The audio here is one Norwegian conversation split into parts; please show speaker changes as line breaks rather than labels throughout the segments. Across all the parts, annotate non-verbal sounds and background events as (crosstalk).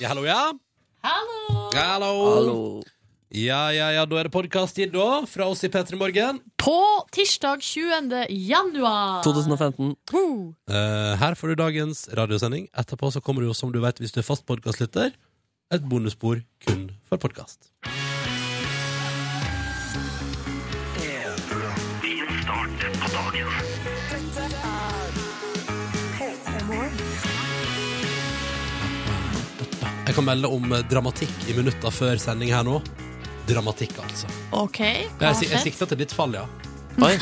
Ja, hallo, ja.
Hallo!
Ja, hallo. Ja, ja, ja, da er det podkast-tid, da. Fra oss i P3 Morgen.
På tirsdag 20. januar.
2015.
Ho!
Eh, her får du dagens radiosending. Etterpå så kommer du jo, som du vet, hvis du er fast podkastlytter, et bonusspor kun for podkast. Jeg kan melde om eh, dramatikk i minutter før sending her nå. Dramatikk, altså.
OK, hva
Jeg,
har
si- jeg
skjedd?
sikter til litt fall, ja.
Oi.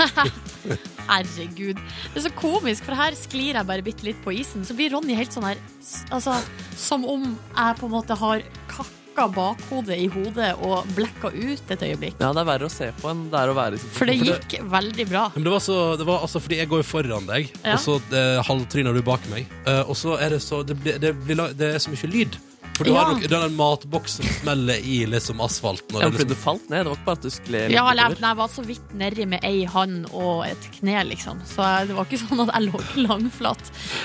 Herregud. Det er så komisk, for her sklir jeg bare bitte litt på isen. Så blir Ronny helt sånn her s- Altså, som om jeg på en måte har kakka bakhodet i hodet og blekka ut et øyeblikk.
Ja, det er verre å se på enn det er å være i situasjonen.
For det gikk veldig bra.
Men det var, så, det var altså fordi jeg går jo foran deg,
Ja.
og så eh, halvtryner du bak meg. Eh, og så er det så Det, blir- det, blir, la- det er så mye lyd. For du
Ja.
har nok den der matboksen som smeller i liksom asfalten. Og
Ja,
det,
men
er
fordi
liksom,
du falt ned. Det var ikke bare at du skled
Ja,
litt
eller jeg,
utover.
nei, jeg var så vidt nedi med ei hand og et kne, liksom. Så jeg, det var ikke sånn at jeg lå ikke langflat.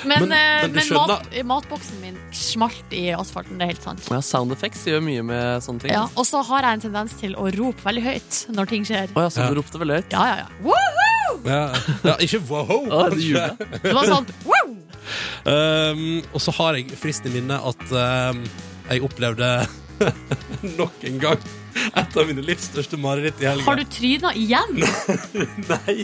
Men,
Men-
eh,
men du
men mat, matboksen min smalt i asfalten, det er helt sant.
Ja, sound effects gjør mye med sånne ting.
Ja, og så har jeg en tendens til å rope veldig høyt når ting skjer.
Å ja, så
Ja.
du ropte veldig høyt.
Ja, ja, ja. Woohoo!
ja, ja, ikke wow!
Å, du jublet.
Det var sånn wow!
Um, og så har jeg fristen i minne at um, jeg opplevde (laughs) nok en gang et av mine livs største mareritt i helga.
Har du tryna igjen?
Nei.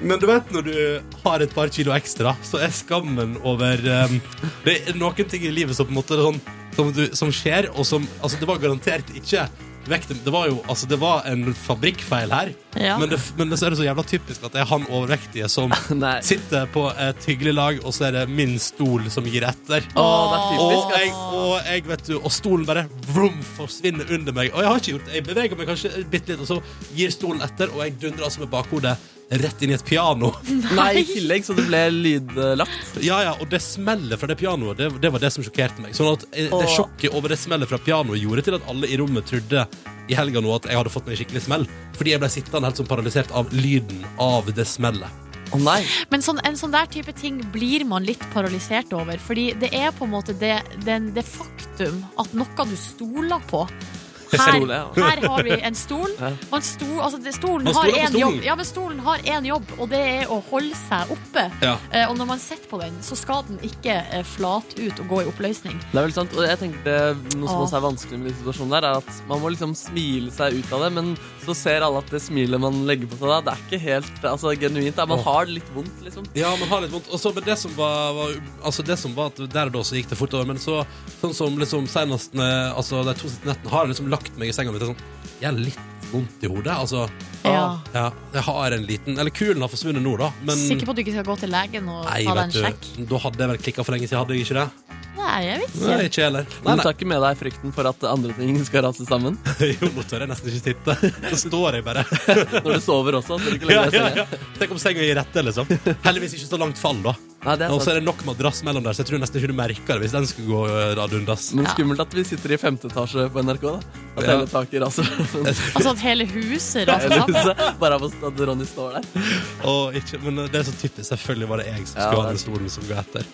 Men du vet når du har et par kilo ekstra, så er skammen over um, Det er noen ting i livet som på en måte er sånn som, du, som skjer, og som Altså, det var garantert ikke vekt, Det var jo Altså, det var en fabrikkfeil her,
Ja.
men, det, men så er det så jævla typisk at det er han overvektige som
(laughs) Nei.
sitter på et hyggelig lag, og så er det min stol som gir etter.
Å, det er
Og
typisk.
jeg, og jeg vet du Og stolen bare vroom, forsvinner under meg. Og jeg har ikke gjort det. Jeg beveger meg kanskje bitte litt, og så gir stolen etter, og jeg dundrer altså med bakhodet rett inn i et
(laughs)
piano.
Nei, i tillegg, så det ble lydlagt.
Ja, ja, Og det smellet fra det pianoet, det, det var det som sjokkerte meg. Sånn at eh, det
Åh.
sjokket over det smellet fra pianoet gjorde til at alle i rommet trodde i helga nå at jeg hadde fått meg en skikkelig smell. Fordi jeg ble sittende helt sånn paralysert av lyden av det smellet.
Å nei.
Men sånn, en sånn der type ting blir man litt paralysert over. Fordi det er på en måte det, den, det faktum at noe du stoler på. Her,
Stol, ja.
her har vi en stol.
Ja.
Og en stol altså det, stolen
Man
har
stoler på
en
stolen.
jobb, ja, men stolen har én jobb, og det er å holde seg oppe.
Ja.
Eh, og når man sitter på den, så skal den ikke eh, flate ut og gå i oppløsning.
Det er vel sant, og jeg tenker det, Noe som
Åh.
også er vanskelig med de situasjonene der, er at man må liksom smile seg ut av det, men så ser alle at det smilet man legger på seg da, det er ikke helt altså, genuint. Da.
Åh.
Man har det litt vondt, liksom.
Ja, man har litt vondt. Og så, men det som var, var Altså, det som var at der og da så gikk det fort over. Men så, sånn som liksom senest eh, Altså, de to siste nettene har jeg liksom lagt meg i senga mi til sånn Jeg har litt vondt i hodet. Altså,
Ja.
ja, jeg har en liten Eller kulen har forsvunnet nå, da. Men
Sikker på at du ikke skal gå til legen og
Nei,
ta
vet
deg en sjekk?
du, da hadde jeg vel klikka for lenge siden, hadde jeg ikke det?
Nei, jeg vet
Nei,
ikke.
ikke heller. Nei,
Du
nei.
tar ikke med deg frykten for at andre ting skal rase sammen?
(laughs) Jo, nå tør jeg nesten ikke
(laughs)
sitte. Så står jeg bare.
Når du sover også. Så du ikke
Ja,
legger deg i
ja,
senga.
ja. Tenk om senga gir rette, liksom. Heldigvis ikke så langt fall, da.
Nei,
Og
det er
så
sant.
er det nok madrass mellom der, så jeg tror nesten ikke du merker det hvis den skulle gå eh, ad undas.
Men skummelt at vi sitter i femte etasje på NRK, da. At
Ja.
hele taket raser sammen.
Altså at hele huset
(laughs)
raser sammen.
Bare av at Ronny står der.
Og ikke, men det er så typisk. Selvfølgelig var det jeg som skulle
Ja, det
ha
er
den stolen som går etter.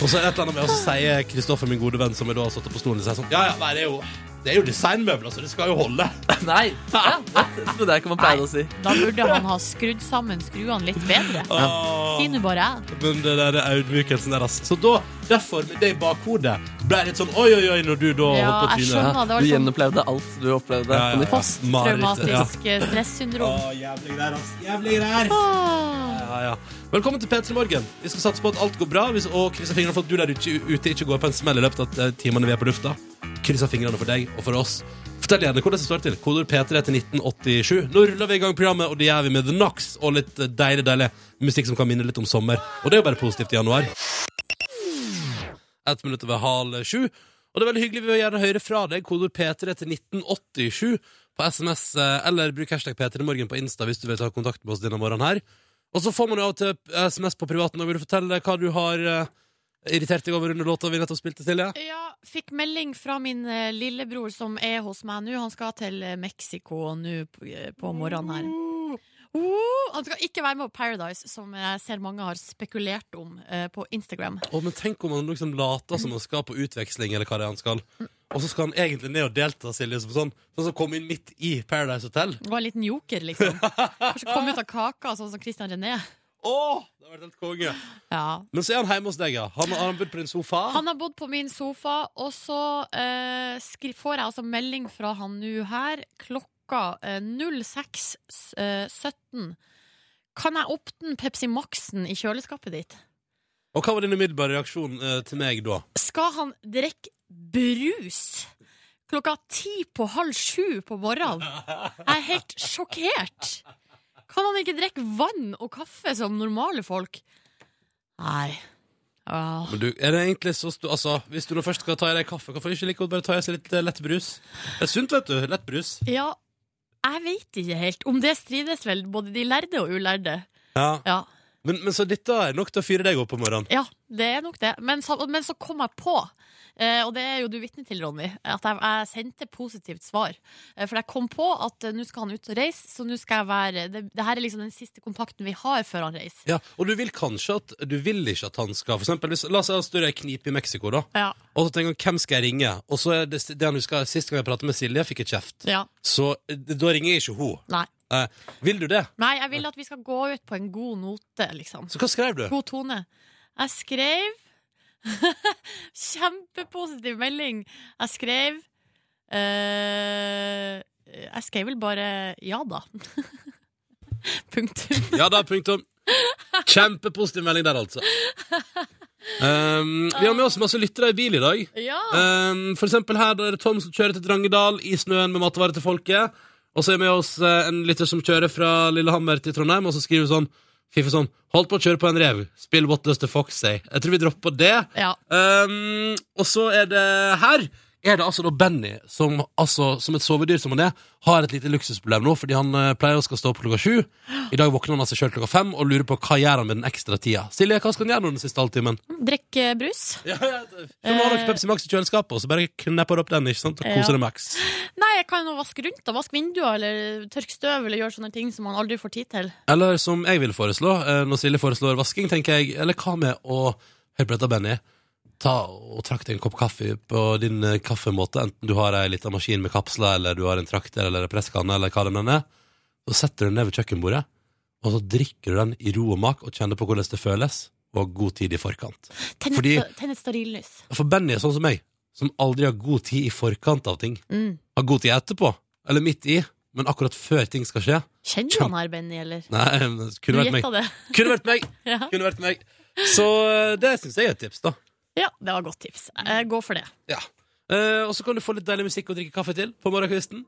Og så er det et eller annet med å si Kristoffer, min gode venn, som jeg da har satt opp på stolen, sier sånn Ja, ja, nei, det er jo det er jo designmøbler, så det skal jo holde.
Nei! Ja, det trodde jeg ikke man pleide å si.
Da burde han ha skrudd sammen skruene litt bedre.
Åh,
Si nå bare jeg.
men det der er audmykelsen deres. Så da, derfor, med det i bakhodet, ble jeg litt sånn oi, oi, oi, når du da
Ja,
holdt på
jeg
trynet.
skjønner. Ja, det var
du
sånn-
gjenopplevde alt du opplevde
Ja, ja, ja.
på nytt.
Mareritt, ja.
Posttraumatisk eh, stressyndrom.
Å, jævlig greier, ass. Jævlig greier.
Ah.
Ja, ja. Velkommen til P3 Morgen. Vi skal satse på at alt går bra, hvis- og krysse fingrene for at du der ute ute ikke går på en smell i løpet av eh, timene vi er på lufta. Krysse fingrene for deg og for oss. Fortell gjerne hvordan det står til. Kodord P3 til 1987. Nå ruller vi i gang programmet, og det gjør vi med The Knox og litt eh, deilig, deilig musikk som kan minne litt om sommer. Og det er jo bare positivt i januar. Ett minutt over halv sju. Og det er veldig hyggelig. Vi vil gjerne høre fra deg. Kodord P3 til 1987 på SMS, eh, eller bruk hashtag P3morgen på Insta hvis du vil ta kontakt med oss denne morgenen her. Og så får man jo av og til SMS på privaten. Og vil du fortelle hva du har eh, irritert deg over under låta vi nettopp spilte, Silje?
Ja, fikk melding fra min eh, lillebror som er hos meg nå. Han skal til eh, Mexico nå p- eh, på morgenen her. Oh, han skal ikke være med på Paradise, som jeg ser mange har spekulert om eh, på Instagram.
Å, men tenk om han liksom later som han skal på utveksling, eller hva det er han skal. Og så skal han egentlig ned og delta, Silje, som sånn. Sånn som kom inn midt i Paradise Hotel.
Det var en liten joker, liksom.
(laughs)
Kanskje komme ut av kaka, sånn som Christian René.
Åh, det har vært helt konge.
Ja.
Men så er han hjemme hos deg, ja. Han har bodd på din sofa.
Han har bodd på min sofa, og så eh, skri får jeg altså melding fra han nå her klokka eh, 06.17. eh, Kan jeg åpne Pepsi Max-en i kjøleskapet ditt?
Og hva var din umiddelbare reaksjon eh, til meg da?
Skal han drikke brus? Klokka ti på halv sju på morgenen. Jeg er helt sjokkert. Kan han ikke drikke vann og kaffe som normale folk? Nei. Ja.
Men du, er det egentlig så sto- Altså, hvis du nå først skal ta i deg kaffe, hvorfor ikke like godt bare ta i seg litt eh, lett brus? Det er sunt, vet du. Lett brus.
ja, jeg veit ikke helt. Om det strides vel både de lærde og ulærde.
Ja.
Ja,
Men, men så dette er nok til å fyre deg opp på morgenen.
ja det er nok det. Men så, men så kom jeg på, eh, og det er jo du vitne til, Ronny, at jeg, jeg sendte positivt svar. Eh, for jeg kom på at eh, nå skal han ut og reise, så nå skal jeg være det, det her er liksom den siste kontakten vi har før han reiser.
Ja, og du vil kanskje at Du vil ikke at han skal For eksempel, hvis, la oss si han står i ei knipe i Mexico, da.
Ja.
Og så tenker han, hvem skal jeg ringe? Og så er det, det han husker Sist gang jeg pratet med Silje, fikk jeg kjeft.
ja.
Så eh, da ringer jeg ikke hun.
Nei.
Eh, vil du det?
Nei, jeg vil at vi skal gå ut på en god note, liksom.
Så hva skrev du?
God tone. Jeg skrev (laughs) Kjempepositiv melding. Jeg skrev eh, Jeg skrev vel bare ja, da. (laughs) Punktum.
Ja da, punktum. Kjempepositiv melding der, altså. Um, vi har med oss masse lyttere i bil i dag.
Ja.
Um, for eksempel her da er det Tom som kjører til Drangedal i snøen med matvarer til folket. Og så er med oss eh, en lytter som kjører fra Lillehammer til Trondheim, og så skriver hun sånn Fiffe sånn, holdt på å kjøre på en rev. Spill What Does The Fox Say. Jeg tror vi dropper det.
ja.
Um, og så er det her er det altså da Benny, som altså, som et sovedyr som han er, har et lite luksusproblem nå, fordi han eh, pleier å skal stå opp klokka sju. I dag våkner han altså sjøl klokka fem og lurer på hva gjør han med den ekstra tida. Silje, hva skal han gjøre nå den siste halvtimen?
Drikk eh, brus.
Ja, ja, det- Så nå har dere Pepsi Max i kjøleskapet, og så bare knepper dere opp den, ikke sant? Og koser
Ja.
deg Max.
Nei, jeg kan jo vaske rundt. da Vaske vinduer eller tørke støv eller gjøre sånne ting som man aldri får tid til.
Eller som jeg vil foreslå, eh, når Silje foreslår vasking, tenker jeg, eller hva med å Hør på dette, Benny. Ta og trakk deg en kopp kaffe på din eh, kaffemåte, enten du har ei lita maskin med kapsler, eller du har en trakter eller en presskanne, eller hva det nå er. Så setter du den ned ved kjøkkenbordet, og så drikker du den i ro og mak, og kjenner på hvordan det føles, og har god tid i forkant.
Tenn et
Fordi-
sta- tenn et stearinlys.
For Benny er sånn som meg, som aldri har god tid i forkant av ting.
Mm.
Har god tid etterpå, eller midt i, men akkurat før ting skal skje.
Kjenner du han her, Benny, eller?
Nei, men det
Du
kunne vært meg.
gjetta det. (laughs)
Kunne vært meg.
Ja.
Kunne vært meg. Så eh, det syns jeg er et tips, da.
ja, det var et godt tips. Eh, Gå for det.
Ja. Eh, og så kan du få litt deilig musikk og drikke kaffe til på morgenkvisten.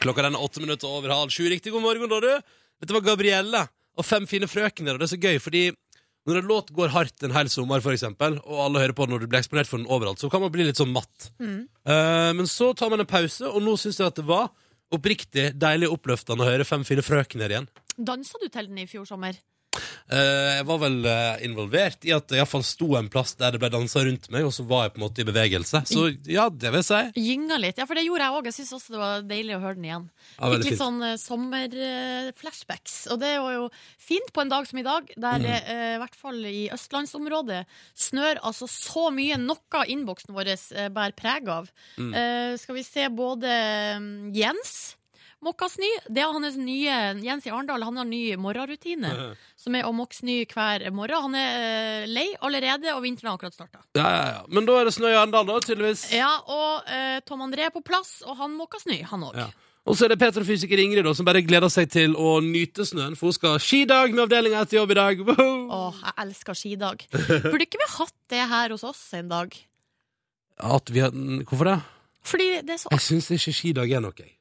Klokka den er åtte minutter over halv sju. Riktig god morgen, da, du. Dette var Gabrielle og Fem fine frøkner, og det er så gøy, fordi når en låt går hardt en hel sommer, for eksempel, og alle hører på den når du blir eksponert for den overalt, så kan man bli litt sånn matt. Eh, men så tar man en pause, og nå syns jeg at det var oppriktig deilig og oppløftende å høre Fem fine frøkner igjen.
Dansa du til den i fjor sommer?
Eh, jeg var vel eh, involvert i at det iallfall sto en plass der det ble dansa rundt meg, og så var jeg på en måte i bevegelse. Så ja, det vil jeg si.
Gynga litt. Ja, for det gjorde jeg òg. Jeg syns også det var deilig å høre den igjen.
Ja,
Fikk
veldig
litt
fint.
sånn sommerflashbacks. og det var jo fint på en dag som i dag,
Mm.
der det eh, i hvert fall i østlandsområdet snør altså så mye. Noe av innboksen vår eh, bærer preg av.
Mm.
Eh, skal vi se både mm, Jens Mokkasny, det er hans nye Jens i Arendal han har ny morgenrutine. Som er å mokke snø hver morgen. Han er eh, lei allerede, og vinteren har akkurat starta.
Ja, ja, ja. Men da er det snø i Arendal, da, tydeligvis.
Ja, og eh, Tom André er på plass, og han måker snø, han òg.
Ja. Og så er det petrofysiker Ingrid da, som bare gleder seg til å nyte snøen, for hun skal ha skidag med avdelinga etter jobb i dag. Woho!
Åh, jeg elsker skidag. Burde ikke vi hatt det her hos oss en dag?
At vi har... mm, Hvorfor det?
Fordi det er så
Jeg syns ikke skidag er noe. jeg.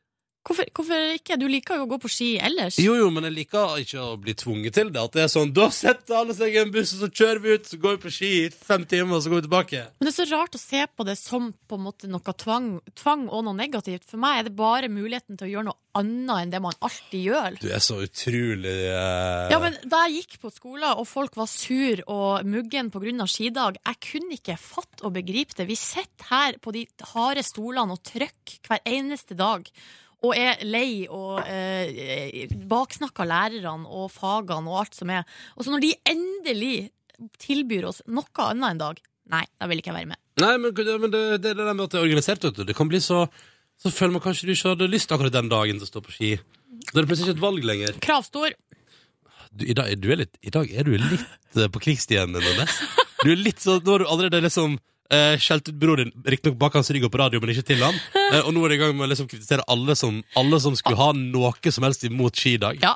hvorfor, hvorfor ikke? Du liker jo å gå på ski ellers.
Jo, jo, men jeg liker ikke å bli tvunget til det. At det er sånn, Da setter alle seg i en buss, og så kjører vi ut, så går vi på ski i fem timer, og så går vi tilbake.
Men det er så rart å se på det som på en måte noe tvang, tvang og noe negativt. For meg er det bare muligheten til å gjøre noe annet enn det man alltid gjør.
Du er så utrolig eh,
Ja, men Da jeg gikk på skolen og folk var sur og muggen pga. skidag, jeg kunne ikke fatte og begripe det. Vi sitter her på de harde stolene og trykker hver eneste dag og er lei og eh, baksnakker lærerne og fagene og alt som er. Og så når de endelig tilbyr oss noe annet en dag, nei, da vil ikke jeg være med.
Nei, men, gud, men det, det er det der med at det er organisert, vet du. Det kan bli så Så føler man kanskje du ikke hadde lyst akkurat den dagen til å stå på ski. Da er det plutselig ikke et valg lenger.
Krav står.
Du, i, dag, er du er litt, I dag er du litt eh, på krigsstien, Nordnes. Du er litt sånn Nå har du allerede liksom eh, skjelt ut broren din, riktignok bak hans rygg og på radio, men ikke til han. Eh, og nå er du i gang med å liksom kritisere alle som, alle som skulle ha noe som helst imot ski i dag.
Ja,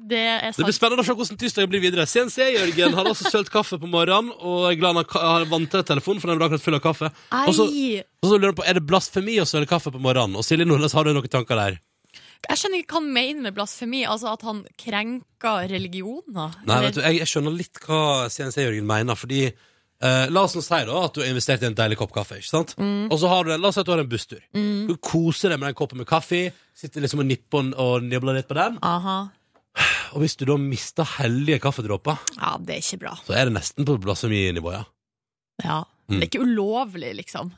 det er
Det blir
sant.
spennende å se hvordan tirsdagen blir videre. CNC Jørgen har også sølt kaffe på morgenen, og er glad han har ka- har vanntett telefon, for den ble akkurat full av kaffe. Og så,
Ei,
og så lurer han på, Er det blasfemi å søle kaffe på morgenen? Og Silje Nordnes, har du noen tanker der?
jeg skjønner ikke hva han mener med blasfemi. Altså At han krenker religioner.
Nei, vet du, jeg, jeg skjønner litt hva CNC-Jørgen mener, fordi eh, La oss nå si da at du har investert i en deilig kopp kaffe. ikke sant? Og så har du en, La oss si at du har en busstur. Du koser deg med den koppen med kaffe, sitter liksom og nipper og- og nibler litt på den.
Aha.
Og hvis du da mister hellige kaffedråper,
Ja, det er ikke bra.
så er det nesten på blasfeminivå, ja.
Ja. Det er ikke ulovlig, liksom.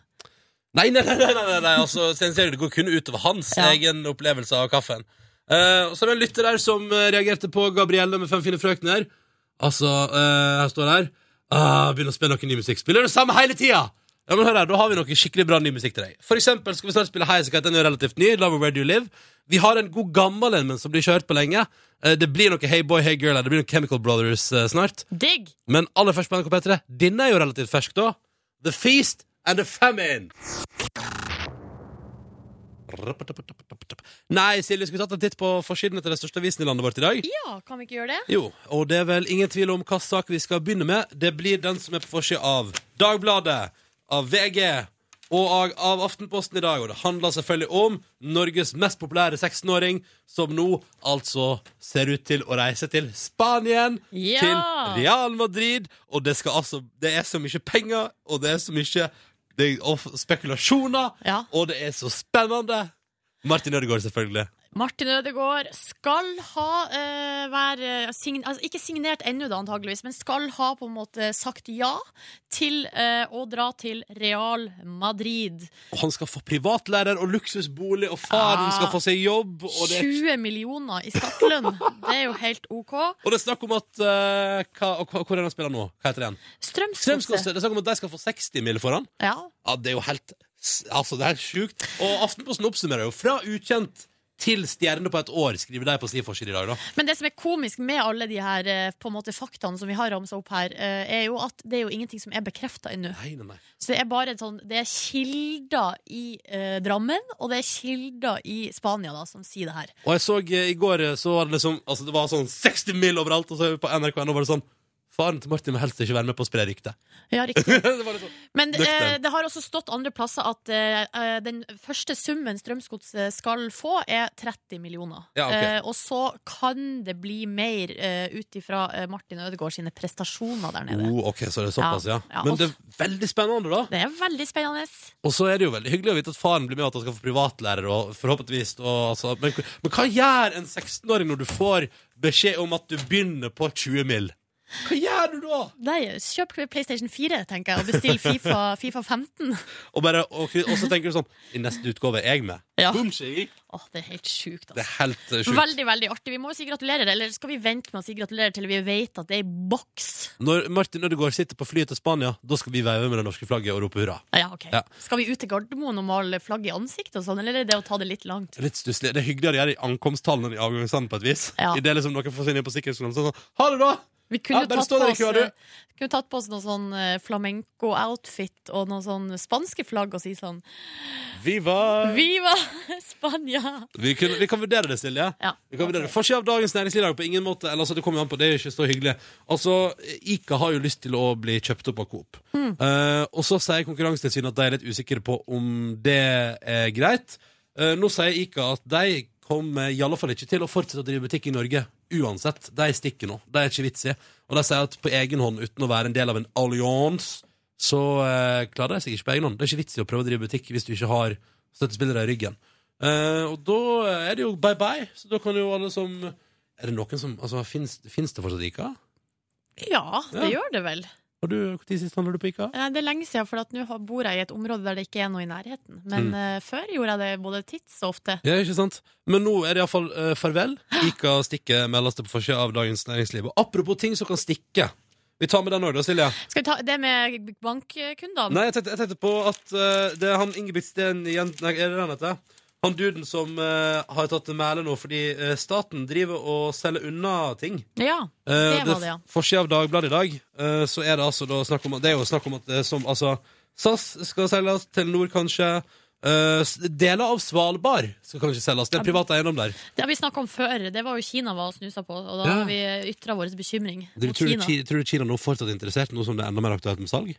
Nei, nei, nei, nei, nei, nei. altså CNC-Jørgen det går kun utover hans
Ja.
egen opplevelse av kaffen. Eh, og så er det en lytter her som eh, reagerte på Gabrielle med Fem fine frøkner. Altså, eh, her står det her ah, Begynner å spille noe ny musikk. Spiller det samme hele tida! Ja, men hør her, Da har vi noe skikkelig bra ny musikk til deg. For eksempel skal vi snart spille Highasakite. Den er jo relativt ny. Love Where Do You Live. Vi har en god gammel en, men som blir ikke hørt på lenge. Eh, det blir noe Hey Boy, Hey Girl. eller Det blir noe Chemical Brothers eh, snart.
Digg!
Men aller først på NRK P3. Denne er jo relativt fersk, da. The Feast and the Famine. Nei, Silje, skulle vi tatt en titt på forsidene til den største avisen i landet vårt i dag?
Ja, kan vi ikke gjøre det?
Jo, og det er vel ingen tvil om hva sak vi skal begynne med. Det blir den som er på forsida av Dagbladet, av VG og av- av Aftenposten i dag. Og det handler selvfølgelig om Norges mest populære 16-åring, som nå altså ser ut til å reise til Spanien,
Ja!
til Real Madrid. Og det, skal altså, det er så mye penger, og det er så mye det er, og spekulasjoner,
Ja.
og det er så spennende. Martin Ødegaard, selvfølgelig.
Martin Ødegaard skal ha eh, være sign altså, Ikke signert ennå, da, antageligvis, men skal ha på en måte sagt ja til eh, å dra til Real Madrid.
Og han skal få privatlærer og luksusbolig, og faren
Ah.
skal få seg jobb. Og det,
20 millioner i startlønn! Det er jo helt OK.
og det er snakk om at eh, hva, og, hva- Hvor er det han spiller nå? Hva heter det igjen?
Strømskogse.
Strømskogse. Det er snakk om at de skal få 60 mil for han.
Ja.
Ja, det er jo helt s- Altså, det er helt sjukt. Og Aftenposten oppsummerer jo fra ukjent til stjerne på et år, skriver de på sin forside i dag, da.
Men det som er komisk med alle de her eh, på en måte faktaene som vi har ramsa opp her, eh, er jo at det er jo ingenting som er bekrefta ennå.
Nei, nei, nei.
Så det er bare et sånn, det er kilder i eh, Drammen, og det er kilder i Spania da, som sier det her.
Og jeg så eh, i går, eh, så var det liksom Altså, det var sånn 60 mil overalt, og så på NRK1 var det sånn Faren til Martin må helst ikke være med på å spre ryktet.
Ja, riktig.
(laughs) det var litt sånn.
(laughs) Men
Nøktern.
eh, det har også stått andre plasser at eh, eh, den første summen Strømsgods eh, skal få, er 30 millioner.
Ja, ok.
Eh, og så kan det bli mer eh, ut ifra eh, Martin Ødegaard sine prestasjoner der nede.
Oh, ok, så det er såpass, ja.
Ja, ja,
Men
og
det er veldig spennende, da.
Det er veldig spennende.
Og så er det jo veldig hyggelig å vite at faren blir med, og at han skal få privatlærer. Og forhåpentligvis og, altså, men, men hva gjør en 16-åring når du får beskjed om at du begynner på 20 mil? Hva gjør du da?
Nei, kjøp PlayStation 4, tenker jeg, og bestill FIFA, (laughs) FIFA 15.
Og, bare, og, og så tenker du sånn I neste utgave er jeg med.
Ja.
Boom, sier jeg.
Åh, det er helt sjukt, altså.
Det er helt eh, sjukt.
Veldig veldig artig. Vi må jo si gratulerer, eller skal vi vente med å si gratulerer til vi vet at det er i boks?
Når Martin Ødegaard sitter på flyet til Spania, da skal vi veive med det norske flagget og rope hurra.
Ja, ok.
Ja.
Skal vi ut til Gardermoen og male flagg i ansiktet og sånn, eller er det å ta det litt langt?
Det er Litt stusslig. Det er hyggeligere å gjøre i ankomsttallene enn i avgangshallen på et vis.
Ja.
I det liksom noen får seg ned på sikkerhetskontrollen sånn sånn, Ha det, da!
Vi kunne
Ja,
jo
bare
tatt,
stå
på
der i
oss,
køa, du.
eh, kunne tatt på oss noe sånn eh, flamenco-outfit og noe sånn spanske flagg og si sånn
Viva!
Viva (laughs) Spania!
Vi, kunne, vi kan vurdere det, Silje.
Ja,
Vi kan vurdere det.
ok.
Forsida av Dagens Næringsliv er jo på ingen måte eller, altså, Det kommer jo an på, det er jo ikke så hyggelig. Altså, Ica har jo lyst til å bli kjøpt opp av Coop. Eh, og så sier Konkurransetilsynet at de er litt usikre på om det er greit. Eh, nå sier Ica at de kommer i alle fall ikke til å fortsette å drive butikk i Norge uansett. De stikker nå. Det er ikke vits i. Og de sier at på egen hånd, uten å være en del av en allianse, så eh, klarer de seg ikke på egen hånd. Det er ikke vits i å prøve å drive butikk hvis du ikke har støttespillere i ryggen. Eh, og da er det jo bye bye. Så da kan jo alle som Er det noen som Altså, fins det fortsatt Ica?
Ja, det
Ja.
gjør det vel.
Har du, Når sist handla du på Ica?
Nei, Det er lenge siden, for at nå har- bor jeg i et område der det ikke er noe i nærheten. Men
Mm.
eh, før gjorde jeg det både tids og ofte.
Ja, ikke sant? Men nå er det iallfall uh, farvel. Ica stikker meldes det på forsida av Dagens Næringsliv. Og apropos ting som kan stikke. Vi tar med den òg, da, Silje.
Skal vi ta det med bankkundene?
Nei, jeg tenkte, jeg tenkte på at eh, det er han Ingebrigtsen igjen Nei, er det han heter? Han duden som eh, har tatt til mæle nå fordi eh, staten driver og selger unna ting.
Ja.
Eh,
Det
det
var det, ja.
Forsida av Dagbladet i dag, eh, så er det altså da snakk om Det er jo snakk om at det er som Altså, SAS skal selges, Telenor kanskje. eh, s- deler av Svalbard skal kanskje selges. Det er privat eiendom der.
Det har vi snakka om før. Det var jo Kina var og snusa på, og da
Ja.
har vi ytra vår bekymring
Tror
mot
du,
Kina.
Ki- tror du Kina nå fortsatt er interessert, nå som det er enda mer aktuelt med salg?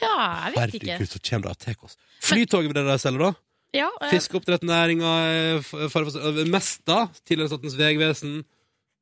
Ja, jeg vet ikke.
Herregud, så kommer det Atekos. Flytoget vil dere selge, da?
Ja, eh,
Fiskeoppdrettsnæringa, eh, Mesta, tidligere Statens vegvesen,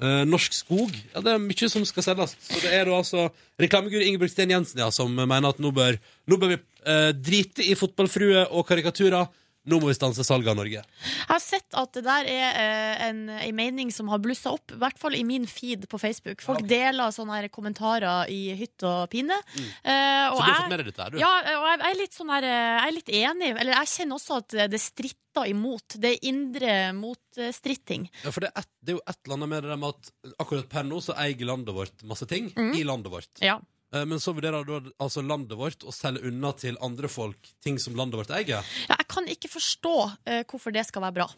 eh, Norsk Skog Ja, det er mye som skal selges. Så det er da altså reklamegur Ingebrigt Sten Jensen ja, som mener at nå bør, nå bør vi eh, drite i fotballfrue og karikaturer. Nå må vi stanse salget av Norge.
jeg har sett at det der er eh, en, en mening som har blussa opp, i hvert fall i min feed på Facebook. Folk deler sånne her kommentarer i hytt og pine. Eh,
Mm. Så
og
du har
jeg-
fått med deg dette her, du?
Ja, og jeg jeg er litt, sånn her, eh, jeg er litt enig. Eller jeg kjenner også at det stritter imot. Det er indre motstritting.
Ja, for det er, et, det er jo et eller annet med det der med at akkurat per nå så eier landet vårt masse ting
Mm.
i landet vårt.
Ja.
Eh, Men så vurderer da altså landet vårt å selge unna til andre folk ting som landet vårt eier.
ja, jeg kan ikke forstå eh, hvorfor det skal være bra.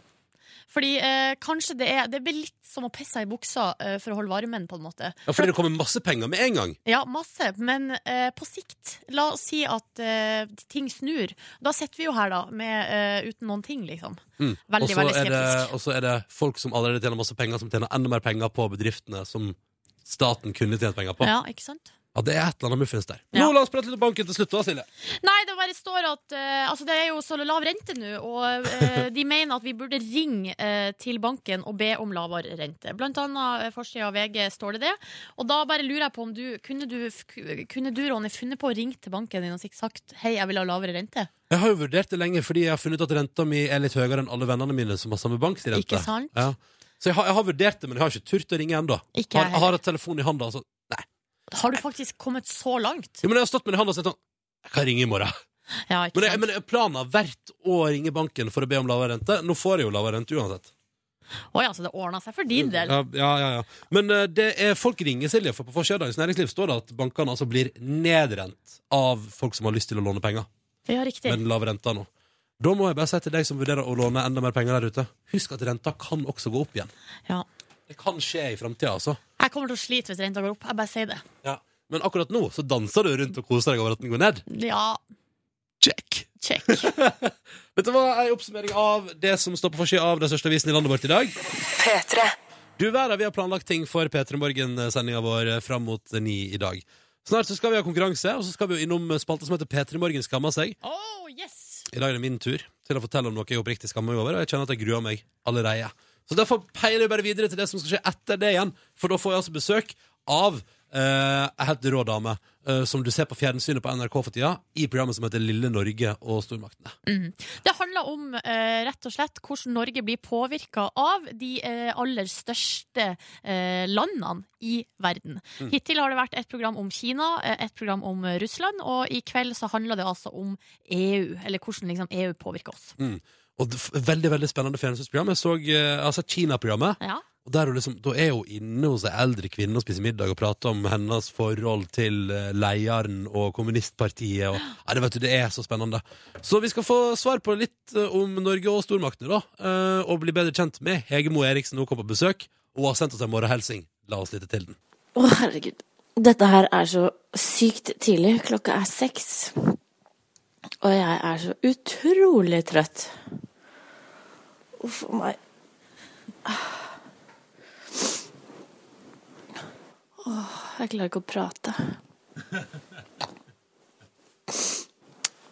Fordi eh, kanskje det er Det blir litt som å pisse seg i buksa eh, for å holde varmen, på en måte.
Ja, fordi det kommer masse penger med en gang.
Ja, masse, men eh, på sikt. La oss si at eh, ting snur. Da sitter vi jo her, da, med, eh, uten noen ting, liksom.
Mm.
Veldig,
Og så
veldig
er det-
skeptisk.
Og så er det folk som allerede tjener masse penger, som tjener enda mer penger på bedriftene som staten kunne tjent penger på. Ja,
Ja, ikke sant?
det er et eller annet muffens der.
Ja.
Nå la oss prate litt om banken til slutt, da, Silje.
Nei, det bare står at eh, altså det er jo så lav rente nå, og eh, de mener at vi burde ringe eh, til banken og be om lavere rente. Blant annet uh, forsida av VG står det det. Og da bare lurer jeg på om du Kunne du, f- kunne du Ronny, funnet på å ringe til banken din og sikkert sagt hei, jeg vil ha lavere rente?
Jeg har jo vurdert det lenge, fordi jeg har funnet ut at renta mi er litt høyere enn alle vennene mine som har samme bankrente.
Ikke sant?
Ja. Så jeg har, jeg har vurdert det, men jeg har ikke turt å ringe ennå.
Ikke jeg
Har, jeg har hatt telefonen i handa. Altså.
Har du faktisk kommet så langt?
Jo, men jeg har stått med den i handa og sett sånn Jeg kan ringe i morgen.
Ja, ikke
Men, jeg,
sant?
men planen har vært å ringe banken for å be om lavere rente. Nå får jeg jo lavere rente uansett.
Å ja, så det ordna seg for din del.
Ja, ja, ja, ja. Men eh, det er folk ringer Silje, for på forsida av Dagens Næringsliv står det at bankene altså blir nedrent av folk som har lyst til å låne penger,
Ja, riktig.
med den lave renta nå. Da må jeg bare si til deg som vurderer å låne enda mer penger der ute, husk at renta kan også gå opp igjen.
Ja.
Det kan skje i framtida, altså.
Jeg kommer til å slite hvis renta går opp. Jeg bare sier det.
Men akkurat nå så danser du rundt og koser deg over at den går ned.
Ja,
Check! (laughs)
check.
Dette var ei oppsummering av det som står på forsida av den største avisen i landet vårt i dag. Du verden, vi har planlagt ting for P3 Morgen-sendinga vår eh, fram mot eh, ni i dag. Snart så skal vi ha konkurranse, og så skal vi jo innom eh, spalta som heter P3 Morgen skammer seg.
Oh, yes!
I dag er det min tur til å fortelle om noe jeg oppriktig skammer meg over, og jeg kjenner at jeg gruer meg allerede. Så derfor peiler vi bare videre til det som skal skje etter det igjen, for da får jeg altså besøk av eh, ei helt rå dame eh, som du ser på fjernsynet på NRK for tida, i programmet som heter Lille Norge og stormaktene.
Det handler om eh, rett og slett hvordan Norge blir påvirka av de eh, aller største eh, landene i verden.
Mm.
Hittil har det vært et program om Kina, eh, et program om eh, Russland, og i kveld så handler det altså om EU, eller hvordan liksom EU påvirker oss.
Og det, f- veldig, veldig spennende fjernsynsprogram. Jeg så eh, altså Kina-programmet.
Ja.
Og der er hun liksom, da er hun inne hos ei eldre kvinne og spiser middag og prater om hennes forhold til eh, lederen og kommunistpartiet. Og, nei, det, vet du, det er så spennende. Så vi skal få svar på litt eh, om Norge og stormaktene, da. eh, Og bli bedre kjent med Hege Moe Eriksen. Hun kom på besøk og har sendt oss en morgenhilsing. La oss lytte til den.
Å, herregud. Dette her er så sykt tidlig. Klokka er seks. Og jeg er så utrolig trøtt. Uff a meg. Åh, jeg klarer ikke å prate.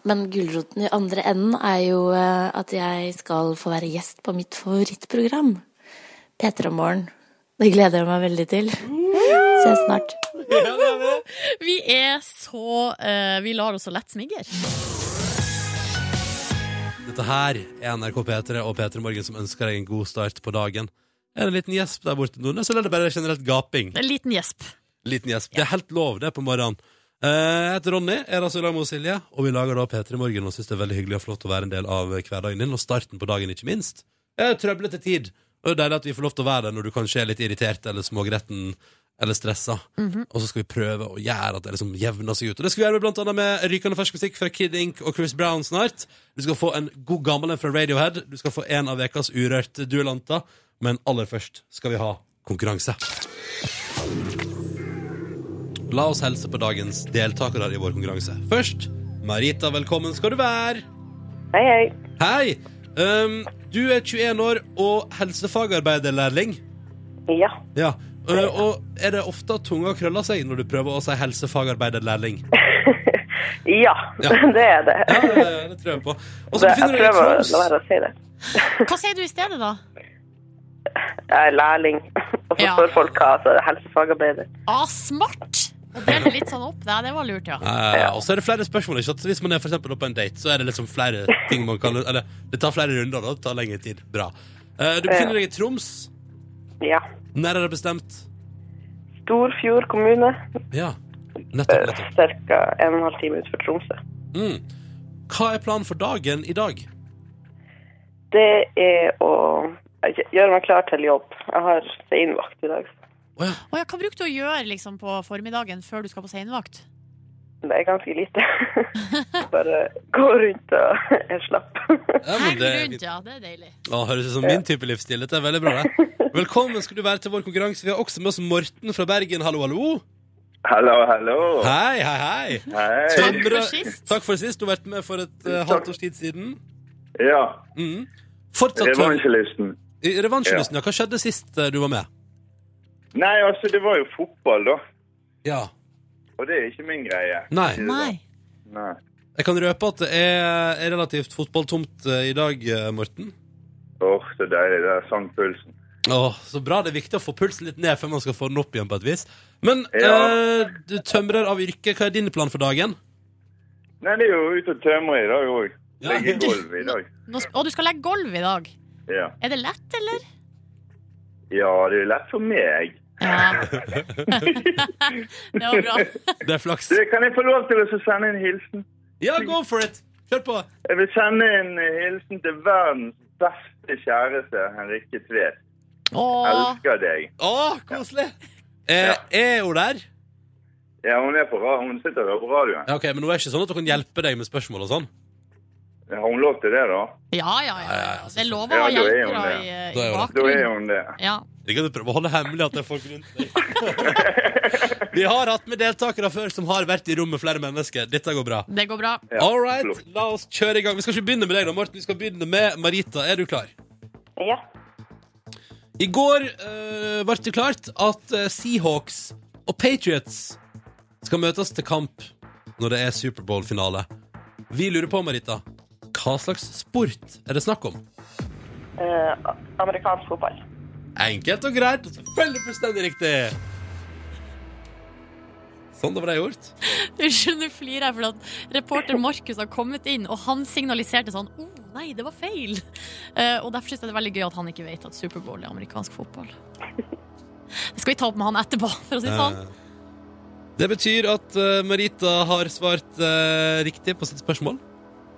Men gulroten i andre enden er jo eh, at jeg skal få være gjest på mitt favorittprogram. P3 Morgen. Det gleder jeg meg veldig til. Ses snart.
Vi er så eh, Vi lar oss så lett smigre.
Dette her er NRK P3 og P3 Morgen som ønsker deg en god start på dagen. Er det en liten gjesp der borte, Nordnes, eller er det bare generelt gaping?
En liten gjesp.
Liten gjesp. Det er helt lov, det, på morgenen. Eh, Eh, Jeg heter Ronny, er altså i lag med Silje, og vi lager da P3 Morgen og synes det er veldig hyggelig og flott å være en del av hverdagen din, og starten på dagen ikke minst. Det er trøblete tid, og det er deilig at vi får lov til å være der når du kanskje er litt irritert eller smågretten eller stressa, og så skal vi prøve å gjøre at det liksom jevner seg ut. Og det skal vi gjøre med blant annet med rykende fersk musikk fra Kid Ink og Chris Brown snart. Du skal få en god gammel en fra Radiohead, du skal få en av ukas urørte duellanter, men aller først skal vi ha konkurranse. La oss helse på dagens deltakere i vår konkurranse. Først, Marita, velkommen skal du være.
Hei, hei.
Hei! Um, du er 21 år og helsefagarbeiderlærling.
Ja,
Ja. Uh, og er det ofte at tunga krøller seg når du prøver å si helsefagarbeiderlærling?
ja,
Ja.
(laughs) det er det.
Ja, ja, ja, det tror jeg på. Og så
det jeg
befinner du deg i
prøver å
Troms.
la være å si det.
Hva sier du i stedet, da?
Jeg er lærling, (laughs) og så
Ja.
spør folk hva altså, helsefagarbeider.
Ah, smart! Å dele litt sånn opp, det, det var lurt, ja.
Eh, og så er det flere spørsmål. Ikke? sant? Hvis man er for eksempel på en date, så er det liksom flere ting man kan Eller det tar flere runder, da. Det tar lengre tid. Bra. Eh, du befinner deg i Troms.
Ja.
Når er det bestemt?
Storfjord kommune,
Ja.
Øh.
Nettopp. nettopp.
ca. en og en halv time utenfor Tromsø.
Mm. Hva er planen for dagen i dag?
Det er å gjøre meg klar til jobb. Jeg har seinvakt i dag.
Å ja.
Å ja, hva bruker du å gjøre liksom, på formiddagen før du skal på seinvakt?
Det er ganske lite. Bare gå rundt og (laughs) er slapp.
Ja, men
Heng
det er
rundt,
fint.
ja. Det er deilig.
Å, høres ut som min type livsstil. Dette er veldig bra. det. Velkommen skal du være til vår konkurranse. Vi har også med oss Morten fra Bergen. Hallo, hallo.
Hallo, hallo.
Hei, hei, hei.
Hei.
Takk for sist.
Takk for sist. Du har vært med for et eh, halvt års tid siden.
Ja,
Mm. Fortsatt tøv-
revansjelisten.
I Revansjelysten, ja. Hva skjedde sist eh, du var med?
Nei, altså, det var jo fotball, da.
Ja.
Og det er ikke min greie.
Nei.
Nei.
Nei.
Jeg kan røpe at det er, er relativt fotballtomt eh, i dag, eh, Morten.
Åh, så deilig. Det er sånn pulsen.
Åh, så bra. Det er viktig å få pulsen litt ned før man skal få den opp igjen på et vis. Men
Ja.
eh, du tømrer av yrke. Hva er din plan for dagen?
Nei, det er jo ute og tømre i dag òg.
Ja.
Legge gulv i dag.
Nå, sp- å, du skal legge gulv i dag.
Ja.
Er det lett, eller?
ja, det er jo lett for meg.
Ja. det var bra.
Det er flaks.
Du, kan jeg få lov til å så sende en hilsen?
Ja, go for it! Kjør på.
Jeg vil sende en eh, hilsen til verdens beste kjæreste, Henrikke Tvedt.
Å,
Elsker deg.
Å, koselig! Eh,
Ja.
er hun der?
Ja, hun er på ra- Hun sitter der på radioen.
Ja, ok, Men hun er ikke sånn at hun kan hjelpe deg med spørsmål og sånn?
Har hun lov til det, da?
ja, ja, ja.
ja,
Det er lov å
Ja,
ha
da er
hjelpere
hun
i,
Da
i
er hun det.
Da er
bakgrunnen.
hun det.
Ja.
Jeg kan prøve å holde hemmelig at det er folk rundt deg. Vi har hatt med deltakere før som har vært i rom med flere mennesker. Dette går bra.
Det går bra.
Ja,
All right,
flott.
la oss kjøre i gang. Vi skal ikke begynne med deg, da, Morten. Vi skal begynne med Marita. Er du klar?
Ja.
I går eh, ble det klart at eh, Seahawks og Patriots skal møtes til kamp når det er Superbowl-finale. Vi lurer på, Marita, hva slags sport er det snakk om?
Eh, amerikansk fotball.
Enkelt og greit, og selvfølgelig fullstendig riktig. Sånn, da var det gjort.
Unnskyld, nå flirer jeg fordi at reporter Markus har kommet inn, og han signaliserte sånn Å, oh, nei, det var feil. Eh, og derfor syns jeg det er veldig gøy at han ikke vet at Superbowl er amerikansk fotball. Det skal vi ta opp med han etterpå, for å si det sånn.
Eh, Det betyr at eh, Marita har svart eh, riktig på sitt spørsmål.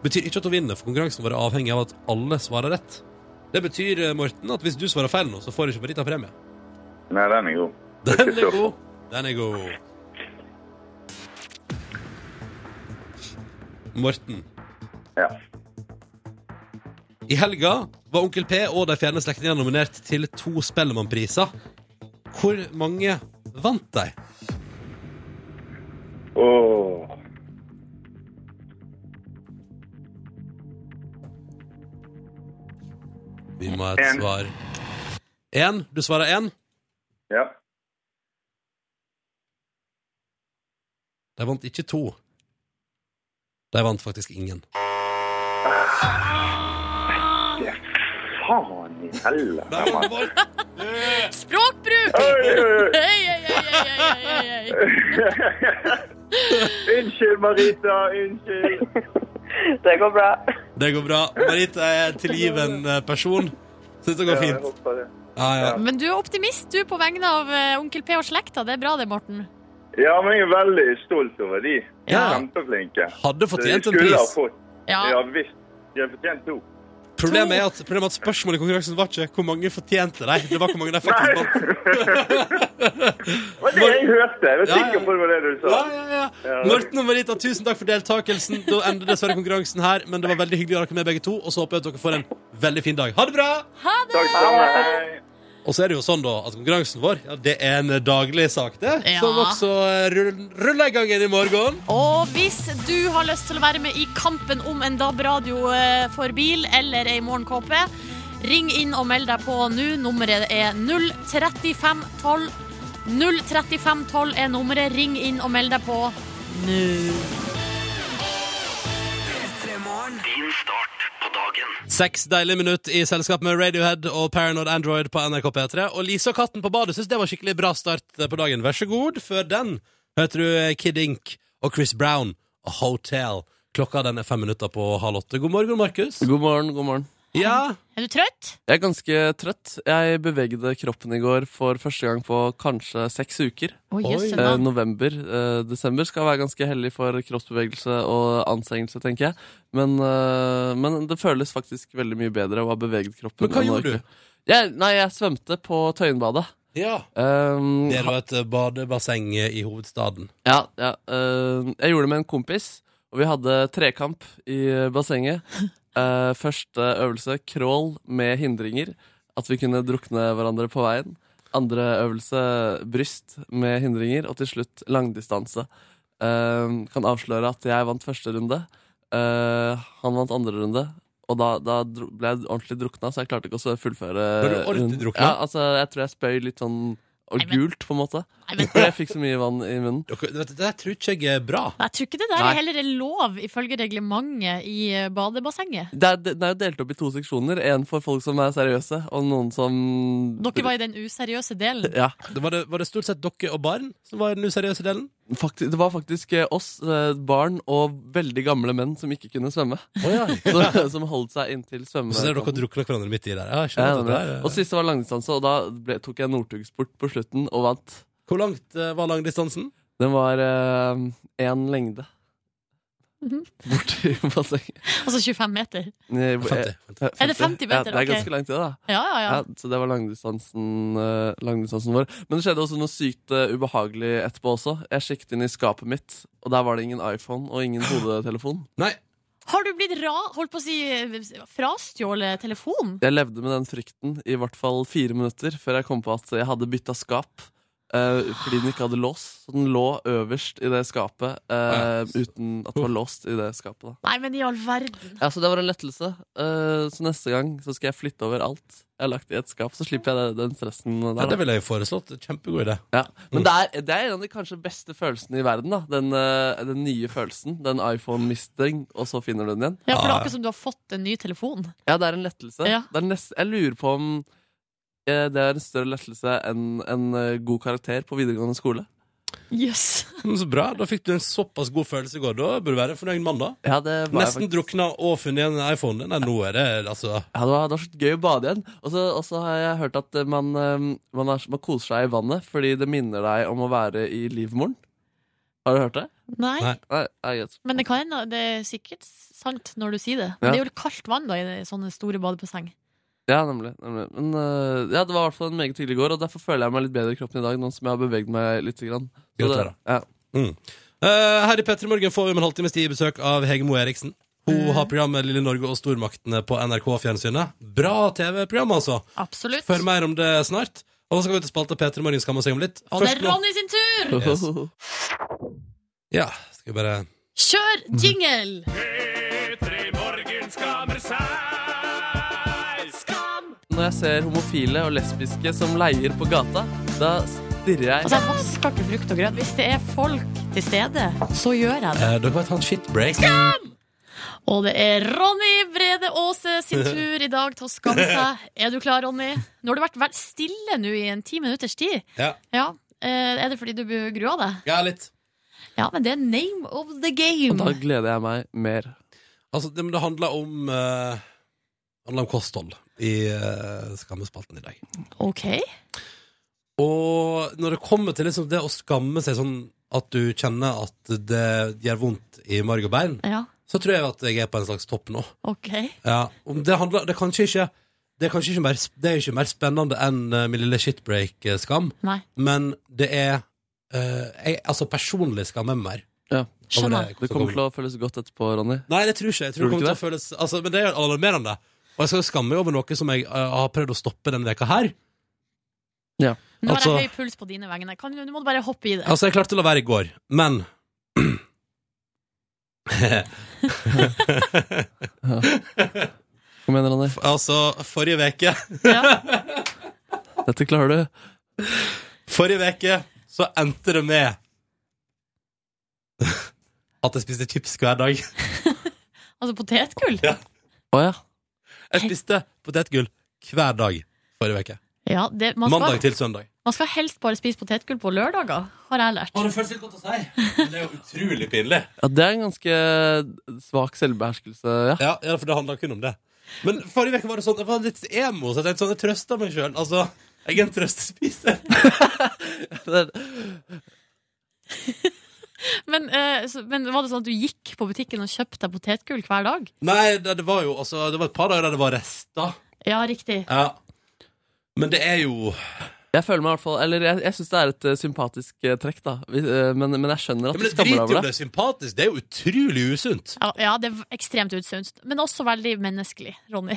Betyr ikke at hun vinner, for konkurransen var avhengig av at alle svarer rett. Det betyr, eh, Morten, at hvis du svarer feil nå, så får ikke Marita premie.
Nei, den er god.
(laughs) Den er god. Den er god. Morten,
Ja.
i helga var Onkel P og de fjerne slektningene nominert til to Spellemannpriser. Hvor mange vant de?
Åh.
Vi må ha et
En.
svar. Én. Du svarer én.
Ja.
De vant ikke to. De vant faktisk ingen.
Faen i helvete. mann.
Språkbruk!
Oi, oi, oi.
Hei, hei, hei, hei, hei, hei, hei.
(laughs) Unnskyld, Marita. Unnskyld.
Det går bra.
(laughs) Det går bra. Marita er en tilgiven eh, person. Syns det går
Ja, jeg
fint.
håper det.
Ja, ja.
Men du er optimist, du, på vegne av eh, Onkel P og slekta. Det er bra det, Morten.
Ja, men jeg er veldig stolt over de.
Ja.
Kjempeflinke.
Hadde fortjent
Så
en
de skulle ha
pris.
fått. Ja
Ja.
visst. De har fortjent to.
Problemet er at, problemet er at spørsmålet i konkurransen var ikke hvor mange fortjente de. Det var hvor mange de faktisk vant.
Det var det jeg hørte. Jeg
Ja,
var
ja.
sikker på det var det du sa.
Ja, ja, ja. Morten og Marita, tusen takk for deltakelsen. Da ender dessverre konkurransen her, men det var veldig hyggelig å ha dere med begge to. Og så håper jeg at dere får en veldig fin dag. Ha det bra!
Ha det!
Takk skal du ha. Hei.
Og så er det jo sånn da at konkurransen vår ja, det er en daglig sak, det.
Ja.
Som også eh, rull- ruller i gang igjen i morgen.
Og hvis du har lyst til å være med i kampen om en DAB-radio eh, for bil eller ei morgenkåpe, ring inn og meld deg på nå. Nummeret er 03512. 03512 er nummeret. Ring inn og meld deg på nå.
Seks deilige minutter i selskap med Radiohead og Paranoid Android på NRK P3. Og Lise og katten på badet syns det var skikkelig bra start på dagen. Vær så god. Før den hørte du eh, Kid Ink og Chris Brown og Hotel. Klokka den er fem minutter på halv åtte. God morgen, Markus.
God morgen, god morgen.
Ja.
Er du trøtt?
Jeg er ganske trøtt. Jeg bevegde kroppen i går for første gang på kanskje seks uker.
Å,
Oi.
jøsse
Eh,
navn.
november, eh, desember skal være ganske heldig for kroppsbevegelse og anstrengelse, tenker jeg. Men, eh, men det føles faktisk veldig mye bedre å ha beveget kroppen.
Men hva
enn å
gjorde
ikke-
du?
Jeg, nei, jeg svømte på Tøyenbadet.
ja.
Um,
Det var et eh, badebasseng i hovedstaden.
Ja, ja. eh, jeg gjorde det med en kompis, og vi hadde trekamp i
(laughs)
bassenget. Eh, første øvelse crawl med hindringer, at vi kunne drukne hverandre på veien. Andre øvelse bryst med hindringer, og til slutt langdistanse. Eh, kan avsløre at jeg vant første runde. Eh, han vant andre runde. Og da, da dro- ble jeg ordentlig drukna, så jeg klarte ikke å fullføre.
Ble du ordentlig
runden.
drukna?
Ja, altså, jeg tror jeg spøy litt sånn og
Nei, men-
gult, på en måte.
Eh, Nei, men
For (laughs) jeg fikk så mye vann i munnen.
Dere, vet, du, det der tror ikke jeg er bra.
jeg tror ikke det der
Nei.
heller er lov ifølge reglementet i eh, badebassenget.
Det er, den er jo delt opp i to seksjoner. En for folk som er seriøse, og noen som
Dere var i den useriøse delen.
ja,
Det var, det, var det stort sett dere og barn som var i den useriøse delen?
faktisk, Det var faktisk eh, oss, eh, barn og veldig gamle menn som ikke kunne svømme. (laughs) Så, som holdt seg inntil
Og
svømme.
så er det dere og drukner hverandre midt i der. Ja, jeg
Ja,
skjønner at det
ja, ja.
der,
Og
er- eh,
siste var langdistanse, og da ble, tok jeg Northug-sport på slutten og vant.
Hvor langt eh, var langdistansen?
Den var én lengde.
Mhm.
Borti bassenget.
Altså 25 meter.
Nei, eh,
50. 50.
Er det 50 meter?
Ja, det er
Ok.
ganske lang tid, da.
Ja, ja, ja.
Ja, så det var langdistansen, eh, langdistansen vår. Men det skjedde også noe sykt eh, ubehagelig etterpå også. Jeg sjekket inn i skapet mitt, og der var det ingen iPhone og ingen hodetelefon.
Nei,
Har du blitt ra... Holdt på å si eh, frastjålet telefon?
Jeg levde med den frykten i hvert fall fire minutter før jeg kom på at jeg hadde bytta skap. eh, fordi den ikke hadde lås. Så den lå øverst i det skapet eh, uten at det var låst i det skapet. Da.
Nei, men i all verden.
Ja, Så det var en lettelse. Eh, så neste gang så skal jeg flytte over alt jeg har lagt i et skap. Så slipper jeg det- den stressen der.
ja,
da.
det ville jeg jo foreslått. Kjempegod idé.
Ja, Men det er, det er en av de kanskje beste følelsene i verden. da Den, eh, den nye følelsen. Den iPhone-misting, og så finner du den igjen.
Ja, for det
Ja,
er
ja.
akkurat som du har fått en ny telefon.
Ja, det er en lettelse.
Ja.
Det er nest, jeg lurer på om eh, det er en større lettelse enn en eh, god karakter på videregående skole.
Jøss. Yes.
Men Mm, så bra. Da fikk du en såpass god følelse i går. Da burde du være en fornøyd mann, da.
Ja, det var jeg
Nesten drukna og funnet igjen iPhonen. Nei, nå er det altså
Ja, det var, det var så gøy å bade igjen. Og så, og så har jeg hørt at eh, man, eh, man, er, man koser seg i vannet fordi det minner deg om å være i livmoren. Har du hørt det?
Nei.
Nei.
Nei, nei, greit.
Men det, kan, hende- det er sikkert sant når du sier det.
Ja.
Det er jo kaldt vann da, i det- sånne store badebasseng.
Ja, nemlig. nemlig. Men eh, ja, det var i hvert fall en meget hyggelig gård, og derfor føler jeg meg litt bedre i kroppen i dag. Nå som jeg har beveget meg litt. Grann. Så det,
Gratulerer.
ja.
Eh, Her i Petter Morgen får vi om en halvtimes tid besøk av Hege Moe Eriksen. Hun har programmet Lille Norge og stormaktene på NRK-fjernsynet. Bra TV-program, altså.
Absolutt.
Hør mer om det snart. Og så skal vi til spalta Peter Morgen skammer seg om litt.
Og det
Først
er
nå-
Ronny sin tur!
Yes. Ja, skal vi bare
Kjør
Mhm.
jingle!
(laughs) Når jeg ser homofile og lesbiske som leier på gata, da stirrer jeg
Altså, jeg vasker ikke frukt og grønt. Hvis det er folk til stede, så gjør jeg det.
eh, Dere kan ta en shitbreak.
Og det er Ronny Brede Aase sin tur i dag til å skamme
(laughs)
seg. Er du klar, Ronny? Nå har du vært veldig stille nå i en ti minutters tid.
Ja.
Ja. Eh, Er det fordi du gruer deg?
Ja, litt.
Ja, men det er name of the game.
Da gleder jeg meg mer.
Altså, det, men det handler om eh, handler om kosthold i eh, skammespalten i dag.
Ok.
Og når det kommer til liksom det å skamme seg sånn at du kjenner at det gjør vondt i marg og bein,
Ja,
så tror jeg at jeg er på en slags topp nå.
OK.
Ja, om det handler Det er kanskje ikke Det er kanskje ikke mer, det er ikke mer spennende enn eh, min lille shitbreak-skam,
Nei.
men det er eh, jeg, Altså, personlig skammer jeg meg mer.
Skjønner.
Det kommer til å føles godt etterpå, Ronny.
Nei, det tror ikke jeg. jeg tror
Tror du
det kommer
ikke
til å føles, altså, men det er alarmerende. Og jeg skal jo skamme meg over noe som jeg eh, har prøvd å stoppe denne veka her.
Nå har
Altså-
jeg høy puls på dine vegne. Kan, du nå må du bare hoppe i det.
Altså, jeg klarte å la være i går, men
Kom igjen, Ronny.
Altså, forrige veke
Ja.
Dette klarer du.
Forrige veke så endte det med at jeg spiste chips hver dag.
Altså potetgull?
Ja.
Å ja.
Jeg spiste potetgull hver dag forrige veke.
Ja, det, man,
Mandag
skal,
til søndag.
man skal helst bare spise potetgull på lørdager, har jeg lært.
det føles litt godt å si, men det er jo utrolig pinlig.
ja. Det er en ganske svak selvbeherskelse,
(laughs)
ja.
Ja, ja, for det handla kun om det. Men forrige veke var det sånn, jeg var litt emo, så jeg tenkte sånn, jeg trøsta meg sjøl. Altså, jeg er en trøstespiser.
Det er-
Men, eh, så, men var det sånn at du gikk på butikken og kjøpte deg potetgull hver dag?
Nei, det, det var jo altså, det var et par dager der det var rester.
Ja, riktig.
Ja. Men det er jo
Jeg føler meg i hvert fall Eller jeg, jeg syns det er et eh, sympatisk eh, trekk, da. Vi, eh, men, men jeg skjønner
Ja,
at
men
du
det driter
skammer
jo om
deg over
det
det.
er sympatisk. Det er jo utrolig usunt.
Ja, ja det er ekstremt usunt. Men også veldig menneskelig, Ronny.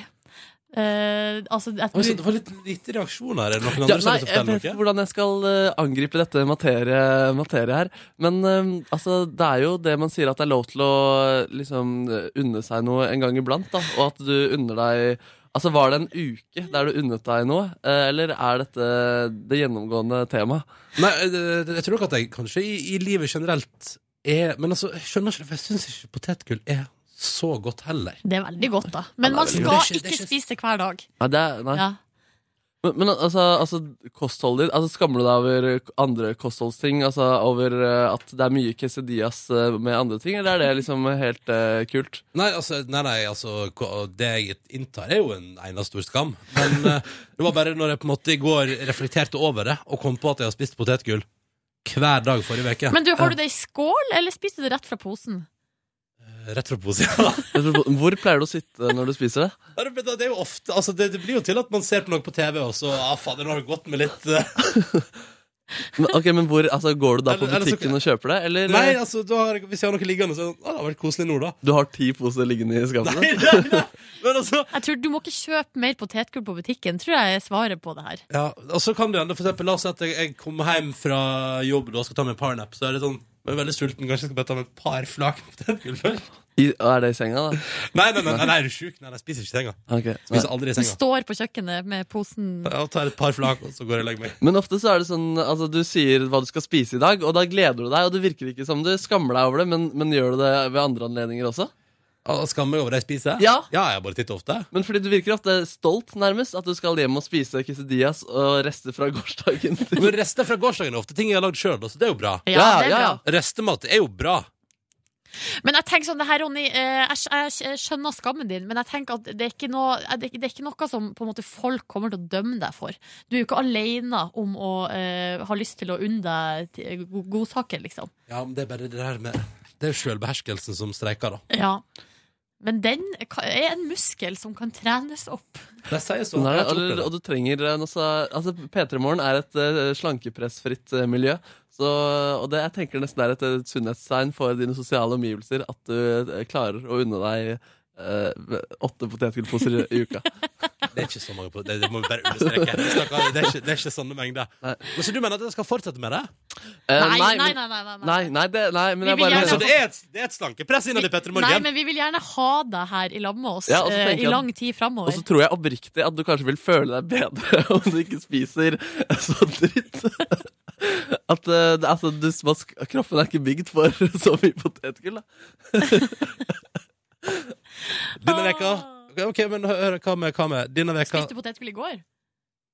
Eh, altså, at
Oi, så
du,
det var litt lite reaksjon her. Er det noen
Ja,
andre som
nei,
har lyst til å
jeg vet
fortelle
ikke
noe?
hvordan jeg skal eh, angripe dette materie, materie her. Men eh, altså, det er jo det man sier at det er lov til å eh, liksom eh, unne seg noe en gang iblant. Da, og at du unner deg Altså, Var det en uke der du unnet deg noe, eh, eller er dette det gjennomgående temaet?
Nei, eh, jeg tror nok at jeg kanskje i, i livet generelt er Men altså, jeg skjønner ikke, for jeg syns ikke potetgull er så godt heller.
det er veldig godt, da. Men man
veldig godt. Det er ikke-
skal
det er
ikke
ikke-
spise det hver dag.
Nei, det er, nei.
Ja.
Men, men altså, altså, kostholdet ditt altså, Skammer du deg over andre kostholdsting? Altså over eh, at det er mye quesadillas eh, med andre ting, eller er det liksom helt eh, kult?
Nei, altså, nei, nei, altså ko- det jeg inntar, er jo en eneste stor skam. Men (laughs) eh, det var bare når jeg på en måte i går reflekterte over det, og kom på at jeg har spist potetgull hver dag forrige uke.
Men du, har du det i skål, eller spiser du det rett fra posen?
Rett fra posen. (laughs)
Hvor pleier du å sitte når du spiser det?
Ja, det- Det er jo ofte, altså det, det blir jo til at man ser på noe på TV, og så ah, fader, nå har det gått med litt eh,
Men, ok, men hvor, altså, Går du da på
Eller- eller så-
butikken og kjøper det? Eller eh,
Nei, altså, da har, jeg- hvis jeg har noe liggende, så er det sånn, ah, det har vært koselig (laughs) nå, da.
du har ti poser liggende i skapet?
Nei, nei, nei. Men altså
Jeg tror Du må ikke kjøpe mer potetgull på butikken, tror jeg er svaret på det her.
Ja, og så kan det hende, for eksempel, la oss si at jeg, jeg kommer hjem fra jobb da, og skal ta meg en parnap, så er det sånn jeg er veldig sulten, kanskje jeg skal bare ta meg et par flak potetgull først?
I, er det i senga, da?
(laughs) Nei, nei, nei, nei, nei, er du sjuk? Nei, nei, jeg spiser ikke i senga.
Ok, nei.
Spiser aldri i
Du
senga.
står på kjøkkenet med posen
Jeg tar et par flak, og så går jeg og legger meg.
Men ofte så er det sånn altså, du sier hva du skal spise i dag, og da gleder du deg. Og det virker ikke som du skammer deg over det, men, men gjør du det ved andre anledninger også?
Ah, Skammer jeg over det jeg spiser?
Ja.
ja jeg bare titter ofte.
Men fordi du virker ofte stolt, nærmest, at du skal hjem og spise quesadillas og rester fra gårsdagen.
Men rester fra gårsdagen er ofte ting jeg har lagd sjøl, så det er jo bra.
Ja,
Ja,
det er
ja,
bra.
ja.
Restemat er jo bra.
Men jeg tenker sånn, det her, Ronny, eh, jeg, skj- jeg skjønner skammen din, men jeg tenker at det er ikke noe, eh, det, er ikke- det er ikke noe som på en måte, folk kommer til å dømme deg for. Du er jo ikke alene om å eh, ha lyst til å unne deg ti- go- godsaker, liksom.
Ja, men det er bare det der med Det er jo sjølbeherskelsen som streiker, da.
Ja. Men den ka- er en muskel som kan trenes opp.
Det sier så.
Nei,
Jeg
og,
tror
du,
det.
og du trenger en også, altså, P3 Morgen er et eh, slankepressfritt eh, miljø. Så, og det jeg tenker nesten er et eh, sunnhetstegn for dine sosiale omgivelser at du eh, klarer å unne deg eh, åtte potetgullposer i, i (laughs) uka.
Det er ikke så mange på Det, det må vi bare understreke. Vi snakker- Det er ikke, det er ikke sånne mengder.
Nei.
Men Så du mener at jeg skal fortsette med det?
Eh,
Nei, nei, nei.
men-
nei, nei, nei.
Nei, nei, det, nei, men
Vi
jeg
vil
bare
gjerne
Så
mener
det er et, det er et slankepress innad i Petter
Nei,
Morgen?
men vi vil gjerne ha deg her i lag med oss
Ja, og så
eh, i
tenker jeg-
lang tid
Og
framover.
så tror jeg oppriktig at du kanskje vil føle deg bedre (laughs) om du ikke spiser (laughs) så dritt. At eh, det- altså, du, man sk- kroppen er ikke bygd for (laughs) så mye potetgull, da.
Denne veka Ok, men hør, hva med, hva med Denne veka
Spiste potetgull i går?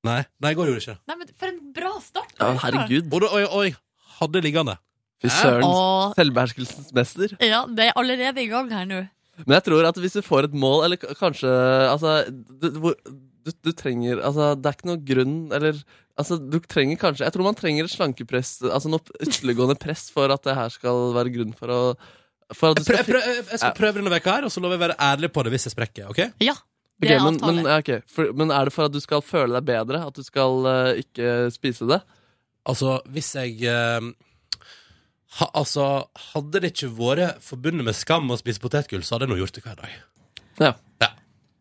Nei, nei, i går gjorde jeg ikke det.
Nei, men for en bra start!
Ja, herregud.
Og da- oi, oi, hadde liggende.
Fy søren.
Åh,
Selvbeherskelsens mester.
ja, det er allerede i gang her nå.
Men jeg tror at hvis du får et mål, eller k- kanskje Altså, du, du, hvor- du, du trenger Altså, det er ikke noe grunn, eller Altså, du trenger kanskje Jeg tror man trenger et slankepress, altså noe ytterliggående press for at det her skal være grunn for å For at du
Jeg, prøv,
skal
jeg, prøv, jeg skal prøve denne veka her, og så lover jeg å være ærlig på det hvis jeg sprekker. ok?
Ja,
Ok,
det er
men,
avtale.
men, eh, ja, ok. for, men er det for at du skal føle deg bedre? At du skal eh, ikke spise det?
Altså, hvis jeg eh, ha, Altså, hadde det ikke vært forbundet med skam å spise potetgull, så hadde jeg nå gjort det hver dag.
Ja.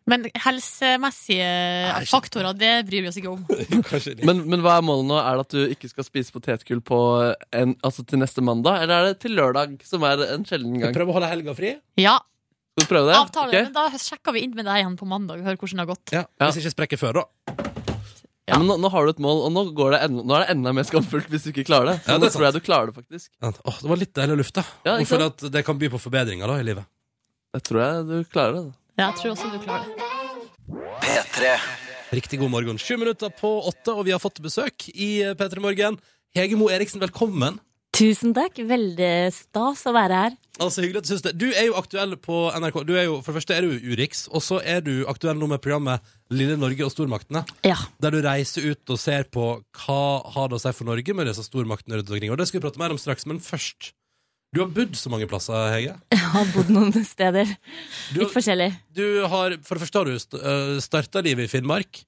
Men helsemessige
ikke-
faktorer, det bryr vi oss ikke om.
(laughs) Kanskje
Men, men hva er målet nå? Er det at du ikke skal spise potetgull på en, altså til neste mandag? Eller er det til lørdag, som er en sjelden gang?
Prøv å holde helga fri.
Ja,
Skal du prøve det?
avtale.
Ok?
Men da sjekker vi inn med deg igjen på mandag og hører hvordan det har gått.
Ja. Hvis jeg ikke sprekker før, da.
Ja, men nå, nå har du et mål, og nå, går det en, nå er det enda mer skamfullt hvis du ikke klarer det.
Ja,
Så
det er
nå tror jeg du klarer det, faktisk.
Åh, det var litt deilig luft, da.
Ja,
og
ikke
føler at det kan by på forbedringer da, i livet.
Jeg tror jeg du klarer det.
Ja, jeg tror også du klarer det.
Riktig god morgen. Sju minutter på åtte, og vi har fått besøk i eh, P3 Morgen. Hege Moe Eriksen, velkommen.
Tusen takk. Veldig stas å være her.
Altså, hyggelig at Du syns det. Du er jo aktuell på NRK. Du er jo, for det første er du Urix, og så er du aktuell nå med programmet Lille Norge og stormaktene.
Ja.
Der du reiser ut og ser på hva har det å si for Norge med disse stormaktene rundt omkring. Og det skal vi prate mer om straks, men først Du har bodd så mange plasser, Hege.
Jeg har bodd noen steder.
Du,
Litt forskjellig.
du har, for det første har du starta livet i Finnmark,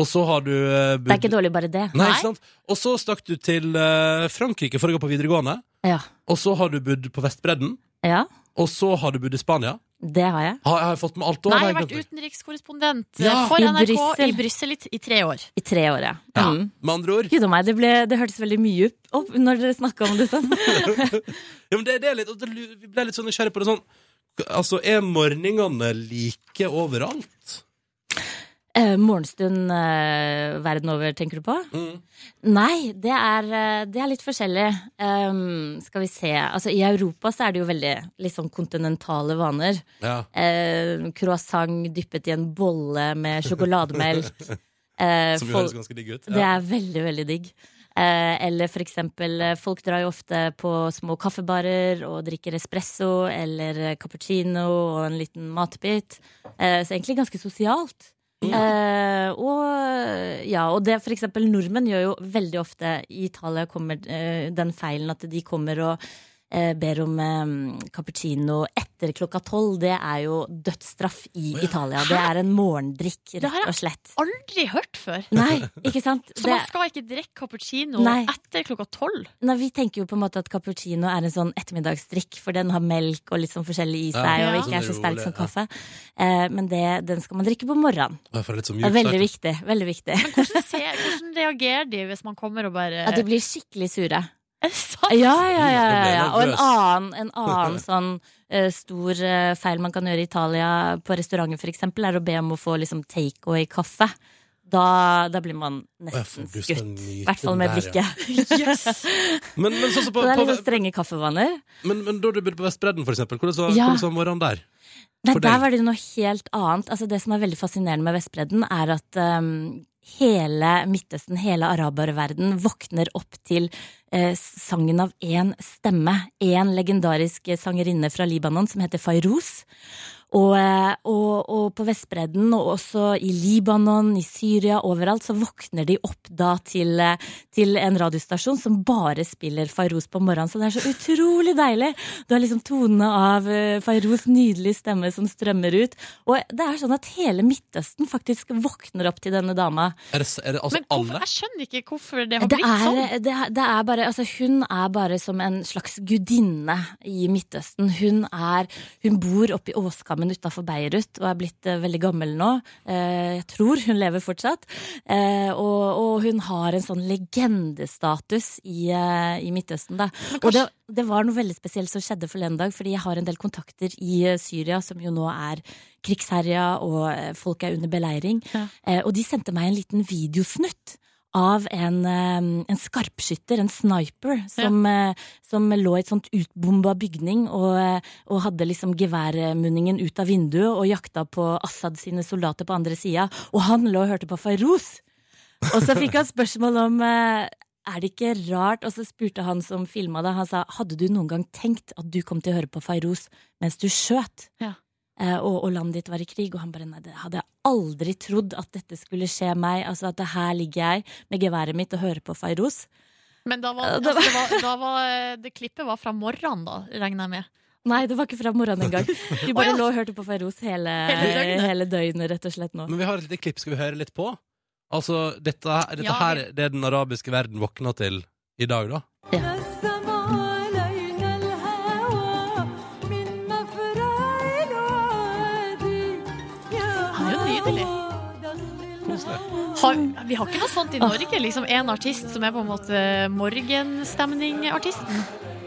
og så har du eh, bodd
Det er ikke dårlig, bare det.
Nei, ikke sant? Og så stakk du til eh, Frankrike for å gå på videregående.
Ja.
Og så har du bodd på Vestbredden.
ja,
Og så har du bodd i Spania.
det har jeg.
Har, har jeg fått med alt da?
Nei,
Har
jeg har vært
glemt det?
utenrikskorrespondent eh,
Ja.
for
I
NRK i
Brussel.
Brussel i, t- i tre år.
I tre år, ja.
Ja.
Mm.
Med andre ord.
Gud a meg, det, ble, det hørtes veldig mye opp- opp når dere snakka om det sånn.
(laughs) Ja, men det, det er litt, og det, vi ble litt sånn nysgjerrig på det sånn Altså, er morgenene like overalt?
Eh, morgenstund eh, verden over, tenker du på?
Mm.
Nei, det er, eh, det er litt forskjellig. Ehm, skal vi se. Altså, I Europa så er det jo veldig litt sånn kontinentale vaner.
Ja.
Eh, croissant dyppet i en bolle med sjokolademelk.
(laughs)
Eh,
Som jo
folk-
høres ganske digg ut.
Det er veldig, veldig digg. Eh, eller for eksempel, eh, folk drar jo ofte på små kaffebarer og drikker espresso eller eh, cappuccino og en liten matbit. Eh, så egentlig ganske sosialt. Eh, og ja, og det for eksempel nordmenn gjør jo veldig ofte i Italia kommer eh, den feilen at de kommer og eh, ber om eh, cappuccino etter klokka tolv. Det er jo dødsstraff i Italia. Det er en morgendrikk,
har jeg
rett og slett.
Aldri hørt før!
Nei, ikke sant?
Så man skal ikke drikke cappuccino
Nei.
etter klokka tolv?
Nei, Vi tenker jo på en måte at cappuccino er en sånn ettermiddagsdrikk, for den har melk og litt sånn forskjellig i
Ja,
seg, og
ja.
ikke er så
Sånn
sterk
rolig,
som
ja.
kaffe. Eh, Men det, den skal man drikke på morgenen.
Ja, for det er litt sånn så
Det
mjukt.
er veldig
sagt.
viktig. veldig viktig. (laughs)
Hvordan, ser, hvordan reagerer de hvis man kommer og bare (laughs)
At de blir skikkelig sure.
Er det sant?
Ja, ja, ja. ja, ja. Og en
nervøs.
annen, en
(laughs)
annen sånn eh, stor eh, feil man kan gjøre i Italia, på restauranter f.eks., er å be om å få liksom takeaway-kaffe. Da, da blir man
Å, ja, for
nesten
du skal
skutt.
nyte
I hvert fall med
den der,
blikket. (laughs)
Men, men, sånn som på,
Så det
på,
er litt sånn strenge kaffevaner.
men, men da du bodde på Vestbredden, for eksempel, hvordan var,
Ja.
hvordan var morgenen der?
Nei,
for deg?
der var det noe helt annet. Altså, det som er veldig fascinerende med Vestbredden, er at ehm, hele Midtøsten, hele araberverden, våkner opp til eh, sangen av én stemme. Én legendarisk sangerinne fra Libanon som heter Fayrouz. Og, eh, og, og på Vestbredden, og også i Libanon, i Syria, overalt, så våkner de opp da til, eh, til en radiostasjon som bare spiller Fayrouz på morgenen. Så det er så utrolig deilig! Du har liksom tonene av eh, Fayrouz' nydelige stemme som strømmer ut. Og det er sånn at hele Midtøsten faktisk våkner opp til denne dama.
Er det, er det altså
Men hvorfor,
alle?
jeg skjønner ikke hvorfor det har
Det
blitt
er,
sånn.
det, er- det er bare, altså hun er bare som en slags gudinne i Midtøsten. Hun, er, hun bor oppe i åskammen utafor Beirut og er blitt eh, veldig gammel nå. Eh, jeg tror hun lever fortsatt. Eh, og, og hun har en sånn legendestatus i, eh, i Midtøsten, da. Og det, det var noe veldig spesielt som skjedde forleden dag, fordi jeg har en del kontakter i eh, Syria, som jo nå er krigsherja, og eh, folk er under beleiring. Eh, Og de sendte meg en liten videosnutt av en, eh, en skarpskytter, en sniper, som, eh, som lå i et sånt utbomba bygning og, eh, og hadde liksom geværmunningen ut av vinduet og jakta på Assad sine soldater på andre sida, og han lå og hørte på Farouz. Og så fikk han spørsmål om eh, er det ikke rart? Og så spurte han som filma det, han sa hadde du noen gang tenkt at du kom til å høre på Farouz mens du skjøt?
Ja.
eh, og, og landet ditt var i krig. Og han bare nei, det hadde jeg aldri trodd at dette skulle skje meg. Altså at det her ligger jeg med geværet mitt og hører på Fairoz.
Men
(laughs)
da var, altså, det, var, da var eh, det klippet var fra morgenen, da, regner jeg med.
Nei, det var ikke fra morgenen engang. Vi
Å,
bare
ja.
lå og hørte på Fairoz hele,
Hele døgnet.
hele døgnet, rett og slett nå.
Men vi har et lite klipp, skal vi høre litt på? Altså, dette, dette
Ja,
her det er den arabiske verden våkna til i dag, da.
Han er jo nydelig. Har, vi har ikke noe sånt i Norge. Liksom En artist som er på en måte morgenstemningartisten.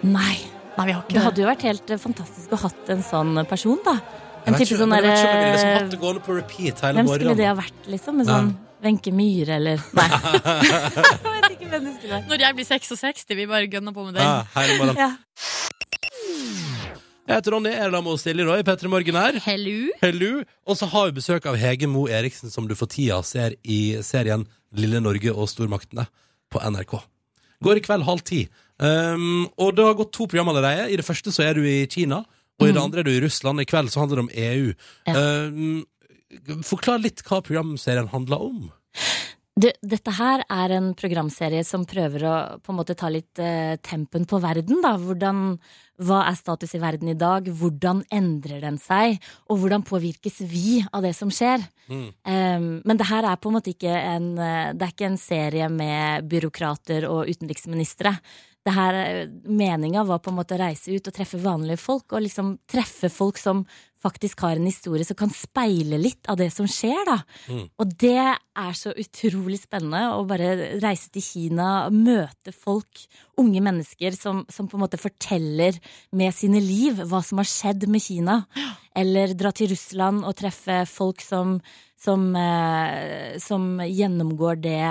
Nei.
Nei, vi har ikke
Det
det.
hadde jo vært helt eh, fantastisk å hatt en sånn person, da.
Jeg
En
vet
type
ikke-
sånn
jeg vet ikke om jeg ville liksom hatt
derre
det gående på repeat hele
Hvem skulle
morgenen.
det ha vært, liksom? Med sånn Wenche Myhre,
(laughs)
eller Nei. (laughs) jeg vet ikke hvem det skulle vært.
Når jeg blir 66, vi bare gønner på med den.
Ja, hele (laughs) morgenen.
Ja.
Jeg heter Ronny, jeg er sammen med Silje Roy, Petter i Morgen her.
Hello.
Hello. Og så har vi besøk av Hege Mo Eriksen, som du for tida ser i serien Lille Norge og stormaktene på NRK. Går i kveld halv ti. Um, og det har gått to program allerede. I det første så er du i Kina, og i det andre er du i Russland. I kveld så handler det om EU. Um, forklar litt hva programserien handler om.
Du, dette her er en programserie som prøver å på en måte ta litt eh, tempen på verden, da. Hvordan, hva er status i verden i dag? Hvordan endrer den seg? Og hvordan påvirkes vi av det som skjer?
Mm.
Eh, men det her er på en måte ikke en, eh, det er ikke en serie med byråkrater og utenriksministre. Det her, eh, meninga var på en måte å reise ut og treffe vanlige folk, og liksom treffe folk som faktisk har en historie som kan speile litt av det som skjer, da. Og det er så utrolig spennende å bare reise til Kina, møte folk, unge mennesker som, som på en måte forteller med sine liv hva som har skjedd med Kina. Eller dra til Russland og treffe folk som, som, eh, som gjennomgår det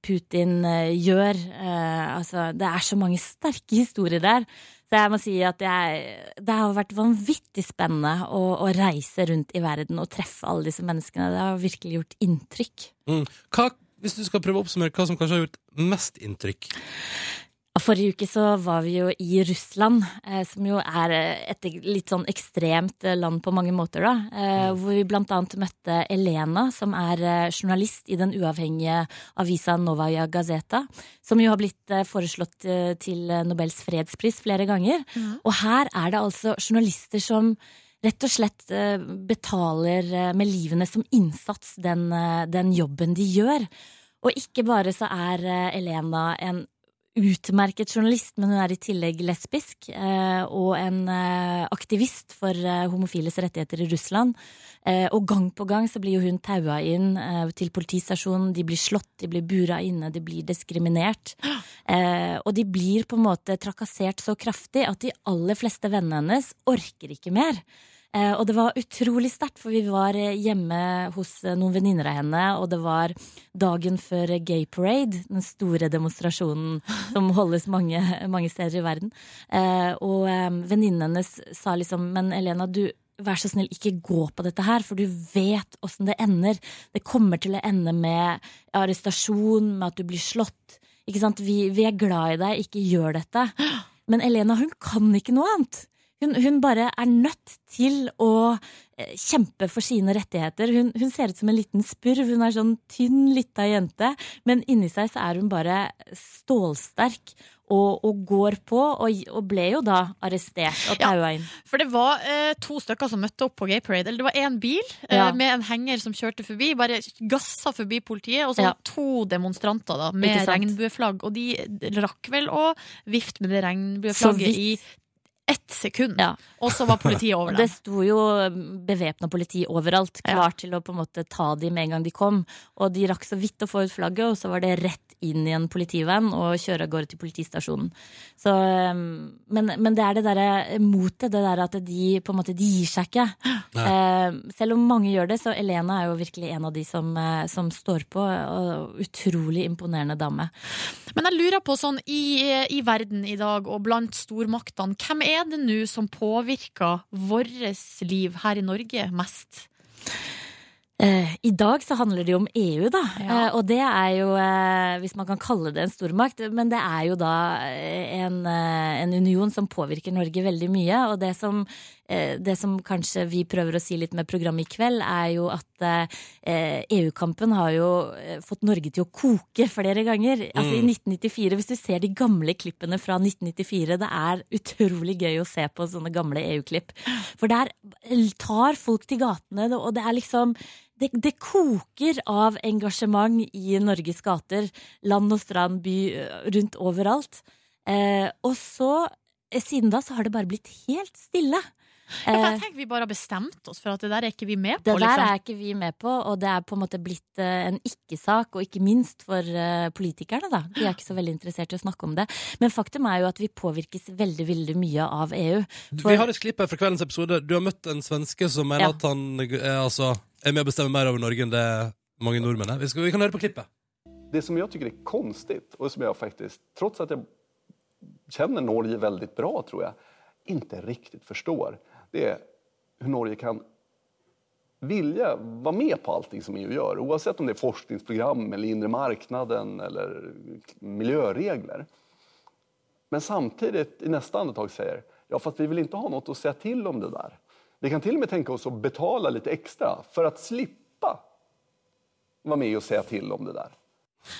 Putin eh, gjør. Eh, altså, det er så mange sterke historier der. Så jeg må si at jeg, det har vært vanvittig spennende å, å reise rundt i verden og treffe alle disse menneskene. Det har virkelig gjort inntrykk.
Mm. Hva, hvis du skal prøve å oppsummere hva som kanskje har gjort mest inntrykk?
Forrige uke så var vi jo i Russland, eh, som jo er eh, et litt sånn ekstremt eh, land på mange måter, da. Eh, hvor vi blant annet møtte Elena, som er eh, journalist i den uavhengige avisa Novaja Gazeta, som jo har blitt eh, foreslått eh, til eh, Nobels fredspris flere ganger. Og her er det altså journalister som rett og slett eh, betaler eh, med livene som innsats den, eh, den jobben de gjør. Og ikke bare så er eh, Elena en utmerket journalist, men hun er i tillegg lesbisk. eh, Og en eh, aktivist for eh, homofiles rettigheter i Russland. Eh, Og gang på gang så blir jo hun taua inn eh, til politistasjonen. De blir slått, de blir bura inne, de blir diskriminert. Eh, Og de blir på en måte trakassert så kraftig at de aller fleste vennene hennes orker ikke mer. Eh, Og det var utrolig sterkt, for vi var eh, hjemme hos eh, noen venninner av henne, og det var dagen før eh, Gay Parade, den store demonstrasjonen som holdes mange, mange steder i verden. Eh, Og eh, venninnen hennes sa liksom, men Elena, du Vær så snill, ikke gå på dette her, for du vet åssen det ender. Det kommer til å ende med arrestasjon, med at du blir slått. Ikke sant? Vi, vi er glad i deg, ikke gjør dette. Men Elena, hun kan ikke noe annet. Hun, hun bare er nødt til å eh, kjempe for sine rettigheter. Hun, hun ser ut som en liten spurv. Hun er sånn tynn, lita jente. Men inni seg så er hun bare stålsterk og, og går på, og, og ble jo da arrestert og
Ja.
taua inn.
For det var eh, to stykker som møtte opp på Gay Parade. Eller det var én bil
Ja.
eh, med en henger som kjørte forbi. Bare gassa forbi politiet. Og så
Ja.
to demonstranter da, med
Ikke sant?
regnbueflagg. Og de rakk vel å vifte med det
Så
regnbueflagget i
vidt.
ett sekund.
Ja.
Og så var politiet
(laughs)
over
Og
dem.
det sto jo bevæpna politi overalt, klar til å på en måte ta de med en gang de kom. Og de rakk så vidt å få ut flagget, og så var det rett inn i en politivenn og kjøre av gårde til politistasjonen. Så, um, men, men det er det derre motet, det der at de på en måte de gir seg ikke. Eh, selv om mange gjør det, så Elena er jo virkelig en av de som, eh, som står på. Og utrolig imponerende dame.
Men jeg lurer på sånn i, i verden i dag og blant stormaktene, hvem er det nå som påvirker vårt liv her i Norge mest?
Eh, I dag så handler det jo om EU, da.
Ja.
Eh, og det er jo, eh, hvis man kan kalle det en stormakt, men det er jo da eh, en, eh, en union som påvirker Norge veldig mye. Og det som eh, det som kanskje vi prøver å si litt med programmet i kveld, er jo at eh, EU-kampen har jo eh, fått Norge til å koke flere ganger. Altså i 1994, Hvis du ser de gamle klippene fra 1994, det er utrolig gøy å se på sånne gamle EU-klipp. For der tar folk til gatene, og det er liksom det, det koker av engasjement i Norges gater. Land og strand, by, eh, rundt overalt. Eh, og så, eh, siden da, så har det bare blitt helt stille.
Ja, for
Eh,
jeg tenker vi bare har bestemt oss for at det der er ikke vi med
det
på.
der
Liksom.
er ikke vi med på, og det er på en måte blitt eh, en ikke-sak, og ikke minst for eh, politikerne, da. De er ikke så veldig interessert i å snakke om det. Men faktum er jo at vi påvirkes veldig, veldig mye av E EU.
Vi har et klipp her fra kveldens episode. Du har møtt en svenske som mener
Ja.
at han er, altså, er med å bestemme mer over Norge enn det mange nordmenn er. Vi, skal, vi kan høre på klippet.
Det som jag tycker är konstigt och som jag faktiskt, trots att jag känner Norge väldigt bra tror jag, inte riktigt förstår, det är hur Norge kan vilja vara med på allting som EU gör, oavsett om det är forskningsprogram eller inre marknaden eller miljöregler. Men samtidigt i nästa andetag säger, ja fast vi vill inte ha något att säga till om det där. Vi kan till och med tänka oss att betala lite extra för att slippa vara med och säga till om det där.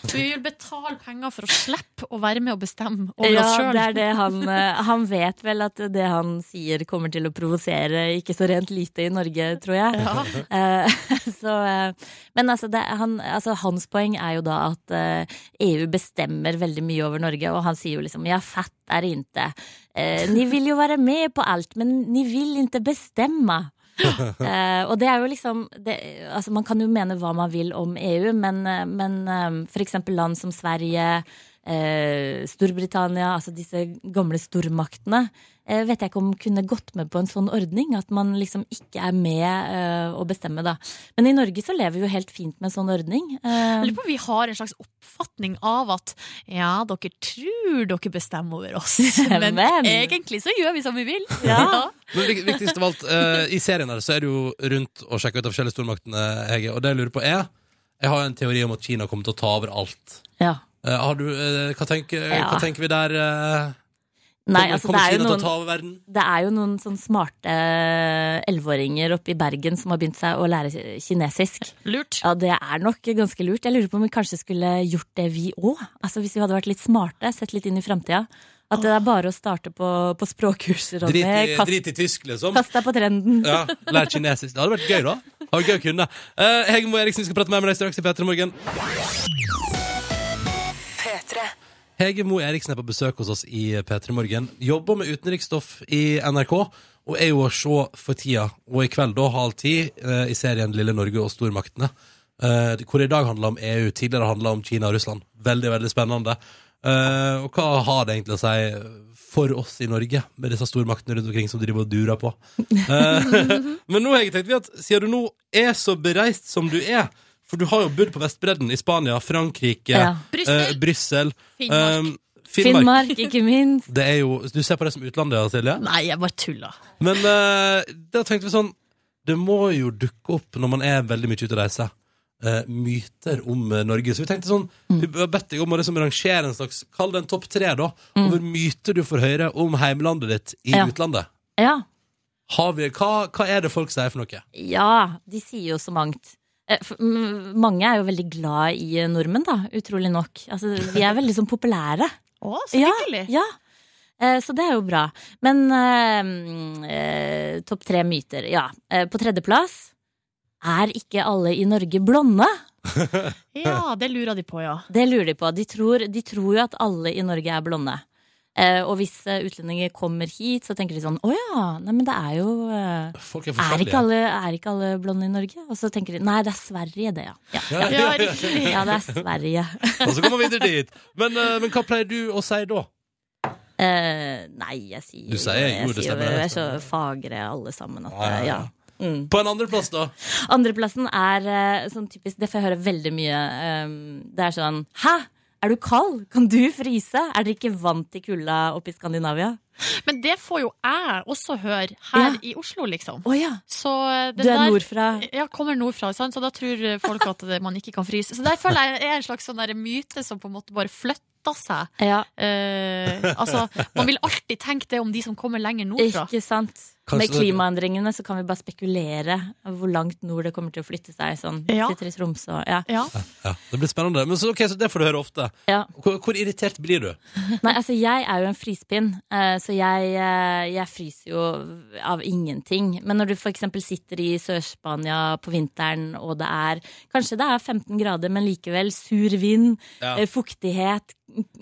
Så vi vil betale penger for å slippe å være med og bestemme over
ja,
oss sjøl.
det er det han eh, Han vet vel at det han sier kommer til å provosere ikke så rent lite i Norge, tror jeg. Eh, (laughs) så, eh, men altså, det, han, altså, hans poeng er jo da at eh, EU bestemmer veldig mye over Norge, og han sier jo liksom ja, fattar inte. Eh, ni vil jo være med på alt, men ni vil ikke bestemme. Eh, og det er jo liksom det, altså Man kan jo mene hva man vil om EU, men, eh, men eh, for eksempel land som Sverige, eh, Storbritannia, altså disse gamle stormaktene, eh, vet jeg ikke om kunne gått med på en sånn ordning. At man liksom ikke er med eh, å bestemme, da. Men i Norge så lever vi jo helt fint med en sånn ordning.
Jeg
Eh,
lurer på om vi har en slags oppfatning av at ja, dere tror dere bestemmer over
(laughs)
oss, men,
Men-
egentlig så gjør vi som vi vil. (laughs)
Ja.
Men vik- viktigst av alt, eh, i serien her så er det jo rundt å sjekke ut de forskjellige stormaktene, Hege. Og det jeg lurer på er Jeg har en teori om at Kina kommer til å ta over alt.
ja.
Eh, har du, eh, hva, tenker, hva
Ja.
tenker vi der? eh?
Nei,
kommer
altså det
kommer
er
Kina
jo
til å
noen
ta over verden?
det er jo noen sånn smarte eh, elleveåringer oppe i Bergen som har begynt seg å lære kinesisk.
Lurt.
Ja, det er nok ganske lurt. Jeg lurer på om vi kanskje skulle gjort det vi òg. Altså, hvis vi hadde vært litt smarte, sett litt inn i framtida. At det er bare å starte på, på språkkurs, Ronny.
Drit i,
Kast,
drit i tysk, liksom.
kast deg på trenden.
Ja, Lær kinesisk. Det hadde vært gøy, da. Det hadde vært gøy å kunne. Eh, Hege Moe Eriksen skal prate mer med deg straks i P3 Morgen. Hege Moe Eriksen er på besøk hos oss i P3 Morgen. Jobber med utenriksstoff i NRK. Og er jo å se for tida, og i kveld da halv ti, eh, i serien Lille Norge og stormaktene. eh, Hvor det i dag handla om EU, tidligere handla om Kina og Russland. Veldig, veldig spennende. Eh, Og hva har det egentlig å si for oss i Norge, med disse stormaktene rundt omkring som driver og durer på? Eh, Men nå Hege, tenkte vi at siden du nå er så bereist som du er, for du har jo bodd på Vestbredden i Spania, Frankrike, eh,
Ja.
Brussel,
Brussel
Finnmark.
Um, Finnmark.
Finnmark, ikke minst.
Det er jo, du ser på det som utlandet, ja, Silje.
Nei, jeg bare tuller.
Men eh, da tenkte vi sånn Det må jo dukke opp når man er veldig mye ute og reiser. eh, myter om eh, Norge. Så vi tenkte sånn
Mm.
Vi har bedt deg om å liksom rangere en slags Kall det en topp tre, da. Over myter du får høre om heimlandet ditt i
Mm. Ja.
utlandet.
Ja.
Har vi, hva, hva er det folk sier for noe?
Ja, de sier jo så mangt. Eh, for- mm, Mange er jo veldig glad i eh, nordmenn, da, utrolig nok. Altså, vi er veldig sånn populære.
Å, så hyggelig.
Ja, Eh, Så det er jo bra. Men eh, mm, eh, topp tre myter, ja. Eh, På tredjeplass er ikke alle i Norge blonde?
Ja, det lurer de på, ja.
Det lurer de på. De tror, de tror jo at alle i Norge er blonde. Eh, og hvis eh, utlendinger kommer hit, så tenker de sånn Å ja, nei, men det er jo eh,
Folk er
er, ikke
forskjellige.
alle, er ikke alle blonde i Norge? Og så tenker de Nei, det er Sverige, det, ja. Ja,
(laughs) Ja,
ja riktig.
ja det er Sverige.
Og så kommer vi videre dit. Men, eh, men hva pleier du å si da?
Eh, nei, jeg sier
Du sier jo,
jeg
det
sier jo
stemmer,
Vi
det
er så fagre alle sammen at
Ja, ja,
eh,
ja.
ja. Mm.
På en andreplass, da?
Andreplassen er eh, sånn typisk Det får jeg høre veldig mye. eh, Det er sånn Hæ? Er du kald? Kan du fryse? Er dere ikke vant til kulda oppe i Skandinavia?
Men det får jo jeg også høre her
Ja.
i Oslo, liksom.
Å ja!
Så det
Du er
der-
nordfra.
Ja, kommer nordfra, sant? så da tror folk at det- man ikke kan fryse. Så der føler jeg er en slags sånn der myte som på en måte bare flytter seg.
Ja,
Eh, altså, man vil alltid tenke det om de som kommer lenger nordfra.
ikke sant?
Kanskje
Med klimaendringene så kan vi bare spekulere hvor langt nord det kommer til å flytte seg. Sånn.
Ja.
Sitter i Tromsø og ja.
Ja.
Ja, det blir spennende. Men så, ok, så det får du høre ofte.
Ja.
Hvor, hvor irritert blir du?
Nei, altså jeg er jo en fryspinn, eh, så jeg, eh, jeg fryser jo av ingenting. Men når du f.eks. sitter i Sør-Spania på vinteren, og det er kanskje det er 15 grader, men likevel sur vind,
Ja.
eh, fuktighet,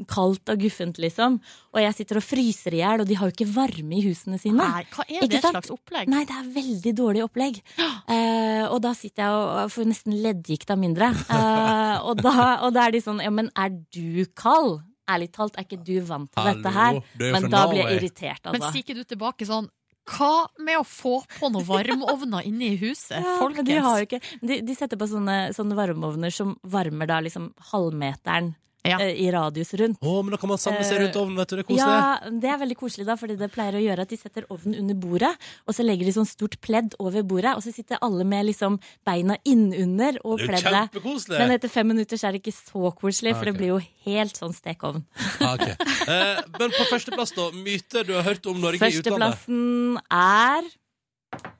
kaldt og guffent, liksom. Og jeg sitter og fryser i hjel, og de har jo ikke varme i husene sine.
Nei, hva er det
Ikke sant?
slags opplegg?
Nei, det er veldig dårlig opplegg. Eh, og da sitter jeg og får nesten leddgikt av mindre. Eh, og, da, og da er de sånn Ja, men er du kald? Ærlig talt, er ikke du vant til
Hallo,
dette her?
du er jo
Men
fra
da blir jeg
Norway.
irritert,
Men
altså.
sier ikke du tilbake sånn Hva med å få på noen varmeovner inne i huset,
ja, men
folkens?
de, har jo ikke, de, de setter på sånne, sånne varmeovner som varmer da liksom halvmeteren
Ja.
eh, i radius rundt.
Å, men da kan man samle seg rundt ovnen, vet du. Det er koselig.
Ja, det er veldig koselig da, fordi det pleier å gjøre at de setter ovnen under bordet, og så legger de sånn stort pledd over bordet, og så sitter alle med liksom beina innunder og
Det er jo
pleddet.
kjempekoselig!
Men etter fem minutter så er det ikke så koselig,
Ah,
for
ok.
det blir jo helt sånn stekeovn.
Ah, ok. eh, men på førsteplass, da. Myter du har hørt om Norge i utlandet.
Førsteplassen er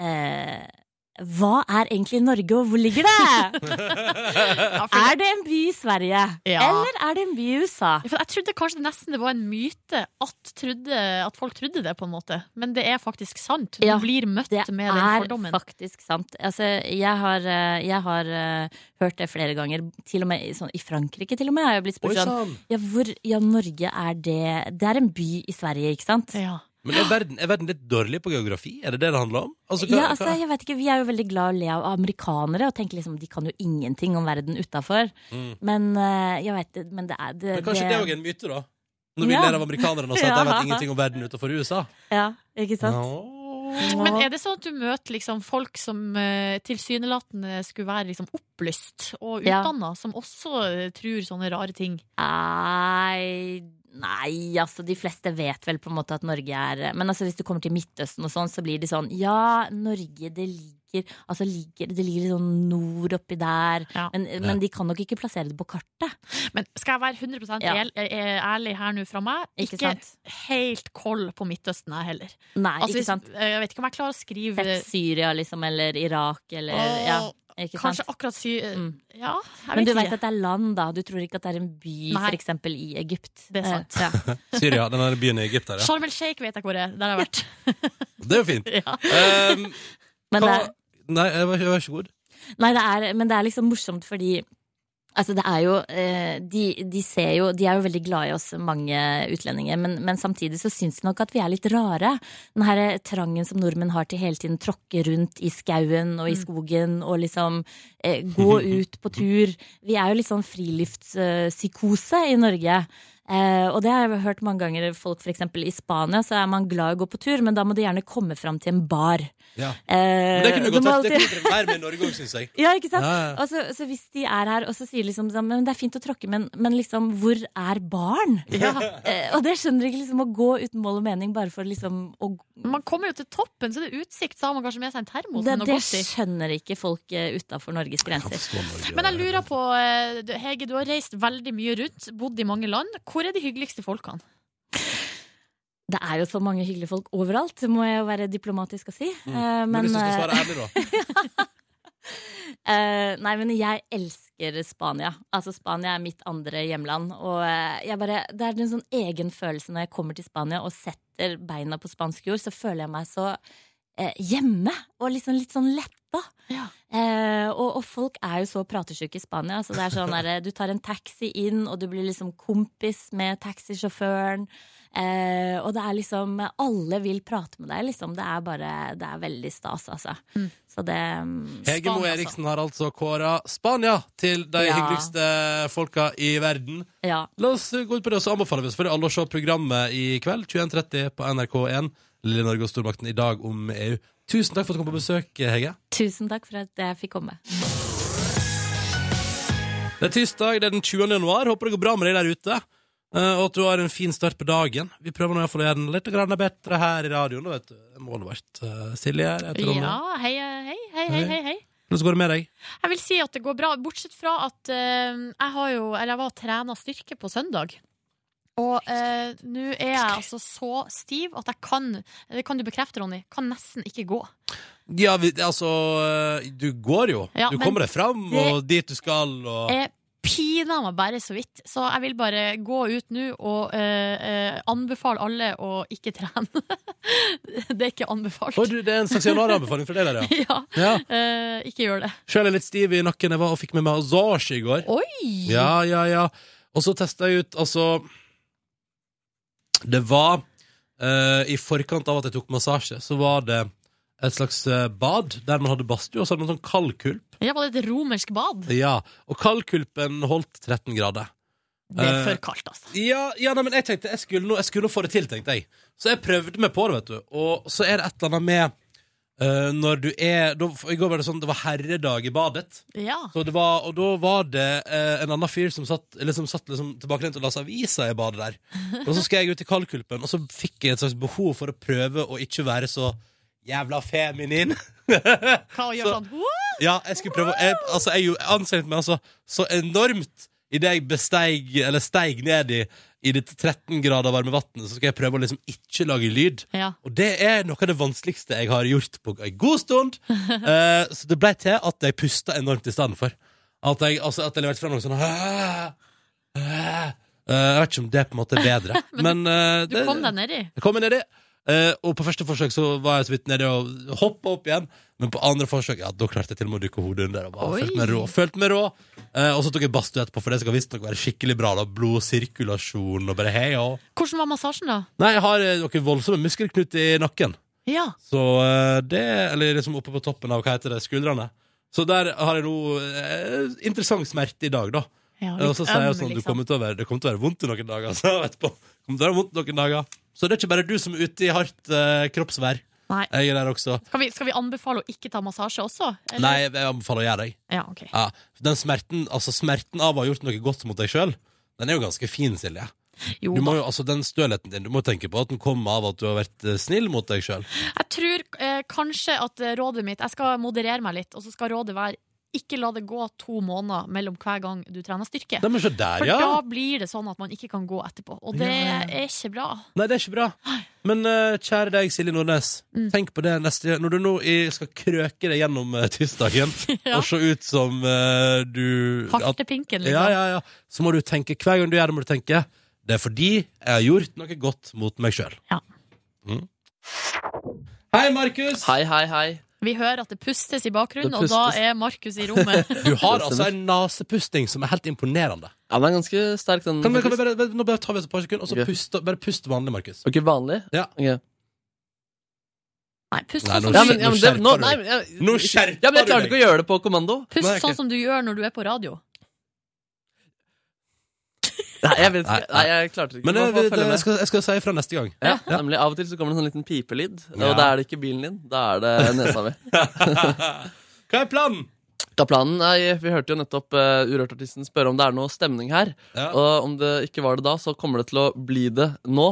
eh, Hva er egentlig Norge, og hvor ligger
(laughs)
det?
Ja, for,
er det en by i Sverige?
Ja.
Eller er det en by i USA?
for jeg trodde kanskje nesten det var en myte at, trodde, at folk trodde det, på en måte. Men det er faktisk sant. Du
Ja,
blir møtt
Det
med den
er
fordommen.
faktisk sant. Altså, jeg har, eh, jeg har eh, hørt det flere ganger, til og med i- sånn, i Frankrike til og med. har Jeg blitt
Oi
spurt sånn,
sann!
ja, hvor, ja, Norge er det Det er en by i Sverige, ikke sant?
Ja.
Men er verden, er verden litt dårlig på geografi? Er det det det handler om? Altså, hva-
Ja, altså,
hva-
jeg vet ikke, Vi er jo veldig glad i å le av amerikanere og tenker liksom de kan jo ingenting om verden utafor. Men eh, jeg vet det- men det er det,
Men kanskje det òg er en myte, da? Når vi
Ja.
ler av amerikanerne og sier
(laughs)
at de
Ja.
vet ingenting om verden utenfor USA.
Ja, ikke sant?
Nå.
Men er det sånn at du møter liksom folk som eh, tilsynelatende skulle være liksom opplyst og
Ja.
utdanna, som også eh, tror sånne rare ting?
Nei, nei, altså de fleste vet vel på en måte at Norge er Men altså hvis du kommer til Midtøsten og sånn, så blir det sånn Ja, Norge, det ligger Altså ligger, det ligger sånn nord oppi der.
Ja.
Men, men de kan nok ikke plassere det på kartet.
Men skal jeg være 100
Ja.
ærl- eh, ærlig her nå fra meg?
Ikke, sant?
helt koll på Midtøsten, jeg heller.
Nei,
Altså,
ikke
hvis,
sant.
eh, Jeg vet ikke om jeg klarer å skrive
Sett Syria, liksom, eller Irak, eller Ja,
Åh,
ikke sant.
Kanskje akkurat sy... eh,
Mm.
Ja, jeg
Men
vet
du vet
ikke.
at det er land, da. Du tror ikke at det er en by,
Nei.
for eksempel i Egypt.
Det er sant.
Eh, ja.
Syria, den der byen i Egypt der, ja.
(laughs) Sharm el Sheikh vet jeg hvor det er. Der har jeg
(laughs)
vært.
Det er jo fint.
Ja.
Um,
Men det er,
hva- Nei, jeg var, jeg var ikke god.
Nei, det er, men det er liksom morsomt fordi Altså det er jo, eh, de, de ser jo De er jo veldig glad i oss, mange utlendinger, men, men samtidig så syns de nok at vi er litt rare. Den her eh, trangen som nordmenn har til hele tiden tråkke rundt i skauen og i
Mm.
skogen og liksom eh, gå
(laughs)
ut på tur. Vi er jo litt sånn friluftspsykose i Norge. Eh, og det har jeg hørt mange ganger. Folk f.eks. i Spania så er man glad i å gå på tur, men da må du gjerne komme fram til en bar.
Ja.
Eh,
Men det kunne
du
godt
må
vært det
alltid-
kunne vært mer med i Norge òg,
(laughs)
syns jeg.
ja, ikke sant?
Ja, ja.
Og så, så hvis de er her og så sier liksom sånn, men det er fint å tråkke, men, men liksom, hvor er barn? Eh, og det skjønner de ikke, liksom, å gå uten mål og mening bare for liksom å
Man kommer jo til toppen, så det er utsikt, så har man kanskje sånn med seg en termos.
det,
med noe
det
godt i.
skjønner ikke folk uh, utafor Norges grenser.
Men jeg lurer på, eh, du- Hege, du har reist veldig mye rundt, bodd i mange land. Hvor er de hyggeligste folkene?
Det er jo så mange hyggelige folk overalt, må jeg jo være diplomatisk og si.
Mm.
Eh,
Men
men,
hvis du skal svare
(laughs)
ærlig, da.
Eh, nei, men jeg elsker Spania. Altså, Spania er mitt andre hjemland. Og eh, jeg bare, det er en sånn egen følelse når jeg kommer til Spania og setter beina på spansk jord, så føler jeg meg så eh, hjemme og liksom litt sånn letta.
Ja.
Eh, og, og folk er jo så pratesyke i Spania. Så det er sånn der, Du tar en taxi inn, og du blir liksom kompis med taxisjåføren. Eh, og det er liksom Alle vil prate med deg, liksom. Det er bare Det er veldig stas, altså. Så det mm,
Hege Moe
Spania, altså.
Eriksen har altså kåra Spania til de
Ja.
hyggeligste folka i verden.
Ja.
La oss gå ut på det, og så anbefaler vi selvfølgelig alle å se programmet i kveld. 21.30 på NRK1. Lille Norge og stormakten i dag om EU. Tusen takk for at du kom på besøk, Hege.
Tusen takk for at jeg fikk komme.
Det er tirsdag, det er den 20. januar. Håper det går bra med deg der ute. eh, Og at du har en fin start på dagen. Vi prøver nå i hvert fall å gjøre den litt grann bedre her i radioen. da, Vet du. Det er Målet vårt. Eh, Silje her. jeg tror det.
Ja, hei, eh, hei, hei, hei, hei, hei.
Hvordan går det med deg?
Jeg vil si at det går bra, bortsett fra at eh, jeg har jo, eller jeg var og trena styrke på søndag. Og eh, nå er jeg altså så stiv at jeg kan Det kan du bekrefte, Ronny. Kan nesten ikke gå.
Ja, vi, altså Du går jo.
Ja,
du
men
kommer deg fram,
det-
og dit du skal, og
Jeg piner meg bare så vidt. Så jeg vil bare gå ut nå og eh, eh, anbefale alle å ikke trene. (laughs) det er ikke anbefalt.
Oi, du, Det er en slags januaranbefaling fra deg der, ja.
(laughs) Ja,
ja.
eh, ikke gjør det.
Sjøl er jeg litt stiv i nakken. Jeg var og fikk med meg massasje i går.
Oi!
Ja, ja, ja. Og så testa jeg ut, altså Det var eh, I forkant av at jeg tok massasje, så var det et slags eh, bad der man hadde badstue, og så hadde man sånn kaldkulp.
Det var et romersk bad.
Ja, og kaldkulpen holdt 13 grader.
Det er
Eh,
for kaldt, altså.
Ja, ja nei, men jeg tenkte jeg skulle, nå- jeg skulle nå få det til, tenkte jeg. Så jeg prøvde meg på det, vet du. Og så er det et eller annet med eh, når du er da, for I går var det sånn det var herredag i badet.
Ja.
Så det var, og da var det eh, en annen fyr som satt, eller som satt liksom, tilbakelent og leste aviser i badet der. Og så skal jeg ut i kaldkulpen, og så fikk jeg et slags behov for å prøve å ikke være så jævla feminin. (laughs)
Hva å gjøre
så-
sånn? «Wow!»
ja, jeg skulle prøve å- jeg, Altså, jeg gjorde- anstrengte meg altså så enormt idet jeg besteig, eller steig ned i, i dette 13 grader varme vannet, så skal jeg prøve å liksom ikke lage lyd.
Ja.
Og det er noe av det vanskeligste jeg har gjort på en god
(laughs)
stund. Eh, så det ble til at jeg pusta enormt i stedet for. At jeg, altså, at jeg leverte frem noe sånn «Ah, ah». Eh, Jeg vet ikke om det på en måte er
(laughs)
bedre. Men, eh,
Du
det-
kom deg nedi.
jeg kom nedi, eh, og på første forsøk så var jeg så vidt nedi og hoppa opp igjen. Men på andre forsøk ja, da klarte jeg til og med å dukke hodet under. Og bare,
Oi.
følte meg rå, følte meg rå. Eh, og så tok jeg badstue etterpå, for det skal visstnok være skikkelig bra. da Blodsirkulasjon og bare hei og
Hvordan var massasjen, da?
Nei, jeg har eh, noen voldsomme muskelknuter i nakken.
Ja.
Så eh, det Eller liksom oppe på toppen av hva heter det, skuldrene. Så der har jeg noe eh, interessant smerte i dag, da.
ja
Og så sier jeg sånn,
liksom?
du kommer til å være, det kommer til å være vondt i noen dager. (laughs) Så, etterpå. Det kommer til å være vondt noen dager. så det er ikke bare du som er ute i hardt eh, kroppsvær.
Nei.
Jeg er der også.
Skal vi, skal vi anbefale å ikke ta massasje også? eller?
Nei, jeg anbefaler å gjøre det. jeg.
Ja, ok.
Ja. Den smerten, altså smerten av å ha gjort noe godt mot deg sjøl, den er jo ganske fin, Silje.
Jo,
Du
da.
må jo, altså Den stølheten din, du må tenke på at den kommer av at du har vært eh, snill mot deg sjøl.
Jeg tror eh, kanskje at eh, rådet mitt Jeg skal moderere meg litt, og så skal rådet være ikke la det gå to måneder mellom hver gang du trener styrke.
Neimen, se der,
For
ja!
da blir det sånn at man ikke kan gå etterpå, og det
Ja, ja,
er ikke bra.
Nei, det er ikke bra. Men eh, kjære deg, Silje Nordnes.
Mm.
Tenk på det neste Når du nå i, skal krøke deg gjennom eh, tirsdagen
(laughs) Ja.
og se ut som eh, du at-
Hartepinken,
ja,
liksom.
ja, ja. Så må du tenke hver gang du gjør det, må du tenke det er fordi jeg har gjort noe godt mot meg sjøl.
Ja.
Mm. Hei, Markus!
Hei, hei, hei.
Vi hører at det pustes i bakgrunnen,
Det
og da
pustes.
er Markus i
(laughs)
rommet.
Du har altså en nasepusting som er helt imponerende.
Ja, den er ganske sterk, den.
Kan, vi- kan vi
faktisk.
bare, bare- nå bare tar vi oss et par sekunder, og så
Ok.
puste, bare pust vanlig, Markus.
Ok, vanlig?
Ja.
Ok.
Nei, pust
Nei,
sånn som
nå
Ja,
du-
men, ja, men
Nå
det,
skjerper
nå,
du
nei,
deg.
men jeg,
Nå skjerper
ja, men jeg
du
klarte
deg.
ikke å gjøre det på kommando.
Nei,
Pust
ok.
sånn som du gjør når du er på radio.
Nei, jeg vet
Nei,
ikke. Nei, jeg klarte det ikke.
Men
Man
eh,
får
vi-
følge
det,
med.
jeg, skal, jeg skal si ifra neste gang.
Ja, nemlig Av og til så kommer det en sånn liten pipelyd,
Ja.
og da er det ikke bilen din, da er det nesa mi. (laughs)
Hva er planen?
Da planen, nei, Vi hørte jo nettopp eh, Urørt-artisten spørre om det er noe stemning her.
Ja.
Og om det ikke var det da, så kommer det til å bli det nå.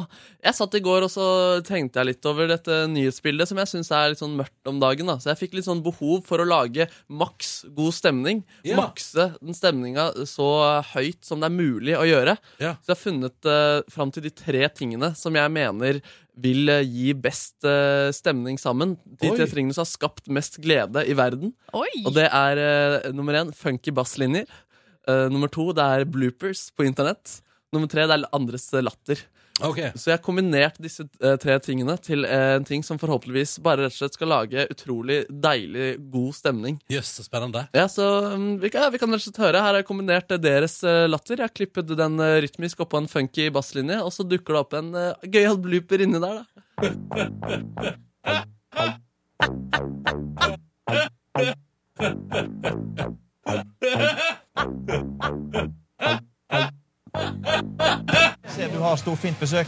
Jeg satt i går og så tenkte jeg litt over dette nyhetsbildet, som jeg syns er litt sånn mørkt om dagen. da Så jeg fikk litt sånn behov for å lage maks god stemning.
Ja.
Makse den stemninga så høyt som det er mulig å gjøre.
Ja.
Så jeg har funnet uh, fram til de tre tingene som jeg mener vil eh, gi best eh, stemning sammen. De
Oi.
tre tingene som har skapt mest glede i verden.
Oi!
Og det er eh, nummer én funky basslinjer. Eh, nummer to det er bloopers på internett. Nummer tre det er andres latter.
Ok.
Så jeg har kombinert disse eh, tre tingene til eh, en ting som forhåpentligvis bare rett og slett skal lage utrolig deilig, god stemning.
Jøss, så spennende.
Ja, så mm, vi kan, ja, vi kan rett og slett høre. Her har jeg kombinert eh, deres eh, latter. Jeg har klippet den eh, rytmisk oppå en funky basslinje, og så dukker det opp en eh, gøyal blooper inni der, da.
Ser du har storfint besøk.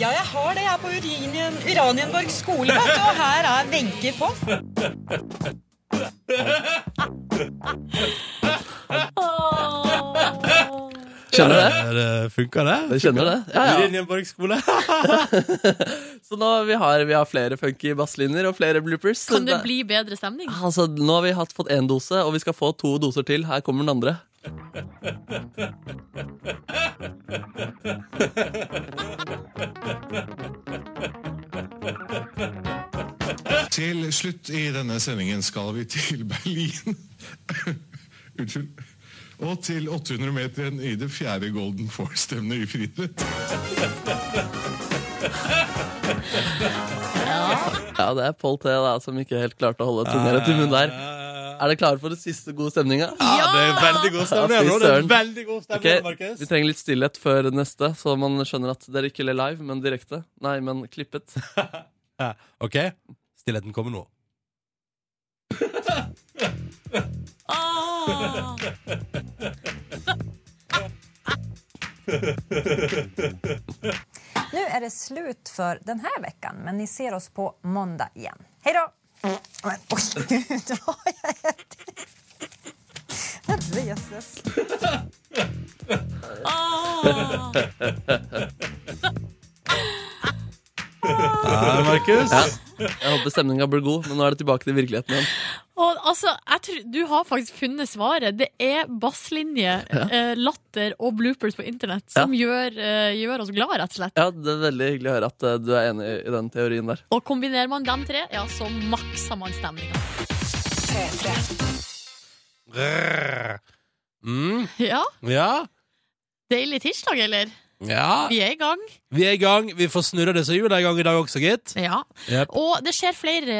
Ja, jeg har det. Jeg er på Uranien, Uranienborg skole, vet du. Og her er Wenche Foss.
Skjønner du det?
det? Funka det?
Du skjønner det? Ja, ja.
Linjenborg skole.
Så nå vi har vi har flere funky basslinjer og flere bloopers.
Kan det
Det-
bli bedre stemning?
Altså, nå har vi hatt, fått én dose, og vi skal få to doser til. Her kommer den andre.
Til slutt i denne sendingen skal vi til Berlin. (laughs) Unnskyld. Og til 800 meteren i det fjerde Golden Force-stevnet i friidrett.
Ja, det er Pål T da, som ikke helt klarte å holde tunga rett i munnen der. Er dere klare for den siste gode stemninga?
Ja, det er veldig god
Ja,
stemning.
fy
bro. Det er
søren.
veldig god stemning,
Ok,
Markus.
Vi trenger litt stillhet før neste, så man skjønner at dere ikke ler live, men direkte. Nei, men klippet.
Ja, OK? Stillheten kommer nå.
Åh.
Nu är det slut för den här veckan, men ni ser oss på måndag igen. Hej då! Men oj, gud vad jag ätit! Jesus.
Åh.
Ja, Markus.
Ja. Jeg håper stemninga blir god, men nå er det tilbake til virkeligheten igjen.
Og altså, jeg tror, du har faktisk funnet svaret. Det er basslinje, eh, latter og bloopers på internett som gjør, eh, gjør oss glad, rett og slett.
Ja, Det er veldig hyggelig å høre at eh, du er enig i den teorien der.
Og kombinerer man dem tre, ja, så makser man stemninga.
Mm,
Ja,
ja.
deilig tirsdag, eller?
ja.
Vi er i gang.
Vi er i gang. Vi får snurra disse hjula i gang i dag også, gitt.
Ja.
Yep.
Og det skjer flere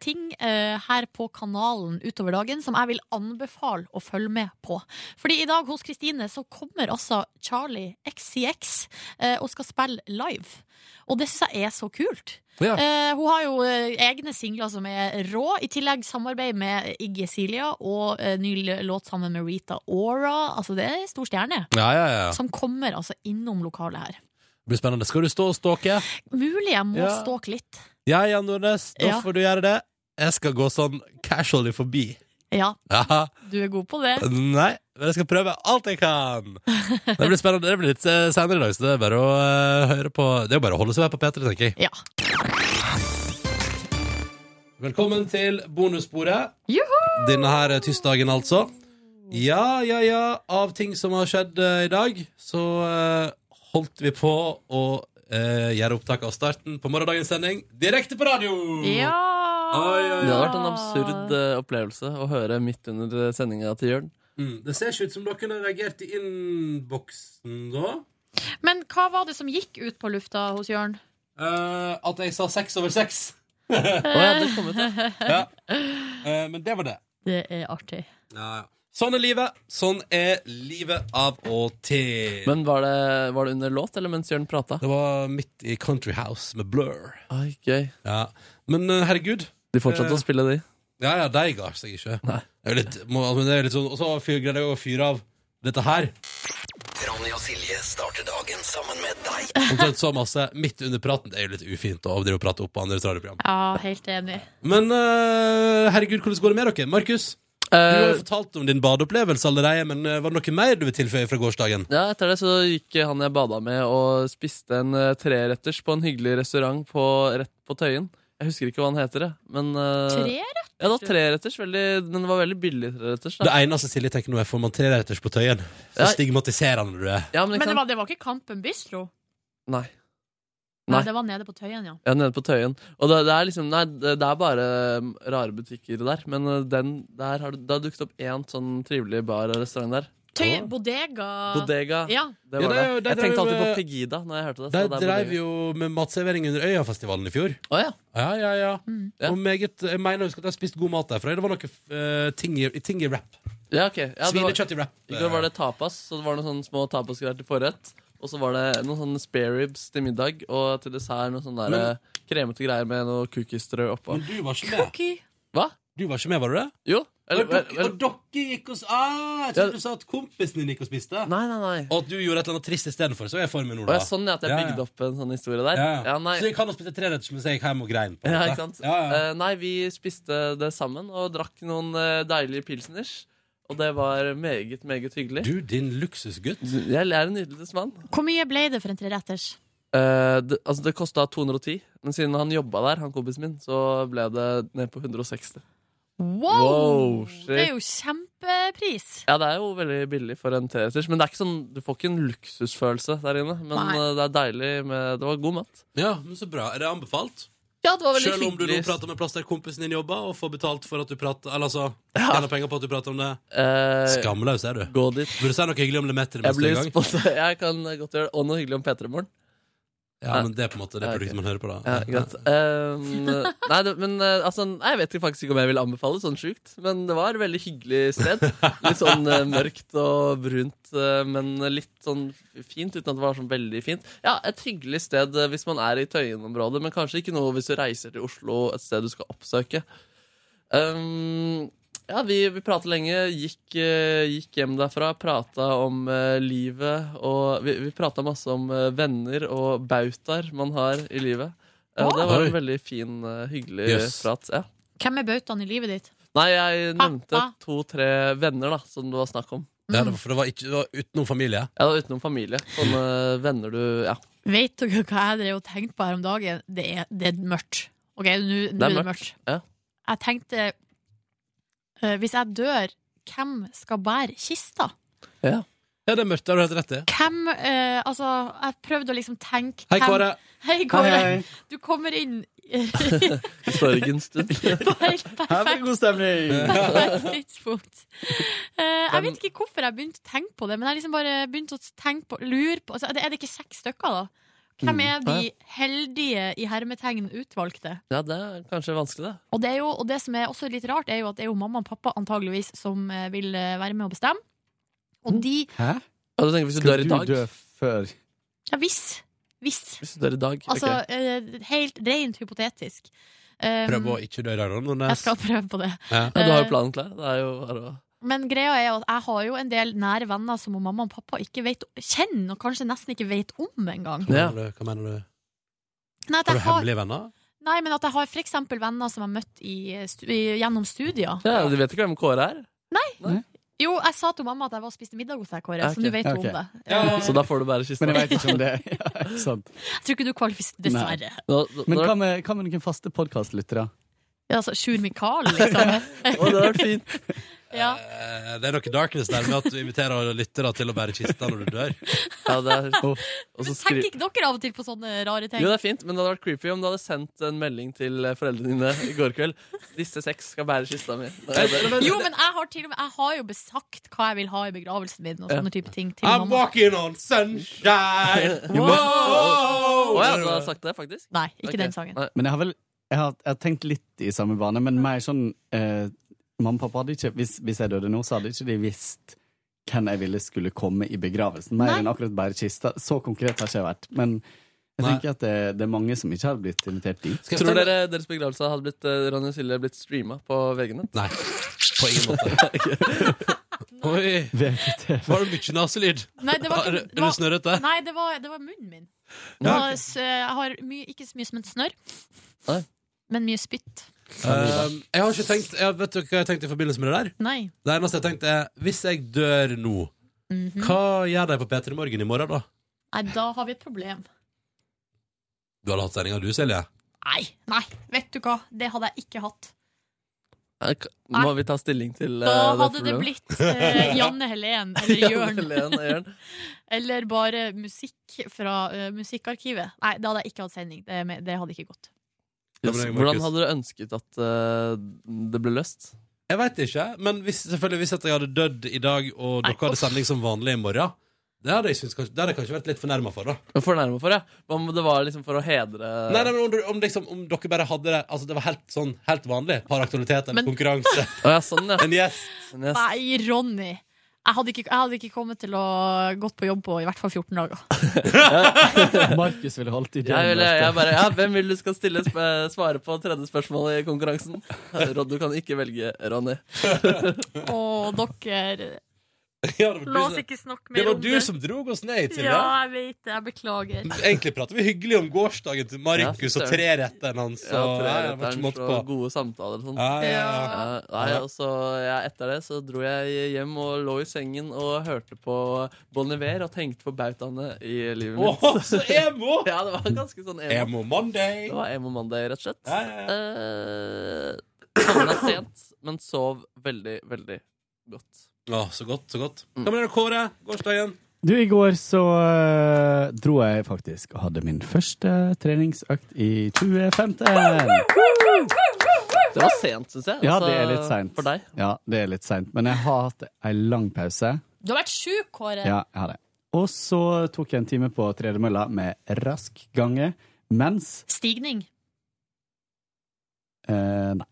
ting eh, her på kanalen utover dagen som jeg vil anbefale å følge med på. Fordi i dag hos Kristine så kommer altså Charlie XCX eh, og skal spille live. Og det syns jeg er så kult.
Ja.
Eh, hun har jo eh, egne singler som er rå, i tillegg samarbeid med Iggy Cilia og eh, ny låt sammen med Rita Ora. Altså det er en stor stjerne.
Ja, ja, ja.
Som kommer altså innom lokalet her.
Det blir spennende. Skal du stå og stalke?
Mulig jeg må
Ja.
stalke litt.
Ja, Jan Nordnes, da
Ja.
får du gjøre det. Jeg skal gå sånn casually forbi.
Ja,
Ja,
du er god på det.
nei, men jeg skal prøve alt jeg kan. Det blir spennende. Det blir litt eh, senere i dag, så det er bare å eh, høre på Det er bare å holde seg her på P3, tenker jeg.
Ja.
Velkommen til bonussporet. Denne her tirsdagen, altså. Ja, ja, ja. Av ting som har skjedd eh, i dag, så eh, holdt vi på å eh, gjøre opptak av starten på morgendagens sending direkte på radio!
Ja!
Oi, oi, oi.
Det hadde vært en absurd eh, opplevelse å høre midt under eh, sendinga til Jørn.
Mm. Det ser ikke ut som dere reagerte i innboksen da.
Men hva var det som gikk ut på lufta hos Jørn?
Eh, at jeg sa seks over seks.
Å, ja, det kom ut, ja.
Ja. Eh, men det var det.
Det er artig.
Sånn er livet. Sånn er livet av og til.
Men var det, var det under låt, eller mens Jørn prata?
det var midt i Country House med Blur.
Oi, gøy.
Ja. Men eh, herregud.
De fortsatte å spille, de.
Ja, ja, de ga seg ikke.
Nei.
Det er jo litt, må, men det er jo litt sånn, Og så fyr- greide jeg å fyre av dette her. Omtrent så masse midt under praten. Det er jo litt ufint å overdrive og prate opp på andres radioprogram.
Ja, helt enig.
Men eh, herregud, hvordan går det med dere? Markus, du har jo
Eh,
fortalt om din badeopplevelse allerede, men eh, var det noe mer du vil tilføye fra gårsdagen?
Ja, etter det så gikk han jeg bada med og spiste en eh, treretters på en hyggelig restaurant på, rett på Tøyen. Jeg husker ikke hva han heter, jeg, men eh,
Treer?
Ja, det var treretters. Veldig, den var veldig billig treretters.
Det
da.
eneste Silje tenker nå, er får man treretters på Tøyen, så
Ja.
stigmatiserende du er.
Ja, men
Men
ikke
det
sant?
var, det var ikke Kampen Bistro?
Nei.
Nei,
Nei.
det var nede på Tøyen, ja.
Ja, nede på Tøyen. Og det, det er liksom Nei, det, det er bare um, rare butikker der, men uh, den der har det det har dukket opp én sånn trivelig bar og restaurant der.
Tøy,
Åh.
Bodega.
Bodega.
Ja.
Det
Ja, det
var det.
er jo- det
Jeg
er
tenkte
jo-
alltid på Pegida når jeg hørte det.
Der dreiv jo med matservering under Øyafestivalen i fjor.
Å ja.
Ja, ja, ja.
Mm. Ja.
Og meget, jeg mener jeg husker at jeg har spist god mat derfra. Det var noe eh, ting, i, ting i wrap.
ja, ok. Ja, det var,
Svinekjøtt i wrap.
I går var det tapas, så det var noen sånne små tapasgreier til forrett. Og så var det noen sånne spareribs til middag, og til dessert noen sånne der,
Men-
eh, kremete greier med noe cookiestrø oppå.
eh. Men du var ikke med,
Cookie.
Hva?
du var, ikke med, var du det?
Jo. Eller,
Og dere,
vel-
og dere gikk og s- ah, Jeg
Ja.
trodde du sa at kompisen din gikk og spiste.
Nei, nei, nei.
Og at du gjorde et eller annet trist istedenfor. Så er jeg for meg nå,
Og
da.
jeg, sånn ja, at jeg
Ja, ja.
bygde opp en sånn historie der.
Ja, ja.
Ja, nei.
Så jeg kan jo spise treretters mens jeg gikk hjem og grein. På en
(laughs) Ja,
måte.
ikke sant?
Ja, ja.
Eh, nei, vi spiste det sammen og drakk noen eh, deilige pilsners. Og det var meget, meget hyggelig.
Du, din luksusgutt.
Jeg er en nydeligst mann.
Hvor mye ble det for en treretters?
Eh, det, altså det kosta 210, men siden han jobba der, han kompisen min, så ble det ned på 160.
Wow!
Wow, shit.
det er jo kjempepris.
Ja, det er jo veldig billig for en treretters, men det er ikke sånn, du får ikke en luksusfølelse der inne. Men
Nei.
eh, det er deilig med Det var god mat.
Ja, men så bra. Er det anbefalt?
Ja, det var veldig
Selv om du nå
hyggelig.
prater om en plass der kompisen din jobber, og får betalt for at du prater Eller altså, tjener penger på at du prater om det.
Eh,
Skamløs er du.
Gå dit.
Burde du si noe hyggelig om Lemeter
Jeg,
neste
blir
gang?
sponset- (laughs) jeg kan godt gjøre det. Og noe hyggelig om P3 Morgen.
Ja, men det er på en måte det
Ja, ok.
produktet man hører på, da.
Ja, greit. Um, nei, det, men eh, altså, nei, jeg vet ikke faktisk ikke om jeg vil anbefale sånn sjukt, men det var et veldig hyggelig sted. Litt sånn eh, mørkt og brunt, eh, men litt sånn fint, uten at det var sånn veldig fint. Ja, et hyggelig sted eh, hvis man er i Tøyen-området, men kanskje ikke noe hvis du reiser til Oslo, et sted du skal oppsøke. Um, ja, vi, vi pratet lenge, gikk, eh, gikk hjem derfra, prata om eh, livet og Vi, vi prata masse om eh, venner og bautaer man har i livet. Eh, og det var
Oi.
en veldig fin, eh, hyggelig
Jøss.
prat. Ja.
Hvem er bautaen i livet ditt?
Nei, jeg nevnte
Pappa.
to-tre venner da, som det var snakk om.
Ja, det var, for det var, ikke, det var utenom familie.
Ja, det var Utenom familie. Sånne venner du Ja.
Vet dere hva jeg drev og tenkte på her om dagen? Det er, det er mørkt. Ok, nå nå
Det
er
er
det mørkt.
mørkt. Ja.
Jeg tenkte eh, Hvis jeg dør, hvem skal bære kista?
Ja, det er mørkt. Det har du helt rett i.
Hvem eh, Altså, jeg prøvde å liksom tenke
Hei,
hvem-
Kåre.
Hei, Kåre. Du kommer inn (laughs) på
I sorgens
(laughs)
stund.
helt perfekt
god stemning!
perfekt tidspunkt. Eh, jeg vet ikke hvorfor jeg begynte å tenke på det, men jeg har liksom bare begynte å tenke på, lure på altså, Er det ikke seks stykker, da? Hvem
Mm.
er de heldige i hermetegn utvalgte?
(laughs) ja, det er kanskje vanskelig, det.
Og det, er jo, og det som er også litt rart, er jo at det er jo mamma og pappa antageligvis som eh, vil eh, være med å bestemme.
Mm.
Og de
Hæ?
Ja, du tenker, hvis du dør i
Skal du
dag
dø før
Ja, hvis. Hvis.
Hvis du dør i dag
Altså
ok.
eh, helt rent hypotetisk. Um,
Prøv å ikke dø i dag, da. Nordnes.
Jeg skal prøve på det.
Ja.
ja, Du har jo planen klar. Det er jo bare å
Men greia er jo at jeg har jo en del nære venner som mamma og pappa ikke vet, kjenner, og kanskje nesten ikke vet om engang.
Hva
Ja.
mener du? Hva mener du?
Nei, at
Har
jeg
du
har,
hemmelige venner?
nei, men at jeg har for eksempel venner som jeg har møtt i, stu- i, gjennom studier.
ja, Du vet ikke hvem Kåre er?
Jo, jeg sa til mamma at jeg var og spiste middag hos deg, Kåre,
Ja,
så nå
ok.
vet hun
Ok.
om det.
(laughs) Så da får du bare kista.
Men jeg veit ikke om det ja, ikke sant.
Jeg tror ikke du kvalifiserer, dessverre.
(laughs) Nå- nå-
Men
nå-
hva med, hva med noen faste podkastlyttere?
Ja, altså, Sjur Mikael,
(laughs)
liksom.
Å, det hadde vært fint.
Ja.
Eh, Det er noe darkness der med at du inviterer lyttere til å bære kista når du dør.
Ja, det er,
Oh.
og så skri...
Tenker ikke dere av og til på sånne rare ting?
Jo, det er fint, men det hadde vært creepy om du hadde sendt en melding til eh, foreldrene dine i går kveld. 'Disse seks skal bære kista mi'. Da er det-
Jo, men jeg har, til og med, jeg har jo besagt hva jeg vil ha i begravelsen min, og sånne type ting til
I'm
mamma.
walking on sunshine.
Jo,
Wow!
Å ja, du har sagt det, faktisk?
Nei, ikke
Ok.
den sangen.
Nei.
Men jeg har vel jeg har, jeg har tenkt litt i samme bane, men mer sånn eh, Mamma og pappa hadde ikke, hvis, hvis jeg døde nå, så hadde ikke de visst hvem jeg ville skulle komme i begravelsen. Mer
Nei.
enn akkurat bare kista. Så konkret har ikke jeg vært. Men jeg
Nei.
tenker at det, det er mange som ikke har blitt invitert dit.
Skal jeg
Tror
stemme-
dere deres begravelse hadde blitt eh, Ronny og Silje blitt streama på VG-nett?
Nei, på ingen måte.
(laughs)
Oi,
VGTV.
var det mye naselyd?
Nei, det var
Ah, Er
ikke,
det-
det
er
var,
det snørrete?
Nei, det var, det var munnen min. Det
Ja,
var s- Jeg har mye, ikke så mye som et snørr,
Nei.
men mye spytt.
Um, jeg har ikke tenkt jeg Vet dere hva jeg tenkte i forbindelse med det der?
Nei.
Det eneste jeg tenkte er Hvis jeg dør nå,
Mhm.
hva gjør de på P3 Morgen i morgen, da?
Nei, da har vi et problem.
Du hadde hatt sendinga, du, Silje?
Nei, nei, vet du hva? Det hadde jeg ikke hatt.
Nei, k- Må vi ta stilling til eh,
Da hadde det
problemet?
blitt eh, Janne Helen
(laughs)
eller
Jan
Jørn.
Helen og Jørn.
Eller bare musikk fra eh, musikkarkivet. Nei, da hadde jeg ikke hatt sending. Det, med- det hadde ikke gått.
Ja, men det er Markus.
Hvordan hadde du ønsket at eh, det ble løst?
Jeg veit ikke, men hvis, selvfølgelig hvis at jeg hadde dødd i dag, og
Nei,
dere hadde
uff.
sending som vanlig i morgen, det hadde jeg, synes, kanskje- det hadde jeg kanskje vært litt fornærma for, da.
Fornærma for, ja. Hva om det var liksom for å hedre
Nei, nei, men om, du- om, liksom, om dere bare hadde det Altså, det var helt sånn helt vanlig. Paraktualitet eller
Men-
konkurranse.
Å, ja, sånn, ja.
En
(laughs)
gjest.
Sånn, ja.
Nei, Ronny. Jeg hadde, ikke, jeg hadde ikke kommet til å gått på jobb på i hvert fall 14 dager.
(laughs)
Markus ville holdt i
Jeg, ville, jeg bare, ja, Hvem vil du skal stille sp svare på tredje spørsmål i konkurransen? Rod, du kan ikke velge Ronny.
Og dere
Ja, det var du
La oss
som-
ikke snakke
Det
mer
var
om
du
det.
som drog oss ned, Silje.
Ja, jeg vet det. Jeg beklager.
Egentlig prater vi hyggelig om gårsdagen til Markus
Ja,
og treretteren hans.
Ja,
og-
tre
Nei, jeg var ikke
retteren
måte på.
og gode samtaler og sånn.
Ja, ja, ja.
Ja, nei, og så ja, Etter det så dro jeg hjem og lå i sengen og hørte på Bon Iver og tenkte på bautaene i livet
Åh,
mitt.
så emo!
(laughs) Ja, det var ganske sånn emo.
Emo Monday.
Det var emo mandag, rett og slett.
Ja, ja, ja.
Eh, Sovna sent, men sov veldig, veldig godt.
Ja, så godt, så godt. Hva med deg, Kåre? Gårsdagen?
Du, i går så eh, dro jeg faktisk og hadde min første treningsøkt i 2015.
Det var sent, syns jeg.
Ja,
altså,
det er litt seint.
For deg.
Ja, det er litt seint. Men jeg har hatt ei lang pause.
Du har vært sjuk, Kåre.
Ja, jeg har det. Og så tok jeg en time på tredemølla med rask gange, mens
Stigning. (laughs)
eh, Nei.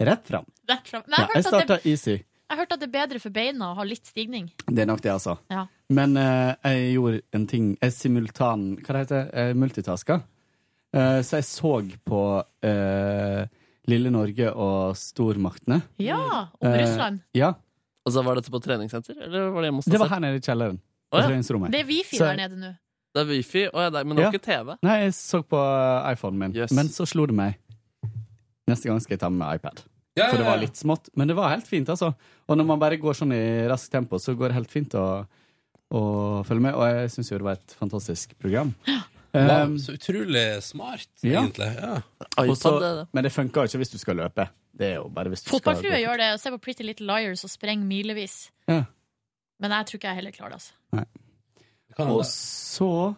Rett fram.
Rett fram. Men
Ja,
jeg, hørte
jeg
at
starta
det,
easy.
jeg hørte at det er bedre for beina å ha litt stigning.
Det er nok det, altså.
Ja.
Men eh, jeg gjorde en ting Jeg simultan Hva det heter det? multitaska. Eh, så jeg så på eh, Lille Norge og stormaktene.
Ja, om
Eh,
Russland.
ja.
Og så var dette på treningssenter? Eller var det hjemme hos deg
Det var
selv?
her nede i kjelleren.
Å, ja.
på treningsrommet.
Det er wifi
Så-
der nede nå.
Det er wifi, Å, ja, nei, men det var
Ja.
ikke TV.
Nei, jeg så på iPhonen min. Men så slo det meg. Neste gang skal jeg ta med meg iPad.
Ja, ja,
For det var
ja.
litt smått. Men det var helt fint, altså. Og når man bare går sånn i raskt tempo, så går det helt fint å, å følge med. Og jeg syns jo det var et fantastisk program.
Wow,
Um,
så utrolig smart,
ja.
egentlig. Ja.
Og så-
iPad, det er det.
men det funker jo ikke hvis du skal løpe. Det er jo bare hvis du skal
Fotballfrue
gå.
gjør det. og Ser på Pretty Little Liars og sprenger milevis.
Ja.
Men jeg tror ikke jeg heller klarer det. altså.
Og så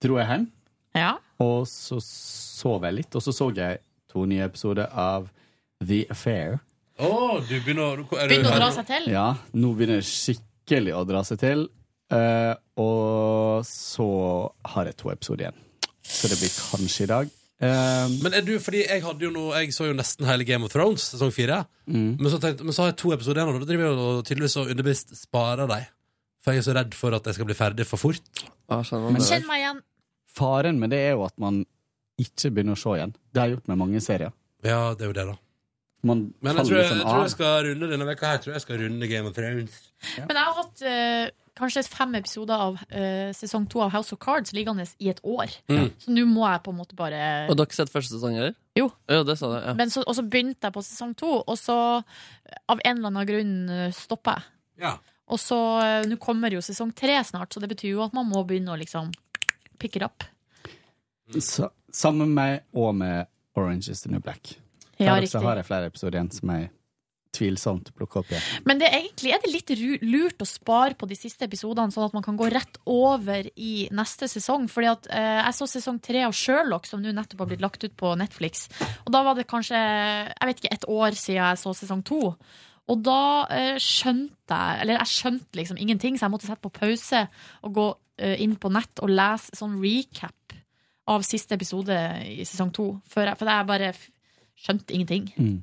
dro jeg hjem,
Ja.
og så sov jeg litt. Og så så jeg to nye episoder av The Affair.
Å, du begynner, å- er du,
Begynner å dra seg til.
Ja, nå begynner det skikkelig å dra seg til. Eh, og så har jeg to episoder igjen. Så det blir kanskje i dag. Eh,
Men er du, fordi jeg hadde jo noe Jeg så jo nesten hele Game of Thrones, sesong fire.
Mm.
Men, så tenkte- men så har jeg to episoder igjen, og da driver jeg og tydeligvis og underbevisst sparer dem. For jeg er så redd for at jeg skal bli ferdig for fort.
Ah,
men
Kjenn meg igjen.
faren med det er jo at man ikke begynner å se igjen. Det har jeg gjort med mange serier.
Ja, det er jo det, da.
Man
Men jeg
faller
tror jeg,
liksom
jeg, tror jeg
av.
skal runde denne veka her. Jeg tror jeg skal runde Game of Thrones.
Men jeg har hatt eh, kanskje fem episoder av eh, sesong to av House of Cards liggende i et år.
Mm.
Så nå må jeg på en måte bare
Og du har ikke sett første sesong heller?
Jo.
det sa du, ja.
Men så, Og så begynte jeg på sesong to, og så eh, av en eller annen grunn eh, stoppa jeg.
Ja.
Og så eh, Nå kommer jo sesong tre snart, så det betyr jo at man må begynne å liksom pick it up.
Sa- Sammen med meg og med Orange is the New Black.
Ja,
Der også
riktig.
har jeg flere episoder igjen som jeg tvilsomt plukker opp igjen.
Men det er egentlig er det litt ru- lurt å spare på de siste episodene, sånn at man kan gå rett over i neste sesong. Fordi at eh, jeg så sesong tre av Sherlock, som nå nettopp har blitt lagt ut på Netflix. Og da var det kanskje jeg vet ikke, et år siden jeg så sesong to. Og da eh, skjønte jeg Eller jeg skjønte liksom ingenting, så jeg måtte sette på pause og gå eh, inn på nett og lese sånn recap av siste episode i sesong to. For jeg, for jeg bare f- skjønte ingenting.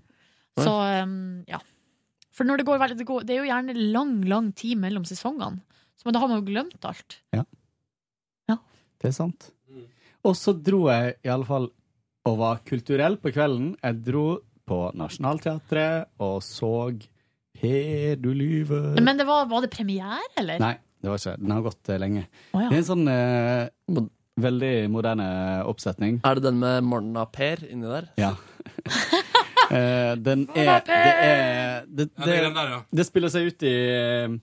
Så um, ja. For når det går veldig det, går, det er jo gjerne lang, lang tid mellom sesongene. Så men da har man jo glemt alt.
Det er sant. Og så dro jeg i alle fall og var kulturell på kvelden. Jeg dro på Nationaltheatret og så Per, du lyver.
Men det var, var det premiere, eller?
Mm. Nei, det var ikke. Den har gått eh, lenge.
Å, ja.
Det er en sånn eh, mod- veldig moderne oppsetning.
Er det den med Morna Per inni der?
Ja. Eh, den er Det er
Ja, det
det, det,
er den der, ja.
det spiller seg ut i, eh,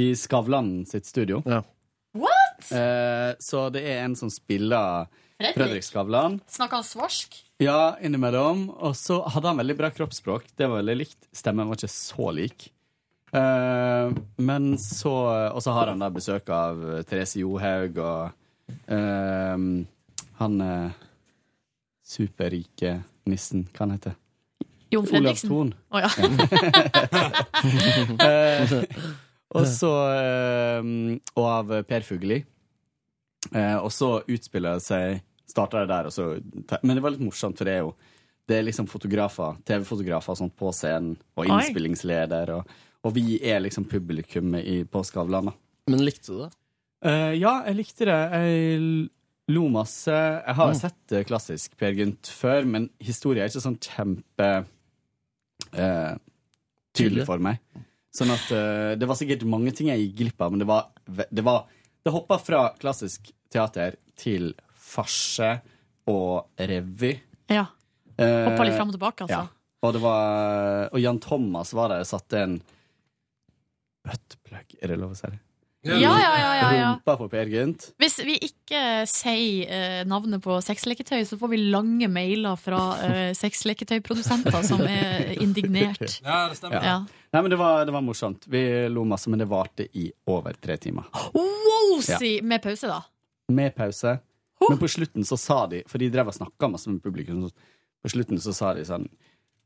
i Skavlan sitt studio.
What?!
Eh, så det er en som spiller
Fredrik?
Fredrik Skavlan.
Snakka han svarsk?
Ja, innimellom. Og så hadde han veldig bra kroppsspråk. Det var veldig likt. Stemmen var ikke så lik. Eh, men så Og så har han da besøk av eh, Therese Johaug og eh, han eh, superrike nissen, hva han heter
Jon Fredriksen?
Olav Thon.
Å, ja.
Eh, og så eh, Og av Per Fugelli. Eh, og så utspiller det seg Starta det der, og så Men det var litt morsomt, for det er jo Det er liksom fotografer, TV-fotografer og sånt på scenen, og
Oi.
innspillingsleder, og, og vi er liksom publikummet i, på Skavlan, da.
Men likte du det?
Eh, ja, jeg likte det. Jeg l- lo masse. Jeg har
Mm.
sett eh, klassisk Per Gynt før, men historien er ikke sånn kjempe eh, tydelig
Tydelig.
for meg. Sånn at eh, det var sikkert mange ting jeg gikk glipp av, men det var ve- Det, var- det hoppa fra klassisk teater til farse og revy.
ja.
Eh,
Hoppa litt fram og tilbake, altså.
Ja. Og, det var, og Jan Thomas var der og satte en buttplug, er det lov å si det?
Ja, ja, ja, ja, ja.
Rumpa på Per Gynt.
Hvis vi ikke sier eh, navnet på sexleketøy, så får vi lange mailer fra eh, sexleketøyprodusenter som er
(laughs)
indignert.
Ja, det stemmer.
Ja.
Nei, men det var, det var morsomt. Vi lo masse, men det varte i over tre timer.
Wow, si, med pause, da.
Med pause. Men på slutten så sa de, for de drev og snakka masse med publikum, så på slutten så sa de sånn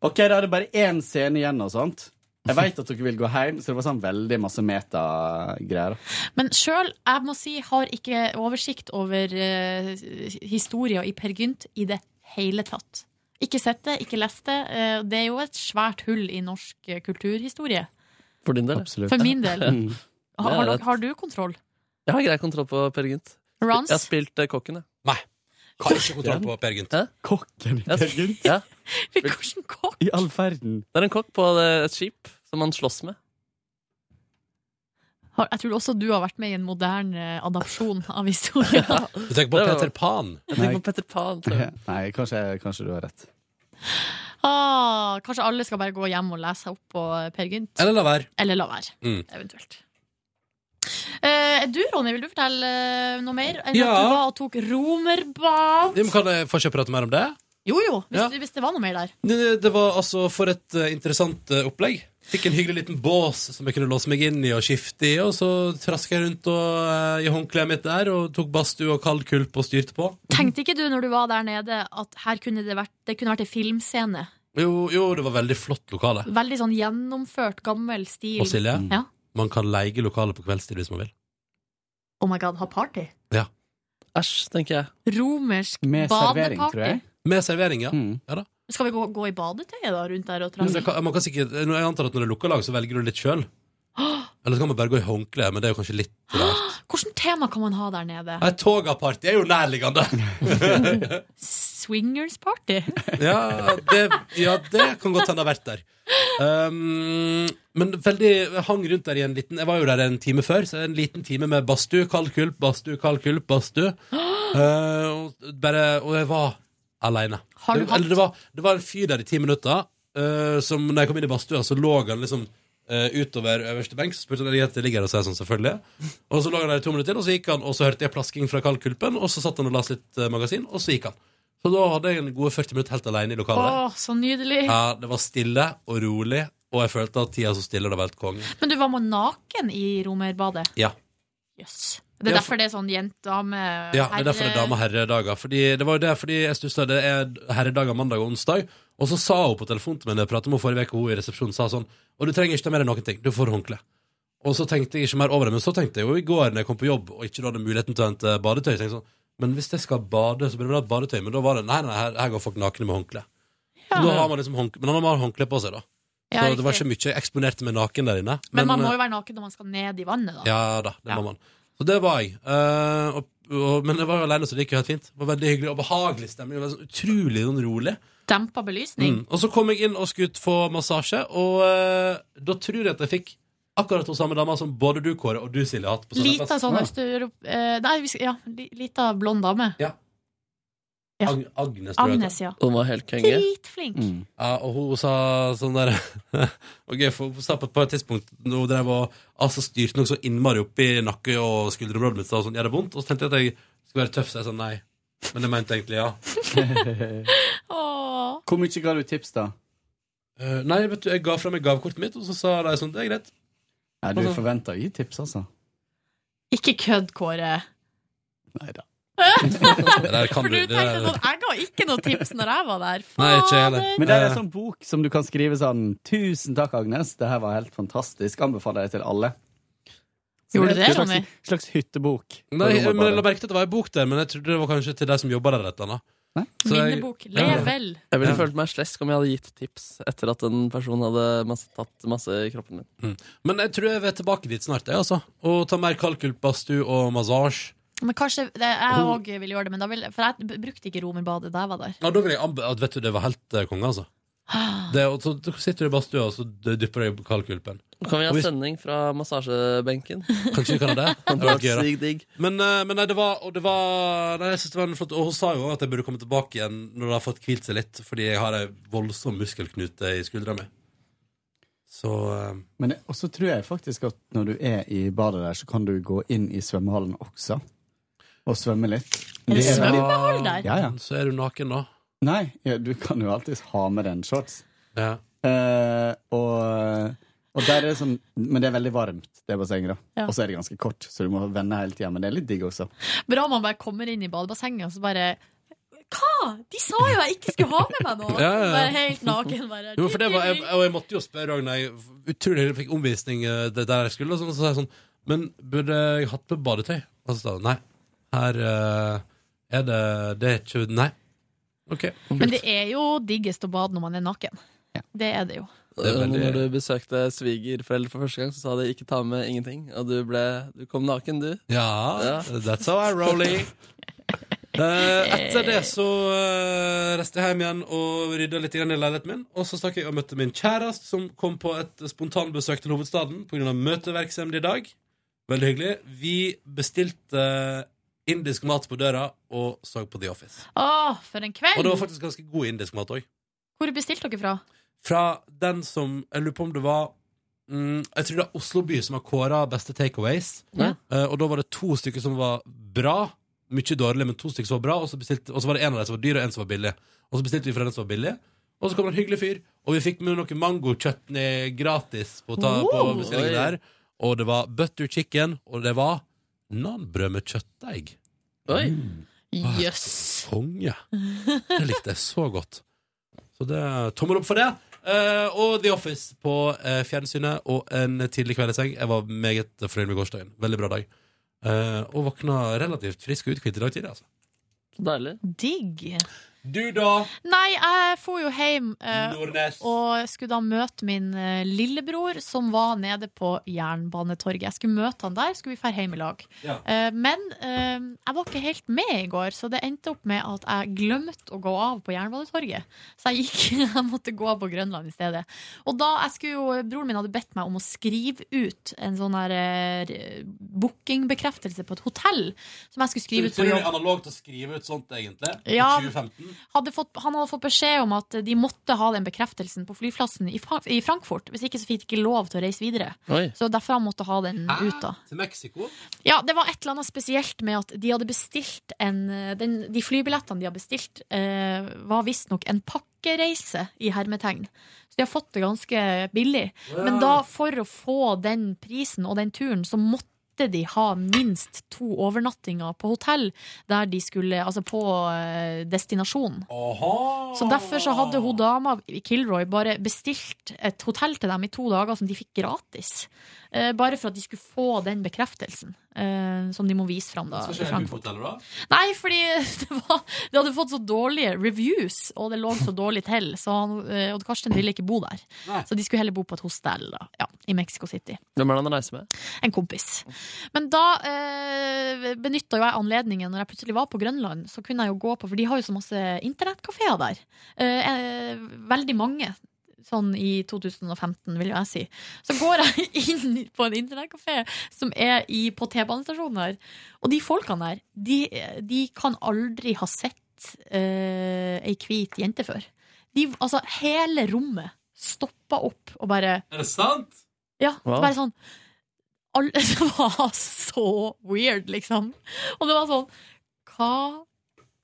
OK, da er det bare én scene igjen og sånt. Jeg veit at dere vil gå hjem, så det var sånn veldig masse metagreier.
Men sjøl, jeg må si, har ikke oversikt over uh, historia i Per Gynt i det hele tatt. Ikke sett det, ikke lest det. Eh, det er jo et svært hull i norsk eh, kulturhistorie.
For din del.
For min del.
(laughs) Mm.
Har,
Det er
har,
rett.
dere- har du kontroll?
Jeg har grei kontroll på Per Gynt.
Rans?
Jeg har spilt eh, kokken, jeg.
Nei. Har ikke kontroll på Per Gynt.
Kokken i Per Gynt?
Ja.
(laughs) Hvilken kokk?
I all verden.
Det er en kokk på eh, et skip som han slåss med.
Har, jeg tror også du har vært med i en moderne eh, adopsjon av historien.
(laughs)
Du tenker på
Det var-
Peter Pan?
Jeg tenker på
Peter Pan.
Nei, kanskje, kanskje du har rett.
Ah, kanskje alle skal bare gå hjem og lese seg opp på eh, Per Gynt?
Eller la være.
Eller la være,
Mm.
eventuelt. Eh, du, Ronny, vil du fortelle eh, noe mer? Enn
Ja.
at du var og tok romerbad?
Ja, men Kan jeg få ikke prate mer om det?
Jo jo, hvis,
Ja.
du- hvis det var noe mer der.
Det, det var altså for et eh, interessant eh, opplegg. Fikk en hyggelig liten bås som jeg kunne låse meg inn i og skifte i. Og så traska jeg rundt og, eh, i håndkleet mitt der og tok badstue og kald kulp og styrte på.
Tenkte ikke du når du var der nede, at her kunne det vært, det kunne vært en filmscene?
Jo, jo, det var veldig flott lokale.
Veldig sånn gjennomført, gammel stil.
Og Silje,
Ja.
man kan leie lokalet på kveldstid hvis man vil.
Oh my god, ha party?
Ja.
Æsj, tenker jeg.
Romersk
Med servering,
badeparty?
tror jeg. Med servering, ja.
Mm.
ja da.
Skal vi gå, gå i badetøyet da, rundt der og
Men det
traske?
kan, man kan sikkert, jeg antar at når det er lukka lag, så velger du litt sjøl.
Åh,
Eller så kan man bare gå i håndkle, men det er jo kanskje litt rart.
Hvilket tema kan man ha der nede?
Nei, Togaparty er jo nærliggende!
Swingers party?
ja, det, ja, det kan godt hende det har vært der. Um, men veldig jeg hang rundt der i en liten Jeg var jo der en time før, så en liten time med badstue, kald kulp, badstue, kald kulp, badstue. Eh, og bare Og jeg var aleine.
Har du hatt-
Eller det var, det var en fyr der i ti minutter, eh, som når jeg kom inn i badstua, så lå han liksom eh, utover øverste benk, så spurte han om jeg ligger der, og så er jeg sånn, selvfølgelig. Og så lå han der i to minutter til, og så gikk han, og så hørte jeg plasking fra kaldkulpen, og så satt han og las litt eh, magasin, og så gikk han. Så da hadde jeg en gode 40 minutter helt aleine i
Å,
lokalet.
så nydelig.
Ja, det var stille og rolig, og jeg følte at tida så stille, det var helt konge.
Men du var med naken i romerbadet?
Ja.
Jøss. Det er
Ja, for-
derfor det er sånn jentedame
Ja, det er derfor det er dame- og herredager. Fordi det var jo det, fordi jeg stussa det er herredager mandag og onsdag. Og så sa hun på telefonen til meg når jeg pratet med henne forrige uke, hun i resepsjonen sa sånn Og du trenger ikke ta med deg noen ting, du får håndkle. Og så tenkte jeg ikke mer over det, men så tenkte jeg jo i går når jeg kom på jobb og ikke da hadde muligheten til å hente badetøy, tenkte jeg sånn Men hvis jeg skal bade, så burde jeg ha badetøy. Men da var det nei, nei, her, her går folk nakne med håndkle.
Ja.
Da har man liksom håndkle, men han har håndkle på seg, da.
Ja,
Så det var
riktig.
ikke mye jeg eksponerte meg naken der inne. eh,
Men man må jo være naken når man skal ned i vannet, da.
Ja da, det må man. Så det var jeg. Eh, og, og, men jeg var jo alene, så det gikk jo helt fint. Det var Veldig hyggelig og behagelig stemning. Det var sånn Utrolig sånn rolig.
Dempa belysning.
Mm. Og så kom jeg inn og skulle ut få massasje, og eh, da tror jeg at jeg fikk akkurat hun samme dama som både du, Kåre, og du, Silje, har hatt. på sånne
Lita
fest.
sånn østeurope... eh, Nei, vi skal, ja, li- lita blond dame.
Ja.
Ja.
Ag Agnes, tror jeg
Agnes,
det
ja.
heter.
Hun var helt
Dritflink.
Ja, og hun sa sånn der (laughs) Ok, for hun sa på et par tidspunkt Når hun drev og altså, styrte noe så innmari opp i nakke og skulderområdet mitt Så sånn, gjør det vondt? Og så tenkte jeg at jeg skulle være tøff Så jeg sa nei Men jeg mente egentlig ja
Hvor mye ga du tips, da?
Eh, Nei, vet du, jeg ga frem meg gavkortet mitt Og så sa de sånn, det er greit
Nei, du forventa å gi tips, altså.
Ikke kødd, Kåre.
Nei da.
der kan
For du
du- det der-
tenkte sånn Jeg ga ikke noe tips når jeg var der.
Nei, ikke jeg heller.
Men det er en sånn bok som du kan skrive sånn Tusen takk, Agnes, det her var helt fantastisk. Anbefaler jeg til alle. Så
Gjorde
er
du det,
en slags,
Ronny?
Slags hyttebok.
Eh, Nei, men jeg la merke til at det var en bok der Men jeg trodde det var kanskje til deg som jobbet der eller noe
Minnebok. Lev vel.
Jeg ville
Ja.
følt meg slesk om jeg hadde gitt tips etter at en person hadde masse, tatt masse i kroppen min.
Men jeg tror jeg vil tilbake dit snart, jeg altså Og ta mer kalkulpastu og massasje
Men kanskje det, jeg òg vil gjøre det, men da vil, for jeg b- brukte ikke romerbadet da jeg var der.
Ja, da vil jeg anbe- at Vet du, det var helt eh, konge, altså det, og så sitter du i badstua og så dypper du i kalkulpen.
Kan vi ha
Og hvis-
sending fra (laughs) massasjebenken?
Kanskje vi kan ha
(laughs)
det? Det
Det
hadde
hadde
vært gøy, da.
vært sykt digg.
Men, eh, men nei, det var, og det var nei, jeg synes det var en flott Og hun sa jo også at jeg burde komme tilbake igjen når det har fått hvilt seg litt, fordi jeg har ei voldsom muskelknute i skuldra mi. Så eh,
Men jeg- også tror jeg faktisk at når du er i badet der, så kan du gå inn i svømmehallen også. Og svømme litt.
Er det
veldig-
svømmehall der?
Ja, ja.
Så er du naken da?
Nei, ja, du kan jo alltids ha med den shorts.
Ja.
Eh, og, og der er det sånn Men det er veldig varmt, det bassenget, da.
Ja.
Og så er det ganske kort, så du må vende hele tida. Men det er litt digg også.
Bra man bare kommer inn i badebassenget og så bare Hva?! De sa jo jeg ikke skulle ha med meg
(laughs)
noe!
Ja, ja, ja.
Bare helt naken. Bare.
Jo, for det var, jeg, og jeg måtte jo spørre Ragna jeg Utrolig jeg fikk omvisning eh, det der jeg skulle og sånn, Så sa jeg sånn, men burde jeg hatt på badetøy? Og så sa hun, nei Her eh, er det, det er ikke, nei Ok,
Men det er jo diggest å bade når man er naken. Det er det jo.
Det er veldig-
Når du besøkte svigerforeldre for første gang, så sa de 'ikke ta med ingenting', og du, ble, du kom naken, du.
Ja, that's how I roll it. Eh, etter det så eh, reiste jeg hjem igjen og rydda litt grann i leiligheten min. Og så stakk jeg og møtte min kjæreste, som kom på et spontanbesøk til hovedstaden pga. møteverksemd i dag. Veldig hyggelig. Vi bestilte eh, indisk mat på døra og så på The Office.
Å, for en kveld!
Og det var faktisk ganske god indisk mat òg.
Hvor bestilte dere fra?
Fra den som Jeg lurer på om det var mm, Jeg tror det er Oslo by som har kåra beste takeaways.
Ja.
Eh, og da var det to stykker som var bra. Mye dårlig, men to stykker som var bra. Og så, bestilte, og så var det en av dem som var dyr, og en som var billig. Og så bestilte vi fra den som var billig. Og så kom det en hyggelig fyr, og vi fikk med noe mangokjøttnøy gratis på, ta, på
Wow.
bestillingen
Oi.
der. Og det var butter chicken, og det var nanbrød med kjøttdeig.
Oi.
Åh, Konge. Det likte jeg så godt. Så det tommel opp for det. Eh, og The Office på eh, fjernsynet og en tidlig kveld i seng. Jeg var meget fornøyd med gårsdagen. Veldig bra dag. Eh, og våkna relativt frisk og uthvilt i dag tidlig, altså.
Deilig.
Digg.
Du, da?
Nei, jeg for jo hjem eh,
Nordnes.
og skulle da møte min eh, lillebror, som var nede på Jernbanetorget. Jeg skulle møte han der, skulle vi dra hjem i lag.
Ja.
Eh, men eh, jeg var ikke helt med i går, så det endte opp med at jeg glemte å gå av på Jernbanetorget. Så jeg gikk, (laughs) jeg måtte gå av på Grønland i stedet. Og da jeg skulle jo, broren min hadde bedt meg om å skrive ut en sånn her eh, bookingbekreftelse på et hotell, som jeg skulle skrive ut på jobb.
analogt å skrive ut sånt, egentlig?
Ja. 2015? hadde fått, han hadde fått beskjed om at de måtte ha den bekreftelsen på flyplassen i, Fra- i Frankfurt. Hvis ikke så fikk de ikke lov til å reise videre.
Oi.
Så derfor han måtte ha den
Ah.
ut. da
Til Mexico?
Ja, Det var et eller annet spesielt med at de hadde bestilt en den, De flybillettene de hadde bestilt, eh, var visstnok en pakkereise, i hermetegn. Så de har fått det ganske billig.
Ja.
Men da, for å få den prisen og den turen, så måtte de ha minst to overnattinger på hotell der de skulle, altså på eh, destinasjonen. Så derfor så hadde hun dama i Kilroy bare bestilt et hotell til dem i to dager som de fikk gratis. Eh, Bare for at de skulle få den bekreftelsen eh, som de må vise fram da, i Frankfurt.
da?
Nei, fordi (laughs) det, var, det hadde fått så dårlige reviews, og det lå så dårlig til, så han, eh, Odd Karsten ville ikke bo der. Så de skulle heller bo på et hostell da, ja, i Mexico City.
Hvem er det han reiser med?
En kompis. Men da eh, benytta jo jeg anledningen, når jeg plutselig var på Grønland, så kunne jeg jo gå på, for de har jo så masse internettkafeer der. Eh, eh, veldig mange. Sånn i 2015, vil jo jeg si. Så går jeg (laughs) inn på en internettkafé som er i, på T-banestasjonen her. Og de folkene der, de, de kan aldri ha sett eh, ei hvit jente før. De, altså, hele rommet stoppa opp og bare
Er det sant?
ja, det
Wow.
bare sånn all, (laughs) Det var så weird, liksom. Og det var sånn Hva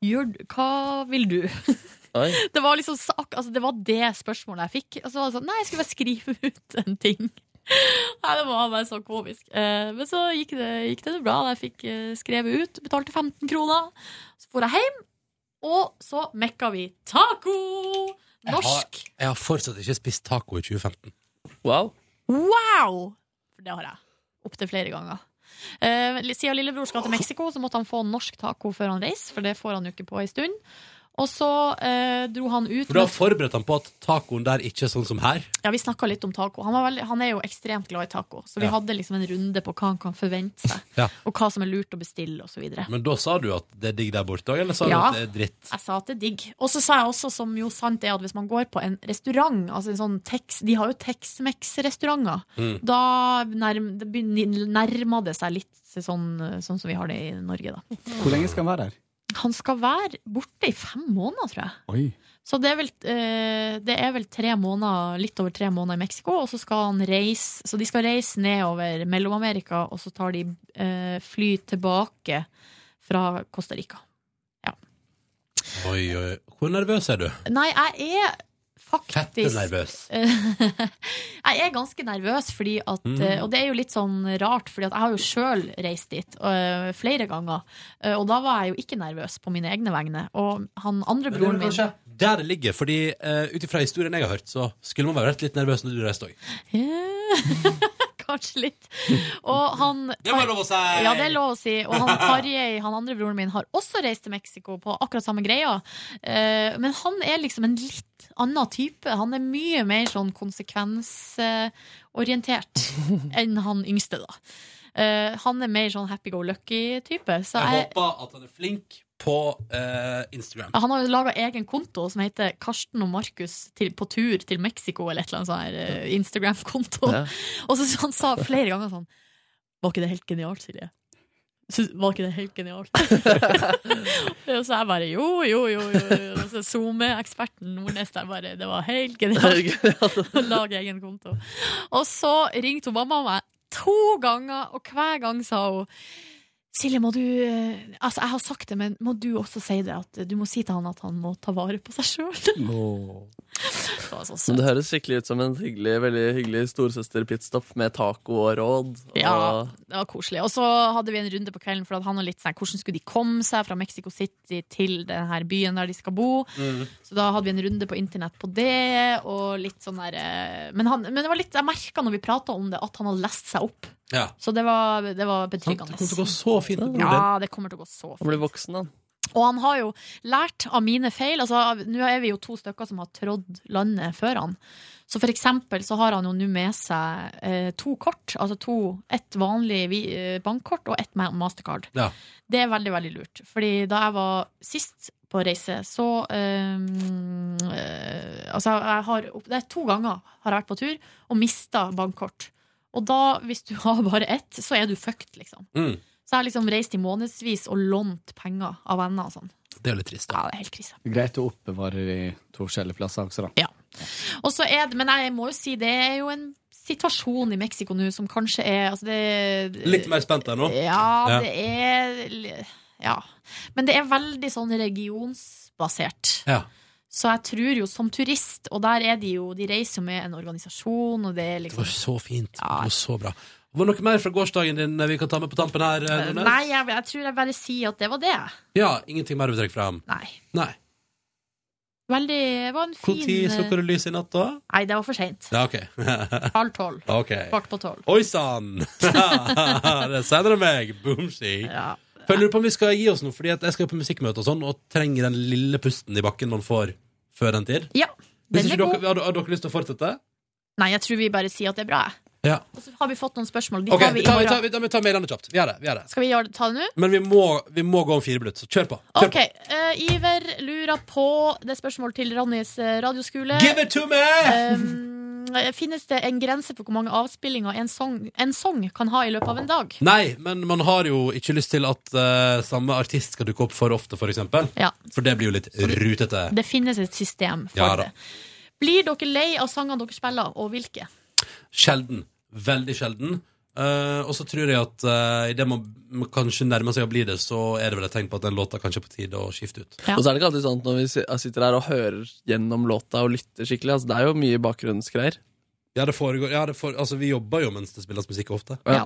gjør du? Hva vil du? (laughs)
Oi.
Det var liksom sak- altså, Det var det spørsmålet jeg fikk. Og så var det sånn Nei, jeg skulle bare skrive (laughs) ut en ting. Nei, Det var bare så komisk. Eh, Men så gikk det, gikk det bra. Jeg fikk eh, skrevet ut, betalte 15 kroner. Så for jeg hjem, og så mekka vi taco! Norsk.
Jeg har, jeg har fortsatt ikke spist taco i 2015.
Wow.
Wow! For det har jeg. Opptil flere ganger. Eh, siden lillebror skal til Mexico, så måtte han få norsk taco før han reiser. For det får han jo ikke på en stund. Og så eh, dro han ut
For da
med-
forberedte han på at tacoen der ikke er sånn som her.
Ja, Vi snakka litt om taco. Han, var veldig, han er jo ekstremt glad i taco. Så vi
Ja.
hadde liksom en runde på hva han kan forvente seg,
Ja.
og hva som er lurt å bestille, osv.
Men da sa du at det er digg der borte òg, eller sa
Ja.
du at det er dritt?
Jeg sa at det er digg. Og så sa jeg også, som jo sant er, at hvis man går på en restaurant altså en sånn tex, De har jo Tex-Mex-restauranter.
Mm.
Da nærm, det begyn- nærmer det seg litt sånn, sånn som vi har det i Norge, da.
Hvor lenge skal han være der?
Han skal være borte i fem måneder, tror jeg.
Oi.
Så det er vel, eh, det er vel tre måneder, litt over tre måneder i Mexico, og så skal han reise Så de skal reise nedover Mellom-Amerika, og så tar de eh, fly tilbake fra Costa Rica.
Oi, oi. Hvor nervøs er du?
Nei, jeg er faktisk
Nervøs.
(laughs) jeg er ganske nervøs, fordi at,
Mm.
eh, og det er jo litt sånn rart, fordi at jeg har jo sjøl reist dit eh, flere ganger. eh, og da var jeg jo ikke nervøs på mine egne vegne. Og han andre
Men det er
broren
vel
min
kanskje Der det ligger, fordi uh, ut ifra historien jeg har hørt, så skulle man være litt nervøs når du reiste òg.
(laughs) Kanskje litt. Og han
Det må jeg lov å si!
Ja, det er lov å si. Og han Tarjei, han andre broren min, har også reist til Mexico på akkurat samme greia. Eh, Men han er liksom en litt annen type. Han er mye mer sånn konsekvensorientert enn han yngste, da. Eh, Han er mer sånn happy-go-lucky-type. Så
Jeg
jeg,
håper at han er flink på eh, Instagram.
han har jo laga egen konto som heter Karsten og Markus til, på tur til Mexico, eller et eller annet sånn her, eh, Instagram-konto. (laughs) Og så så han sa flere ganger sånn Var ikke det helt genialt, Silje? Syns- Var ikke det helt genialt? og så jeg bare jo, jo, jo. jo. jo. Og så SoMe-eksperten Nordnes der bare Det var helt
(laughs)
genialt. (laughs) Å lage egen konto. Og så ringte hun mamma meg to ganger, og hver gang sa hun Silje, må du eh, Altså, jeg har sagt det, men må du også si det? At du må si til han at han må ta vare på seg (laughs) sjøl.
Men det høres skikkelig ut som en hyggelig, veldig hyggelig storsøster-pitstop med taco og råd. Og
Ja, det var koselig. Og så hadde vi en runde på kvelden, for at han var litt sånn hvordan skulle de komme seg fra Mexico City til den her byen der de skal bo.
Mm.
Så da hadde vi en runde på internett på det, og litt sånn der eh, Men, han, men det var litt, jeg merka når vi prata om det, at han hadde lest seg opp.
Ja.
Så det var, det var
Sant?
betryggende.
Det kommer til å gå så fint med broren
Ja,
din.
det kommer til å gå så
Han blir voksen, han.
og han har jo lært av mine feil. Altså, Nå er vi jo to stykker som har trådd landet før han. Så for eksempel så har han jo nå med seg eh, to kort. Altså to, et vanlig vi- eh, bankkort og et ma- mastercard.
Ja.
Det er veldig, veldig lurt. Fordi da jeg var sist på reise, så eh, eh, Altså, jeg har opp, det er to ganger har jeg vært på tur og mista bankkort. Og da, hvis du har bare ett, så er du fucked, liksom.
Mm.
Så jeg har liksom reist i månedsvis og lånt penger av venner og sånn.
Det er jo litt trist,
da. Ja, det er helt krise.
Greit å oppbevare de to forskjellige plasser også, da.
Og så er det, men jeg må jo si, det er jo en situasjon i Mexico nå som kanskje er altså det,
Litt mer spent der nå?
Ja, det er Ja. Men det er veldig sånn regionsbasert.
Ja.
Så jeg tror jo som turist, og der er de jo De reiser jo med en organisasjon, og det er
Det
liksom
var så fint. Det var så bra. Var det noe mer fra gårsdagen din vi kan ta med på tampen her? eh, Nordnes?
Nei, jeg, jeg tror jeg bare sier at det var det.
Ja, ingenting mer du trekker fram?
Nei.
Nei.
Veldig Det var en fin eh,
Når slukker du lyset i natt, da?
Nei, det var for seint.
Ja, OK. (laughs)
Halv tolv.
Ok.
Kvart på tolv.
Oi sann! (laughs) det sender det meg! Boomsy. Føler du på om vi skal gi oss nå, fordi at jeg skal på musikkmøte og sånn, og trenger den lille pusten i bakken man får før den tid?
Ja.
Hvis
Den er
ikke dere, har, har dere lyst til å fortsette?
Nei, jeg tror vi bare sier at det er bra. jeg.
Ja.
Og så har vi fått noen spørsmål. De
Ok,
tar vi
vi
i
tar, vi tar,
morgen.
vi tar, vi tar mailene kjapt. Vi gjør det. vi gjør det
Skal vi gjøre det- ta det nå?
Men vi må, vi må gå om fire minutter, så kjør på. Kjør
Ok, eh, Iver lurer på Det er spørsmål til Ronnys eh, radioskole.
Give it to me!
Eh, finnes det en grense for hvor mange avspillinger en song, en song kan ha i løpet av en dag?
på. Nei, men man har jo ikke lyst til at eh, samme artist skal dukke opp for ofte, for eksempel.
Ja.
For det blir jo litt rutete.
Det finnes et system for
Ja da.
det. Blir dere lei av sangene dere spiller, og hvilke?
Sjelden. Veldig sjelden. Eh, og så tror jeg at uh, idet man man kanskje nærmer seg å bli det, så er det vel et tegn på at den låta kanskje er på tide å skifte ut.
Og så er det ikke alltid sånn at når vi si- sitter her og hører gjennom låta og lytter skikkelig altså Det er jo mye bakgrunnsgreier.
Ja, det foregår ja, det for, Altså, vi jobber jo mens det spilles musikk ofte.
Ja.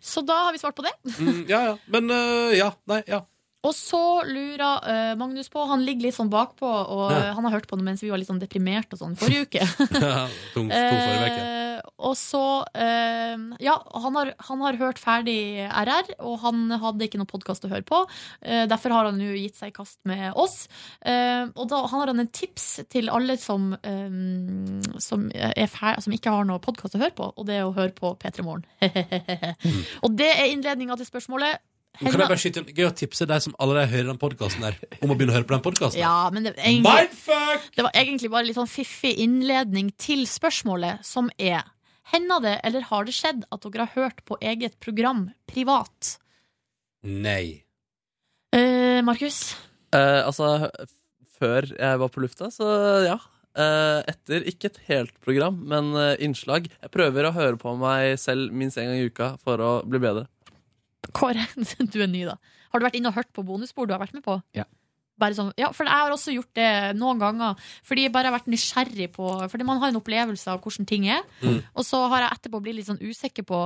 Så da har vi svart på det.
Mm, ja, ja. Men eh, ja. Nei, (laughs) ja.
Og så lurer eh, Magnus på Han ligger litt sånn bakpå, og
Ja.
eh, han har hørt på det mens vi var litt sånn deprimert og sånn forrige uke.
Tung, tung forrige uke.
Eh, og så eh, Ja, han har, han har hørt ferdig RR, og han hadde ikke noen podkast å høre på. Eh, derfor har han jo gitt seg i kast med oss. Eh, og da har han en tips til alle som, eh, som, er fer som ikke har noen podkast å høre på, og det er å høre på P3 Morgen. (laughs)
Mm.
og det er innledninga til spørsmålet.
Men Kan jeg bare skyte inn Gøy å tipse deg som allerede hører den podkasten her, om å begynne å høre på den podkasten.
Ja, men det, egentlig, det var egentlig bare litt sånn fiffig innledning til spørsmålet, som er Hender det, eller har det skjedd, at dere har hørt på eget program privat?
Nei.
Eh, Markus?
Eh, altså, f- før jeg var på lufta, så ja. Eh, etter ikke et helt program, men eh, innslag. Jeg prøver å høre på meg selv minst én gang i uka for å bli bedre.
Kåre, (laughs) du er ny, da. Har du vært inne og hørt på bonusbord du har vært med på?
Ja.
Bare sånn, ja, for jeg har også gjort det noen ganger. Fordi jeg bare har vært nysgjerrig på Fordi man har en opplevelse av hvordan ting er. Og så har jeg etterpå blitt litt sånn usikker på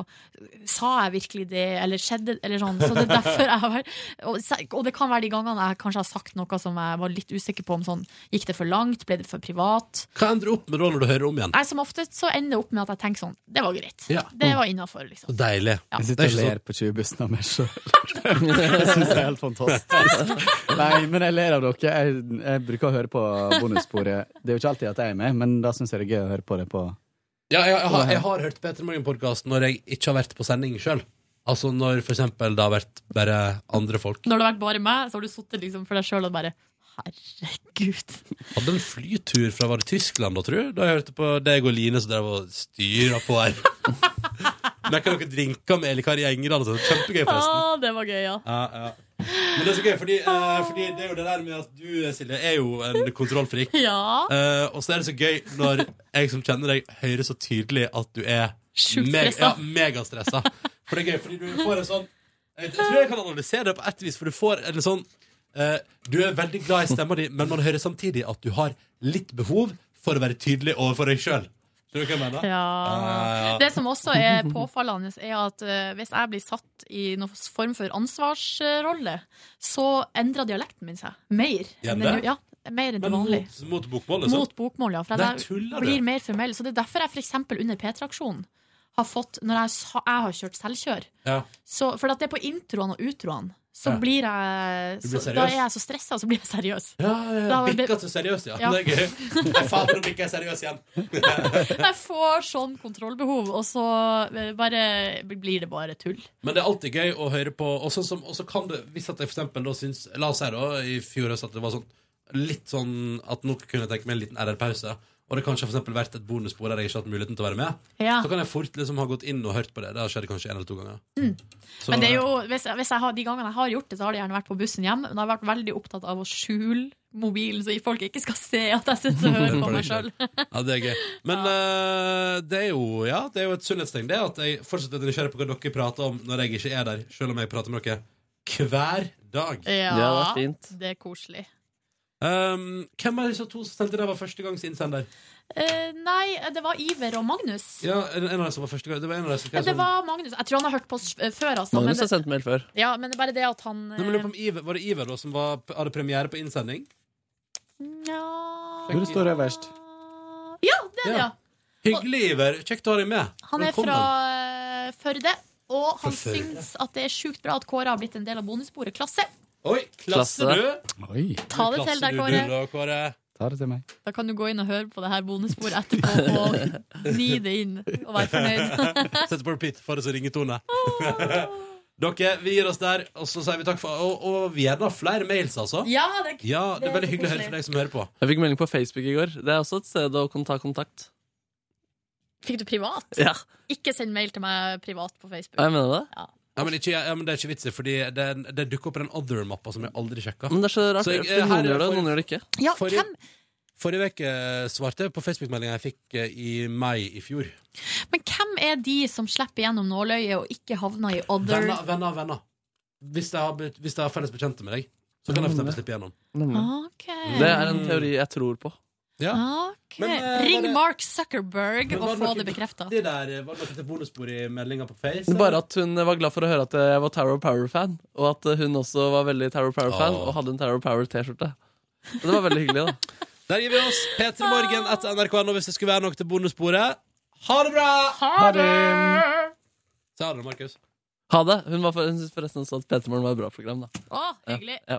Sa jeg virkelig det, eller skjedde eller sånn. Så det er derfor jeg har og, se- og det kan være de gangene jeg kanskje har sagt noe som jeg var litt usikker på om sånn Gikk det for langt? Ble det for privat?
Hva ender du opp med da når du hører om igjen?
Nei, som ofte så ender det opp med at jeg tenker sånn Det var greit.
Ja.
Det var innafor, liksom.
Så deilig.
Ja.
Det er
Jeg sitter og
ikke
(laughs)
ler på 20-bussen av meg sjøl. Det syns jeg er helt fantastisk. (laughs) Nei, men jeg ler av dere. Jeg, jeg bruker å høre på bonussporet. Det er jo ikke alltid at jeg er med, men da syns jeg det er gøy å høre på det på
Ja, jeg, jeg, har, jeg har hørt Peter Morgen-podkast når jeg ikke har vært på sending sjøl. Altså når for eksempel det har vært bare andre folk.
Når det har vært bare meg, så har du sittet liksom for deg sjøl og bare
(laughs)
Herregud.
Hadde en flytur fra var det Tyskland, da, tror jeg. Da jeg hørte på deg og Line som drev og styra på her. Merka dere drinker med Elikar i Engerdal og sånn. Kjempegøy, forresten.
Ah, det var gøy, ja.
Ja, ja. Men det er så gøy, fordi, eh, fordi det er jo det der med at du, Silje, er jo en kontrollfrik.
Ja.
Eh, og så er det så gøy når jeg som kjenner deg, hører så tydelig at du er
Sjukt
meg-
stressa.
ja, megastressa. For det er gøy, fordi du får en sånn Jeg tror jeg kan analysere det på et vis, for du får en sånn eh, Du er veldig glad i stemma di, men man hører samtidig at du har litt behov for å være tydelig overfor deg sjøl. Skjønner du hva jeg mener? Ja, ja, ja.
Det som også er påfallende, er at eh, hvis jeg blir satt i noen form for ansvarsrolle, så endrer dialekten min seg. Mer.
Gjør
enn
det?
den jo- Ja, mer enn det
Men
vanlige.
mot, mot bokmål, liksom?
Mot bokmål, ja. For
Nei,
at
tuller
jeg
du?
blir mer formell. Så det er derfor jeg f.eks. under P3-aksjonen har fått Når jeg, sa- jeg har kjørt selvkjør
Ja.
så, For at det er på introene og utroene. Så
Ja.
blir jeg
Du
så,
blir
Da
seriøs.
er jeg så stressa, så blir jeg seriøs.
(laughs) Ja, ja,
Da-
Bikka til seriøst, ja.
Ja.
Det er gøy. Nei, faen, nå bikka jeg seriøs igjen.
Jeg får sånn kontrollbehov, og så eh, bare, blir det bare tull.
Men det er alltid gøy å høre på. Og sånn som- og så kan det, hvis at jeg for eksempel da syns La oss si da, i fjor høst at det var sånn litt sånn at nå kunne jeg tenke meg en liten RR-pause. Og det kanskje har for eksempel vært et bonusbord der jeg ikke har hatt muligheten til å være med.
Ja.
Så kan jeg fort liksom ha gått inn og hørt på det. Det har skjedd kanskje en eller to ganger.
Mm.
Så-
Men det er jo, hvis, hvis jeg har, de gangene jeg har gjort det, så har det gjerne vært på bussen hjem. Men jeg har vært veldig opptatt av å skjule mobilen, så folk ikke skal se at jeg sitter
(laughs)
og hører på meg (laughs) sjøl.
Ja, det er gøy. Men eh, det, er jo, ja, det er jo et sunnhetstegn, det. At jeg fortsetter å være nysgjerrig på hva dere prater om når jeg ikke er der. Selv om jeg prater med dere hver dag.
Ja, det er koselig.
Um, hvem er disse to som sendte det var førstegangsinnsender?
Eh, nei, det var Iver og Magnus.
Ja, en, en av dem som var første gang. Det sånn- var en av dem som
Men det var Magnus. Jeg tror han har hørt på oss eh, før, altså.
Magnus
men
har
det,
sendt mail før.
ja, men det er bare det at han
Nei, men lurer på om Iver, var det Iver da som var, hadde premiere på innsending?
Jo, det står øverst.
Ja, det er det, ja.
Hyggelig, Iver. Kjekt å ha deg med.
Han er
Velkommen.
fra eh, Førde, og han
Fra Førde.
syns at det er sjukt bra at Kåre har blitt en del av bonussporet. Klasse!
Oi, klasse, du!
Oi.
Ta det til deg,
Klasse du, du
Kåre.
da, Kåre.
(laughs)
Ta det til meg.
Da kan du gå inn og høre på det her bonussporet etterpå og gni det inn og være fornøyd.
Sette på repeat for det som ringetone. (laughs) Dere, vi gir oss der, og så sier vi takk for Og, og vi gjerne har flere mails, altså.
Ja, det,
Ja, det er veldig
så
hyggelig å høre
koselig.
fra deg som hører på.
Jeg fikk melding på Facebook i går. Det er også et sted å kon- ta kontakt.
Fikk du privat?
Ja,
Ikke send mail til meg privat på Facebook.
jeg mener det.
Ja, men, ikke, ja, men Det er ikke vits i, fordi det, det dukker opp i den other-mappa som jeg aldri sjekka.
Mm.
Men det er så rart,
jeg-
fordi
her
noen
er
gjør det,
for-
noen gjør det ikke.
Ja,
forrige-
hvem?
Forrige uke eh, svarte jeg på Facebook-meldinga jeg fikk eh, i mai i fjor.
Men hvem er de som slipper gjennom nåløyet og ikke havner i other?
Venner, venner, venner. Hvis jeg har, be- hvis jeg har felles bekjente med deg, så kan jeg for eksempel slippe gjennom.
Ok.
Det er en teori jeg tror på.
Ja.
Ok.
Men, eh, var
Ring
det-
Mark Zuckerberg og få det bekrefta.
Det der eh, var noe til bonusbord i meldinga på Face.
Men Bare at hun var glad for å høre at jeg var Tower of Power-fan, og at hun også var veldig Tower of Power-fan
Åh.
og hadde en Tower of Power-T-skjorte. Og Det var veldig hyggelig, da.
Der gir vi oss. P3 Morgen etter NRK nå hvis det skulle være noe til bonusbordet. Ha det bra!
Ha det!
Sa du det, Markus?
Ha det. Hun, var for, hun syntes forresten også at P3 Morgen var et bra program, da.
Å, hyggelig.
Ja.